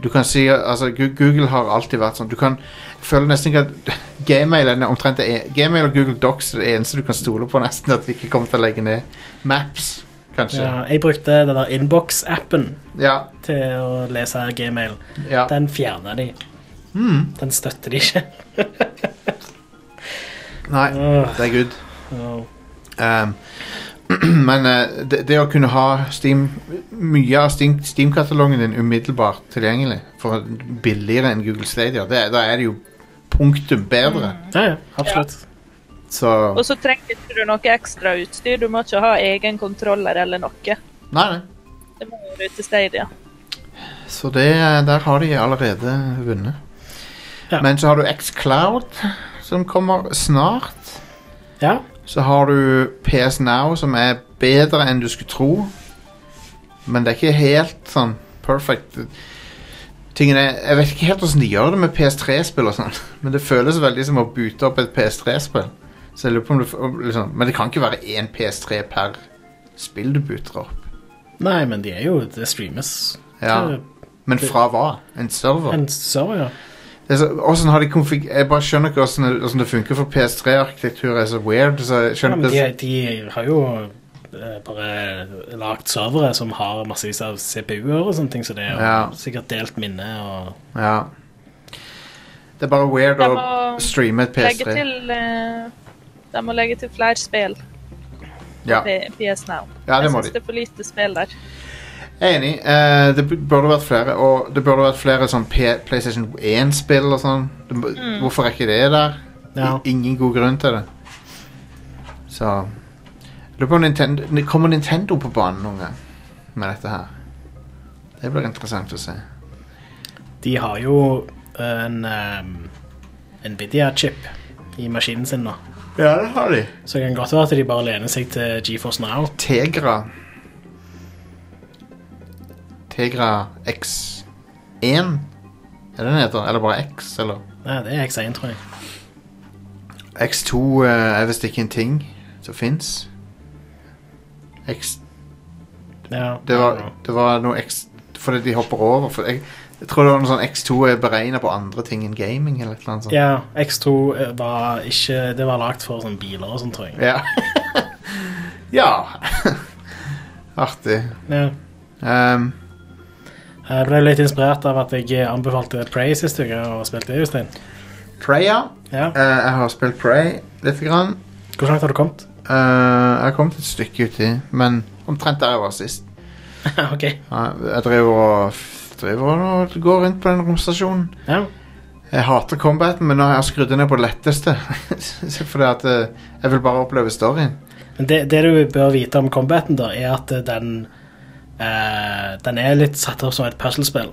B: Du kan si altså, Gu- Google har alltid vært sånn Du kan føle nesten ikke at <laughs> Gmail, er omtrent det en- Gmail og Google Docs er det eneste du kan stole på nesten At de ikke kommer til å legge ned Maps, kanskje
C: Ja, jeg brukte den der Inbox-appen
B: Ja.
C: til å lese Gmail.
B: Ja.
C: Den fjerna de.
B: Hmm.
C: Den støtter de ikke.
B: Nei, det er good
C: Åh.
B: Ehm, <clears throat> men eh, det, det å kunne ha Steam, mye av Steam- Steam-katalogen din umiddelbart tilgjengelig for billigere enn Google Stadia, det, da er det jo punktum bedre.
C: Ja, ja, absolutt.
B: Så
D: Og så trenger ikke du noe ekstra utstyr. Du må ikke ha egen kontroller eller noe.
B: Nei, nei.
D: Det må være ute i Stadia.
B: Så det, eh, der har de allerede vunnet. Men så har du X-Cloud, som kommer snart.
C: Ja.
B: Så har du PS Now, som er bedre enn du skulle tro. Men det er ikke helt sånn perfect. Tingen er, jeg vet ikke helt hvordan de gjør det med PS3-spill og sånn, <laughs> men det føles veldig som å bute opp et PS3-spill. Så jeg lurer på om det, om liksom, Men det kan ikke være én PS3 per spill du buter opp.
C: Nei, men de er jo Det streames.
B: Ja.
C: Det-
B: Men fra hva? En server?
C: En server, ja.
B: Det er så, hvordan har de konfig... Jeg bare skjønner ikke hvordan, hvordan det funker, for PS3-arkitektur er så weird. Så jeg
C: ja
B: skjønner
C: men
B: ikke
C: de, de har jo eh, bare lagd servere som har massevis av CPU-er og sånne ting, så det er jo
B: Ja.
C: sikkert delt minne og
B: Ja. Det er bare weird
D: De
B: å
D: må
B: streame et
D: legge
B: PS3.
D: til, eh, de må legge til flere spill på
B: Ja.
D: P- PS Now.
B: Ja, det
D: jeg
B: må
D: synes
B: de.
D: det er for lite spill der.
B: Jeg er enig. eh, det bu- burde vært flere. Og det burde vært flere sånn P PlayStation 1-spill og sånn. Det må-
D: Mm.
B: Hvorfor er ikke det der? I-
C: Ja.
B: Ingen god grunn til det. Så jeg Lurer på om Nintendo Kommer Nintendo på banen noen gang med dette her? Det blir interessant å se.
C: De har jo en ehm, Nvidia-chip i maskinen sin nå.
B: Ja, det har de.
C: Så det kan godt være at de bare lener seg til GeForce Now.
B: Tegra Tegra X1 Er det den heter? Eller bare X? Eller?
C: Nei, det er X1, tror jeg.
B: X2 eh, er visst ikke en ting som fins. X
C: Ja,
B: det var, det var noe X Fordi de hopper over. For jeg, jeg tror det var noe sånn X2 er beregna på andre ting enn gaming. Eller et eller annet sånt.
C: Ja, X2 eh, var ikke Det var lagd for sånn biler og sånn, tror jeg.
B: Ja. <laughs> ja. <laughs> Artig.
C: Ja.
B: Ehm,
C: Jeg ble litt inspirert av at jeg anbefalte Prey sist uke og spilte det, Jostein.
B: Prey, ja.
C: Ja.
B: Eh, jeg har spilt Prey lite grann.
C: Hvor langt har du kommet?
B: Eh, jeg har kommet et stykke uti, men omtrent der jeg var sist.
C: ok.
B: Ja, Jeg driver og, driver og går rundt på den romstasjonen.
C: Ja.
B: Jeg hater combaten, men nå har jeg skrudd ned på det letteste. <laughs> Fordi at eh, jeg vil bare oppleve storyen.
C: Men det, det du bør vite om combaten, da, er at den eh, Den er litt satt opp som et puslespill.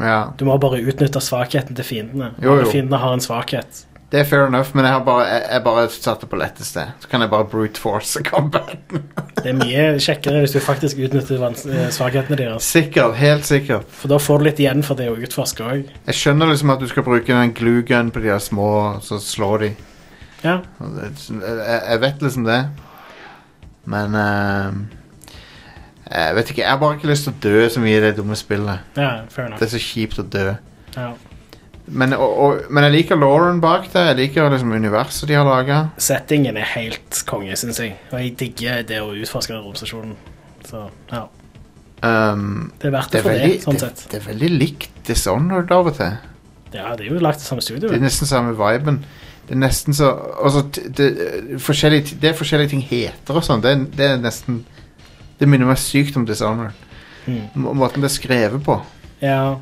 B: Ja,
C: Du må bare utnytte svakheten til fiendene.
B: Jo, jo.
C: Alle Fiendene har en svakhet.
B: Det er fair enough, men jeg har bare, jeg, jeg bare satt det på letteste. Så kan jeg bare brute force <laughs> combaten.
C: Det er mye kjekkere hvis du faktisk utnytter vans- eh, svakhetene deres.
B: Sikkert. Helt sikkert.
C: For da får du litt igjen for det å utforske òg.
B: Jeg skjønner liksom at du skal bruke den glue gun på de her små, så slår de.
C: Ja.
B: Og det- Jeg jeg vet liksom det. Men eh, Jeg vet ikke. Jeg har bare ikke lyst til å dø så mye i det dumme spillet.
C: Ja, fair
B: Det
C: enough.
B: er så kjipt å dø.
C: Ja.
B: Men, og, og, men jeg liker Lauren bak det. Jeg liker liksom universet de har laga.
C: Settingen er helt konge, syns jeg. Og jeg digger det å utforske den romstasjonen. Så ja.
B: Um,
C: Det er verdt det for det, sånn
B: det,
C: sett.
B: det er veldig likt Dishonored av og til.
C: ja, det er jo lagt i samme studio.
B: Det er nesten samme viben. Det er nesten så altså, t- det, eh, forskjellige, ti- det forskjellige ting heter og sånn, det, er- det er nesten Det minner meg sykt om Dishonored.
C: Mm.
B: Må- Måten det er skrevet på.
C: Ja.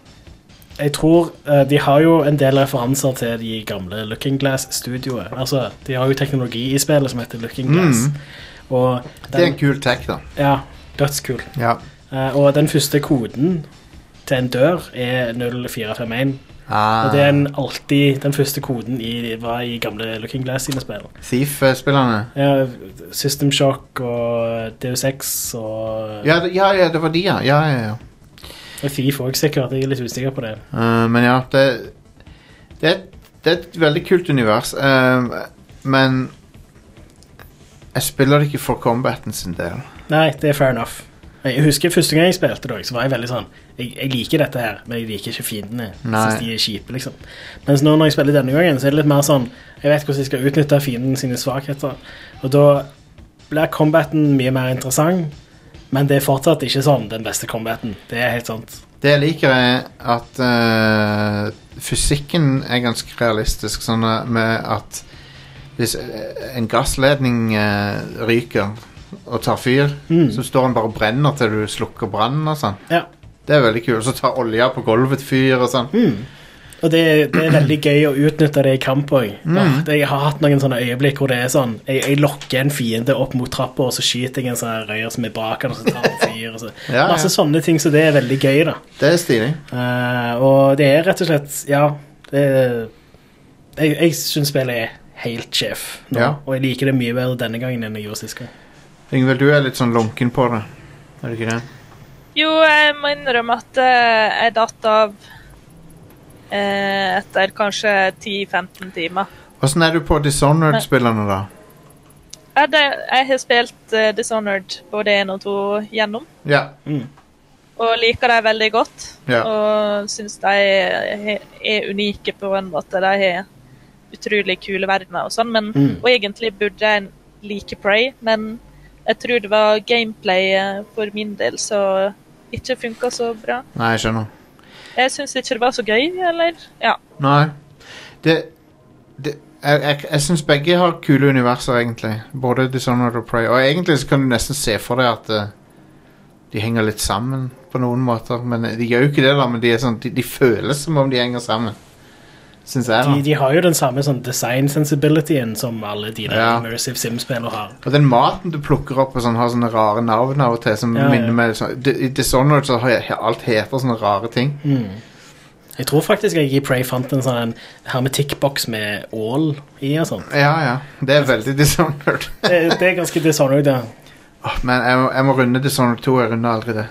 C: Jeg tror eh, De har jo en del referanser til de gamle Looking Glass-studioet. Altså, De har jo teknologi i spillet som heter Looking Glass.
B: Mm.
C: Og
B: Det er en kul tech, da.
C: Ja, dødskul.
B: Ja.
C: Eh, og den første koden til en dør er 0451.
B: Ah.
C: Og det er en alltid den første koden i, var i gamle Looking Glass sine spill.
B: Ah, Thief-spillerne.
C: Ja, System Shock og Deus Ex og,
B: Ja, det- ja, ja, det var de, ja. ja, ja, ja.
C: og Thief òg, sikkert. Jeg er litt usikker på det.
B: Eh, men ja, det, det, er et- det er et veldig kult univers. eh, men jeg spiller det ikke for combaten sin del.
C: Nei, det er fair enough. Jeg husker første gang jeg spilte det, også, så var jeg veldig sånn jeg, jeg liker dette her, men jeg liker ikke fiendene. Jeg
B: Nei.
C: Synes de er kjipe, liksom. Mens nå når jeg spiller denne gangen, så er det litt mer sånn Jeg vet hvordan jeg skal utnytte fienden sine svakheter. Og da blir combaten mye mer interessant, men det er fortsatt ikke sånn den beste combaten. Det er helt sant.
B: Det jeg liker, er at eh, fysikken er ganske realistisk. Sånn eh, med at hvis eh, en gassledning eh, ryker og tar fyr,
C: Mm.
B: så står den bare og brenner til du slukker brannen og sånn.
C: Ja.
B: Det er veldig kult. Og så tar olja på gulvet fyr og sånn.
C: Og det, det er veldig gøy å utnytte det i kamp òg.
B: Mm.
C: Jeg har hatt noen sånne øyeblikk hvor det er sånn Jeg, jeg lokker en fiende opp mot trappa, og så skyter jeg en sånn røyer som er bak han, og så tar han fyr. Og så.
B: <laughs> Ja, ja.
C: Masse sånne ting, så det er veldig gøy, da.
B: Det er stilig.
C: Eh, og det er rett og slett Ja, det er- Jeg, jeg syns spillet er helt sjef nå,
B: Ja.
C: og jeg liker det mye bedre denne gangen enn jeg gjorde sist gang.
B: Yngvild, du er litt sånn lunken på det. Er du ikke det?
D: Jo, jeg må innrømme at eh, jeg datt av eh, etter kanskje 10-15 timer.
B: Åssen er du på Dishonored-spillerne, da?
D: Jeg, hadde- jeg har spilt eh, Dishonored både 1 og 2 gjennom,
B: Ja.
D: og liker dem veldig godt.
B: Ja.
D: Og syns de er, er unike på en måte. De har utrolig kule verdener og sånn, men,
N: Mm.
D: og egentlig burde jeg like Prey, men jeg tror det var gameplayet for min del som ikke funka så bra.
B: Nei, jeg skjønner.
D: Jeg syns ikke det var så gøy, eller? Ja.
B: Nei. Det, det Jeg, jeg, jeg syns begge har kule universer, egentlig. Både Dishonored og Prey. Og egentlig så kan du nesten se for deg at eh, de henger litt sammen på noen måter. Men de gjør jo ikke det, da. Men de, er sånn, de, de føles som om de henger sammen. Syns jeg, da.
C: De, de har jo den samme sånn design sensibilityen som alle de der
B: Ja.
C: Immersive Sim-spillene har.
B: Og den maten du plukker opp og sånn, har sånne rare navn av og til som
C: Ja, ja.
B: minner meg sånn, Di- I Dishonored så har jeg, alt heter sånne rare ting.
C: Mm. Jeg tror faktisk jeg i Prey fant en sånn en hermetikkboks med ål i og sånt.
B: Ja, ja. Det er veldig <laughs> Dishonored.
C: Det, det er ganske dishonored, ja.
B: Åh, Men jeg må, jeg må runde Dishonored 2. Jeg runder aldri det.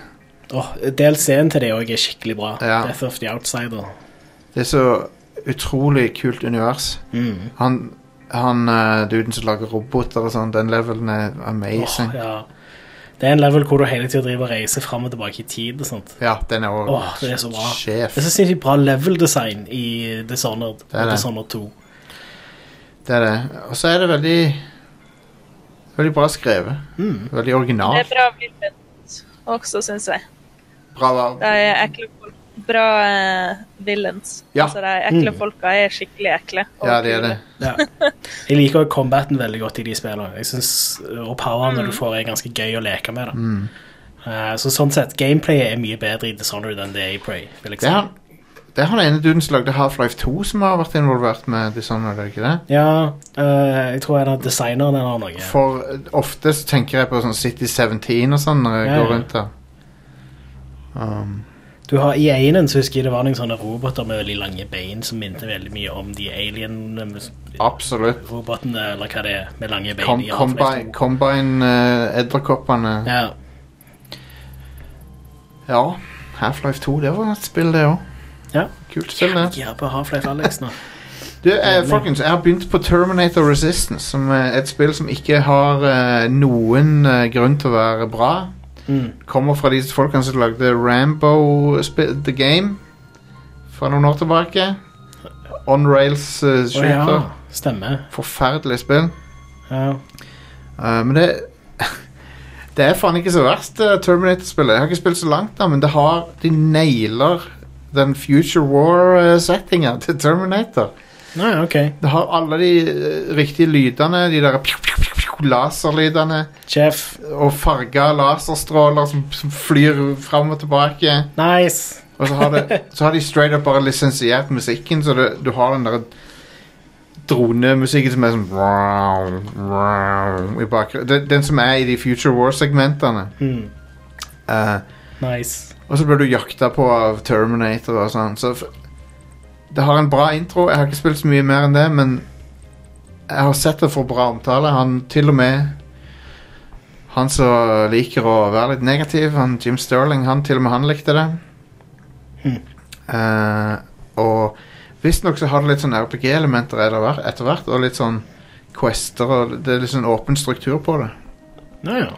C: Oh, DLC-en til det òg er skikkelig bra.
B: Ja.
C: Death of the Outsider.
B: Det er så utrolig kult univers.
C: Mm.
B: Han, han eh, duden som lager roboter og sånn, den levelen er amazing.
C: Åh, ja. Det er en level hvor du hele tida driver og reiser fram og tilbake i tid og sånt.
B: Ja, den er også
C: Åh, det er så bra.
B: sjef.
C: Det er så sinnssykt bra level-design i Dishonored
B: Det er
C: og
B: det.
C: Dishonored 2.
B: Det er det. Og så er det veldig Veldig bra skrevet.
C: Mm.
B: Veldig
D: Det er
B: originalt.
D: bra villains også, syns jeg.
B: Bra,
D: De er ekle folk. Bra eh, villains.
B: Ja.
D: Altså, de ekle
C: Mm.
D: folka er skikkelig ekle. og
B: Ja, det er det.
C: Ja. Jeg liker også combaten veldig godt i de spillene. Jeg synes, Og poweren du får, er ganske gøy å leke med. da.
B: Mm.
C: Eh, så sånn sett, gameplayet er mye bedre i Dishonored enn det er i Prey. Vil jeg
B: Det
C: si.
B: er han, det er han ene duden som lagde Half-Life 2 som har vært involvert med Dishonored, er det ikke det?
C: Ja, eh, jeg tror en av designerne har noe.
B: For eh, ofte så tenker jeg på sånn City 17 og sånn når jeg
C: Ja,
B: går
C: ja.
B: rundt der. Um,
C: Du har I enen så husker jeg det var noen sånne roboter med veldig lange bein som minte veldig mye om de
B: absolutt.
C: alien-robotene, eller hva det er, med lange bein.
B: Com
C: i
B: combine
C: Half-Life
B: combine eh, edderkoppene.
C: 2. Ja.
B: Ja, Half-Life 2, det var et spill, det òg.
C: Ja.
B: Kult spill, det.
C: Ja, på Half-Life Alex nå.
B: Du, eh, folkens, jeg har begynt på Terminator Resistance, som er et spill som ikke har eh, noen eh, grunn til å være bra.
C: Mm.
B: Kommer fra de folkene som lagde Rambo spi- The Game fra noen år tilbake. On rails eh,
C: Å ja,
B: shooter.
C: stemmer.
B: Forferdelig spill.
C: Ja.
B: Eh, men det <laughs> Det er faen ikke så verst, eh, Terminator-spillet. Jeg har ikke spilt så langt, da, men det har De nailer den Future War-settinga til Terminator.
C: Nei, ok.
B: Det har alle de eh, riktige lydene, de der pju, pju, pju, pju, laserlydene.
C: Chef.
B: Og farga laserstråler som, som flyr fram og tilbake.
C: Nice.
B: Og så har, det, så har de straight up bare lisensiert musikken, så det, du har den der dronemusikken som er sånn wow, wow, i bakgrunnen. Den, den som er i de Future War-segmentene.
C: Mm.
B: Eh,
C: Nice.
B: og så blir du jakta på av Terminator og sånn. Så f- Det har en bra intro. Jeg har ikke spilt så mye mer enn det, men jeg har sett det for bra omtale. Han til og med Han som liker å være litt negativ, han Jim Sterling, han til og med han likte det. Eh, og visstnok så har det litt sånn RPG-elementer etter hvert- etter hvert, og litt sånn quester, og det er litt sånn åpen struktur på det.
C: Nå ja.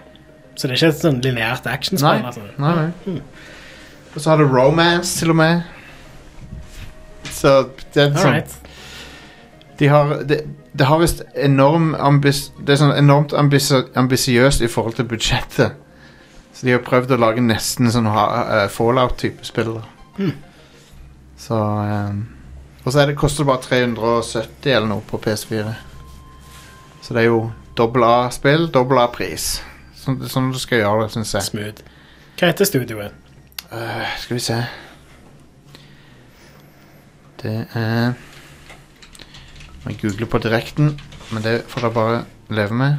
C: Så det er ikke et sånn lineært actionspill?
B: Nei,
C: Altså.
B: nei, nei. Hmm. Og så har du romance til og med. Så det er sånn
C: Alright.
B: De har Det, det har visst enorm ambis, Det er sånn enormt ambis- ambisiøst i forhold til budsjettet. Så de har prøvd å lage nesten sånn ha- eh, Fallout-type spill. da.
C: Hmm.
B: Så ehm, Og så er det, koster det bare 370 eller noe på PS4. Så det er jo dobbel A-spill, dobbel A-pris. Sånn, sånn du skal gjøre det, syns jeg.
C: Smooth. Hva heter studioet?
B: Eh, skal vi se Det er Må jeg google på direkten, men det får dere bare leve med.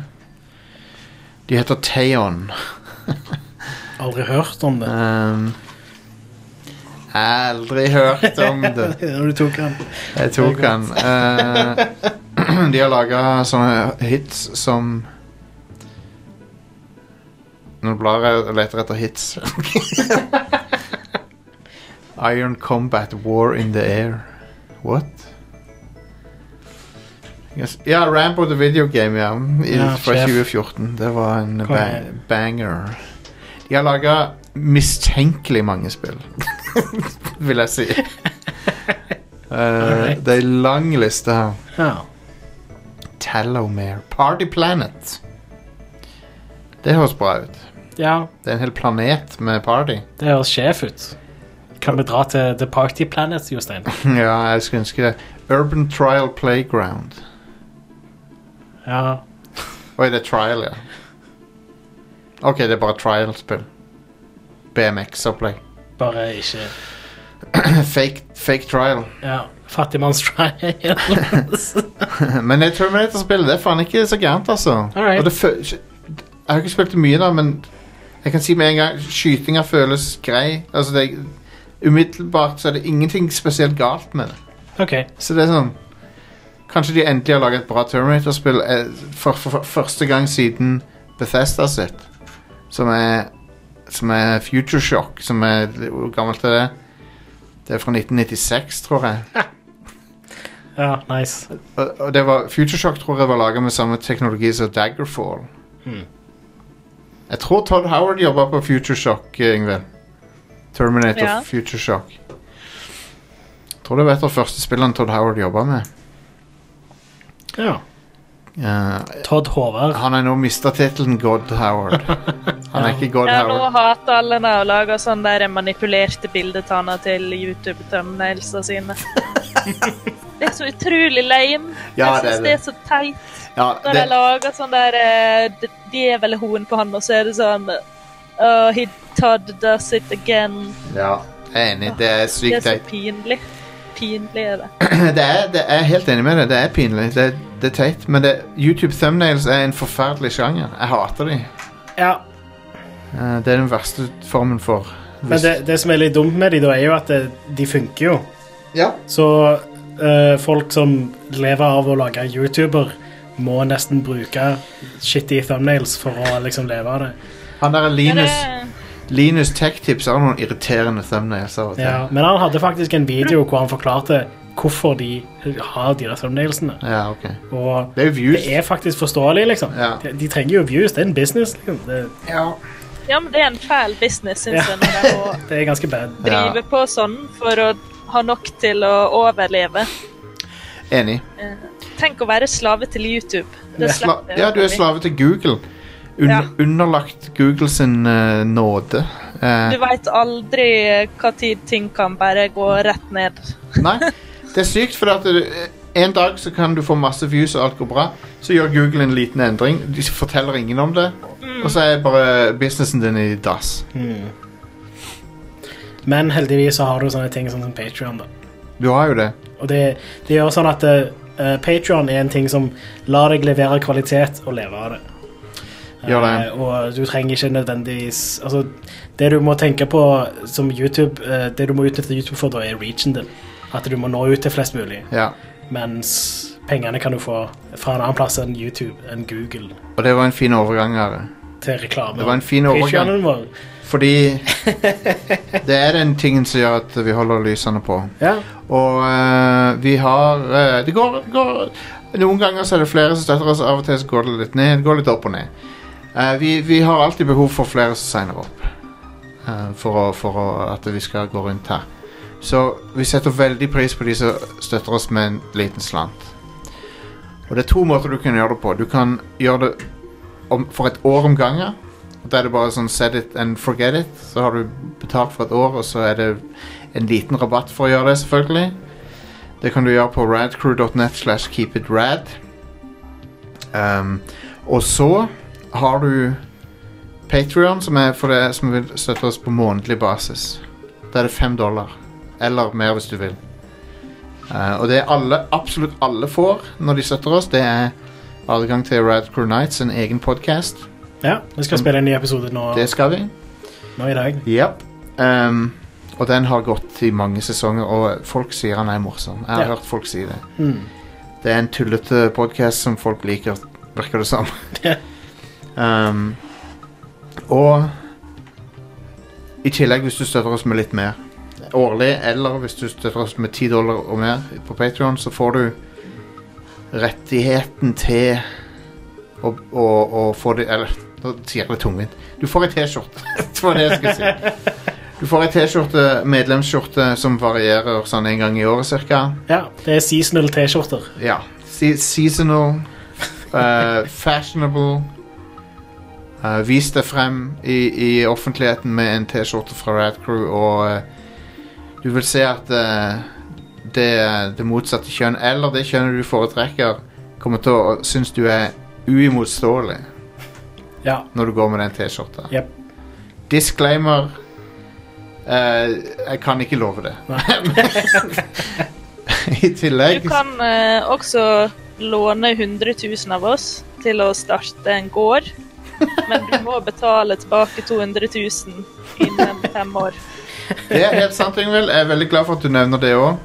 B: De heter Theon.
C: Aldri hørt om det.
B: Um, aldri hørt om det.
C: <laughs> Når du tok den.
B: Jeg tok
C: Det er
B: den.
C: godt.
B: Eh, <clears throat> de har laga sånne hits som Nå blar jeg og leter etter hits. <laughs> Iron Combat War in the Air. What? Yes. Ja, Rambo the Video Game, ja. I,
A: Ja,
B: fra
A: sjef.
B: 2014. Det var en
A: Hva
B: ba
A: er det?
B: banger. De har laga mistenkelig mange spill, vil jeg si. Eh,
C: Alright.
B: det er en lang liste her.
C: Ja.
B: Tallowmare. Party Planet. Det høres bra ut.
C: ja,
B: Det er en hel planet med party. <laughs>
C: det høres sjef ut. Kan vi dra til The Party Planet, Jostein?
B: <laughs> ja, jeg skulle ønske det. Urban Trial Playground.
C: Ja.
B: Oi, det er trial, ja. Ok, det er bare trial-spill. BMX-opplegg.
C: Bare ikke
B: <laughs> fake, fake trial.
C: Ja. Fattigmanns-trials.
B: men det Terminator-spillet det er faen ikke så gærent, altså.
C: Alright.
B: Og det fø- jeg har ikke spilt det mye, da, men jeg kan si med en gang skytinga føles grei. Altså, det er, umiddelbart så er det ingenting spesielt galt med det.
C: <laughs> OK.
B: Så det er sånn Kanskje de endelig har laget et bra Terminator-spill eh, for, for, for første gang siden Bethesda sitt. Som er, som er Future Shock, som er Hvor gammelt er det? Det er fra 1996, tror jeg.
C: Ja, nice.
B: Og og det var, Future Shock tror jeg var laget med samme teknologi som Daggerfall.
C: Hmm.
B: Jeg tror Todd Howard jobba på Future Shock, eh, Yngve. Terminator
C: Ja.
B: Future Shock. Jeg tror det var et av de første spillene Todd Howard jobba med.
C: Ja.
B: Eh,
C: Todd Håvard.
B: Han har nå mista tittelen God Howard. Han er ikke God
D: Ja, nå
B: Howard.
D: hater alle det å lage sånne sånn der manipulerte bildetanner til YouTube-thumbnailsa sine. Det er så utrolig lame.
B: Ja,
D: jeg
B: det er
D: syns det er så teit.
B: Ja,
D: Når
B: det,
D: de lager sånn der eh, d- djevelhorn på han, og så er det sånn Oh, he Todd does it again.
B: ja, jeg er enig. Det er
D: Det er
B: sykt
D: så
B: teit.
D: pinlig. Pinlig er det.
B: <clears throat> det er, det er, jeg er helt enig med deg. Det er pinlig. Det, det er teit. Men det, YouTube thumbnails er en forferdelig sjanger. Jeg hater de.
C: Ja,
B: Eh, det er den verste formen for
C: Men det, det som er litt dumt med de da, er jo at det, de funker jo.
B: Ja.
C: Så eh, folk som lever av å lage YouTuber, må nesten bruke shitty thumbnails for å liksom leve av det.
B: Han der er Linus
C: Ja,
B: Linus Tech Tips har noen irriterende thumbnails av og til.
C: Ja, men han hadde faktisk en video hvor han forklarte hvorfor de har de der thumbnailsene.
B: Ja, ok.
C: Og
B: det er,
C: faktisk forståelig, liksom. De, de trenger jo views. Det er en business. Liksom. Det,
D: Ja, men det er en fæl business, syns
C: Ja.
D: jeg, når de må
C: det er ganske bad.
D: drive på sånn for å ha nok til å overleve.
B: Enig.
D: Eh, Tenk å være slave til YouTube. Det
B: Sla
D: slipper
B: ja, du er
D: vi.
B: slave til Google. Un
D: Ja.
B: Underlagt Google sin eh, nåde. Eh,
D: Du veit aldri hva tid ting kan bare gå rett ned.
B: nei, det er sykt, for at du, eh, en dag så kan du få masse views, og alt går bra. Så gjør Google en liten endring. De forteller ingen om det. Og så er bare businessen din i dass.
C: Hmm. Men heldigvis så har du sånne ting sånn som Patrion, da.
B: Du har jo det.
C: Og det, det gjør sånn at uh, Patreon er en ting som lar deg levere kvalitet og leve av det.
B: Gjør det.
C: Eh, og du trenger ikke nødvendigvis Altså, det du må tenke på som YouTube eh, Det du må utnytte YouTube for, da, er reachen din. At du må nå ut til flest mulig.
B: Ja.
C: Mens pengene kan du få fra en annen plass enn YouTube, enn Google,
B: Og det var en fin overgang. Are.
C: til reklame.
B: Det var en fin
C: Ikke
B: overgang.
C: skjønnen vår.
B: Fordi det er den tingen som gjør at vi holder lysene på.
C: Ja.
B: Og eh, vi har eh, Det går, går Noen ganger så er det flere som støtter oss, av og til så går det litt ned. Det går litt opp og ned. Eh, vi, vi har alltid behov for flere som signer opp. eh, for å, for å, at vi skal gå rundt her. Så vi setter veldig pris på de som støtter oss med en liten slant. Og det er to måter du kan gjøre det på. Du kan gjøre det om, for et år om gangen. Da er det bare sånn set it and forget it. Så har du betalt for et år, og så er det en liten rabatt for å gjøre det, selvfølgelig. Det kan du gjøre på radcrew.net slash keepitrad. Um, og så har du Patreon, som er for det som vil støtte oss på månedlig basis. Da er det fem dollar. Eller mer hvis du vil. Eh, og det alle, absolutt alle får når de støtter oss, det er adgang til Radcrew Nights, en egen podkast.
C: Ja, vi skal spille en ny episode nå,
B: Mm. Det skal vi.
C: nå i dag.
B: Yep. Um, og den har gått i mange sesonger, og folk sier han er morsom. Jeg har
C: Ja.
B: hørt folk si det.
C: Mm.
B: Det er en tullete podkast som folk liker, virker det som. um, og i tillegg, hvis du støtter oss med litt mer årlig, eller hvis du støtter oss med 10 dollar og mer på Patreon, så får du rettigheten til å, å, å få det Eller, nå sier jeg det tungvint. Du får ei T-skjorte. <laughs> det var det jeg skulle si. Du får ei T-skjorte, medlemsskjorte, som varierer sånn en gang i året cirka.
C: Ja, det er seasonal T-skjorter.
B: Ja. Se seasonal, eh, fashionable. Eh, vis deg frem i, i offentligheten med en T-skjorte fra Radcrew, og eh, du vil se at eh, det, det motsatte kjønn, eller det kjønnet du foretrekker, kommer til å synes du er uimotståelig
C: Ja.
B: når du går med den T-skjorta.
C: Jep.
B: Disclaimer eh, Jeg kan ikke love det. <laughs> I tillegg
D: Du kan eh, også låne 100 000 av oss til å starte en gård, men du må betale tilbake 200 000 innen fem år.
B: Det er helt sant, Ingvild. Jeg er veldig glad for at du nevner det òg.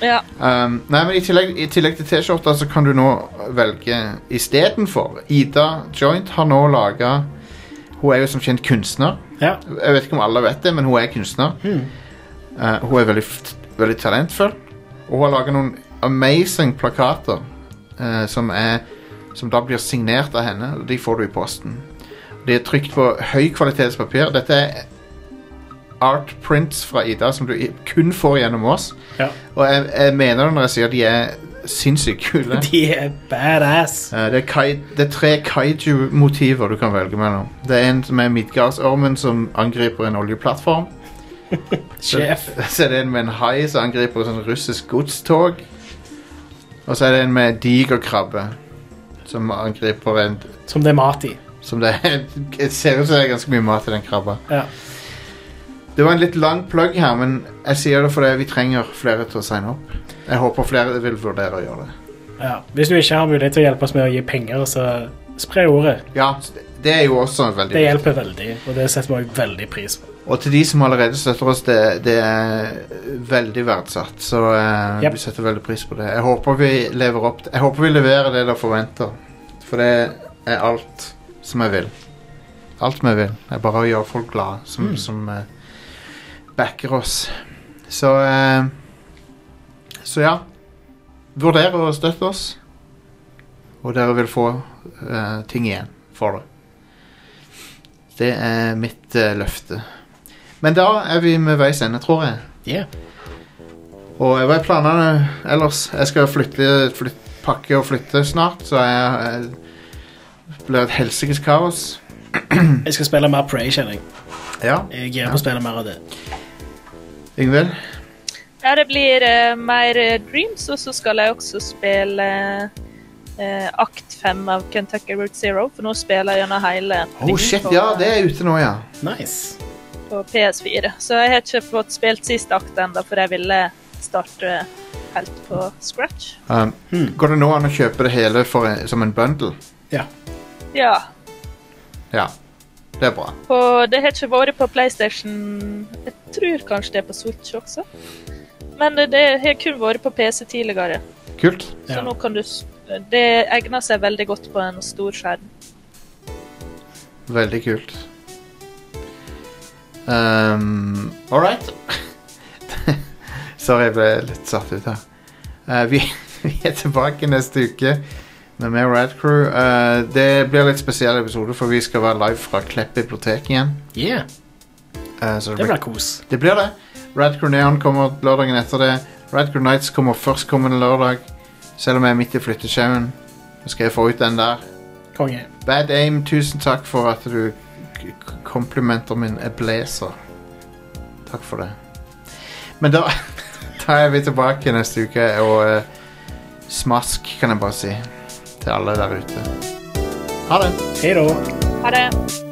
D: Ja.
B: Um, nei, men i tillegg, I tillegg til T-skjorta så kan du nå velge istedenfor. Ida Joint har nå laga Hun er jo som kjent kunstner.
C: Ja.
B: Jeg vet ikke om alle vet det, men hun er kunstner. Uh, hun er veldig, f- veldig talentfull. Og hun har laga noen amazing plakater eh, som, er, som da blir signert av henne. og De får du i posten. De er trykt på høykvalitetspapir. Dette er art prints fra Ida som du i- kun får gjennom oss.
C: Ja.
B: Og jeg, jeg mener det når jeg sier de er sinnssykt
C: <laughs>
B: kule.
C: De er badass.
B: Eh, Det er, kai, det er tre kaiju-motiver du kan velge mellom. Det er en som er Midgardsormen som angriper en oljeplattform.
C: Sjef.
B: <laughs> Så, så er det en med en hai som angriper et sånt russisk godstog. Og så er det en med en digerkrabbe som angriper en
C: Som det er mat i.
B: Som det, er, det ser ut som det er ganske mye mat i den krabba.
C: Ja.
B: Det var en litt lang plugg her, men jeg sier det fordi vi trenger flere til å signe opp. Jeg håper flere vil vurdere å gjøre det.
C: Ja. Hvis du ikke har mulighet til å hjelpe oss med å gi penger, så spre ordet.
B: Ja, det er jo også veldig
C: Det hjelper veldig, og det setter vi også veldig pris på.
B: Og til de som allerede støtter oss, det, det er veldig verdsatt. Så eh,
C: Yep.
B: vi setter veldig pris på det. Jeg håper vi lever opp Jeg håper vi leverer det dere forventer. For det er alt som jeg vil. Alt vi vil. Det er bare å gjøre folk glade, som,
C: Mm.
B: som eh, backer oss. Så eh, Så ja. Vurder å støtte oss, og dere vil få eh, ting igjen for det. Det er mitt eh, løfte. Men da er vi med veis ende, tror jeg.
C: Yeah.
B: Og eh, hva er planene ellers? Jeg skal flytte, flyt- pakke og flytte snart, så jeg, jeg blir et helsikes kaos.
C: Jeg skal spille mer Prey, kjenner jeg.
B: Ja.
C: Jeg er gira på å spille mer av det.
B: Yngvild?
D: Ja, det blir eh, mer eh, Dreams, og så skal jeg også spille eh, akt fem av Kentucky Route Zero, for nå spiller jeg gjennom hele
B: Oh shit, ja, det er ute nå, ja.
C: Nice.
D: på PS4. Så jeg har ikke fått spilt siste akt ennå, for jeg ville starte helt på scratch.
B: Um, Går det nå an å kjøpe det hele for, en- som en bundle?
D: Ja.
B: Ja. Det er bra.
D: På, det har ikke vært på PlayStation Jeg tror kanskje det er på Switch også. Men eh, det har kun vært på PC tidligere.
B: Kult.
D: Så nå kan du s- Det egner seg veldig godt på en stor skjerm.
B: Veldig kult. Um, All right. <laughs> Sorry, jeg ble litt satt ut her. Eh, vi, <laughs> vi er tilbake neste uke med mer Rad Crew. Eh, det blir litt spesiell episode, for vi skal være live fra Klepp bibliotek igjen.
C: Yeah.
B: Eh, så
C: Det blir kos.
B: Det blir det. Rad Crew Neon kommer lørdagen etter det. Rad Crew Nights kommer førstkommende lørdag, selv om jeg er midt i flyttesjauen. Nå skal jeg få ut den der.
C: Konge.
B: Bad Aim, tusen takk for at du k- k- komplimenter min blazer. Takk for det. Men da, <laughs> da er vi tilbake neste uke, og eh, smask, kan jeg bare si, til alle der ute. Ha det.
C: Hei da.
D: Ha det.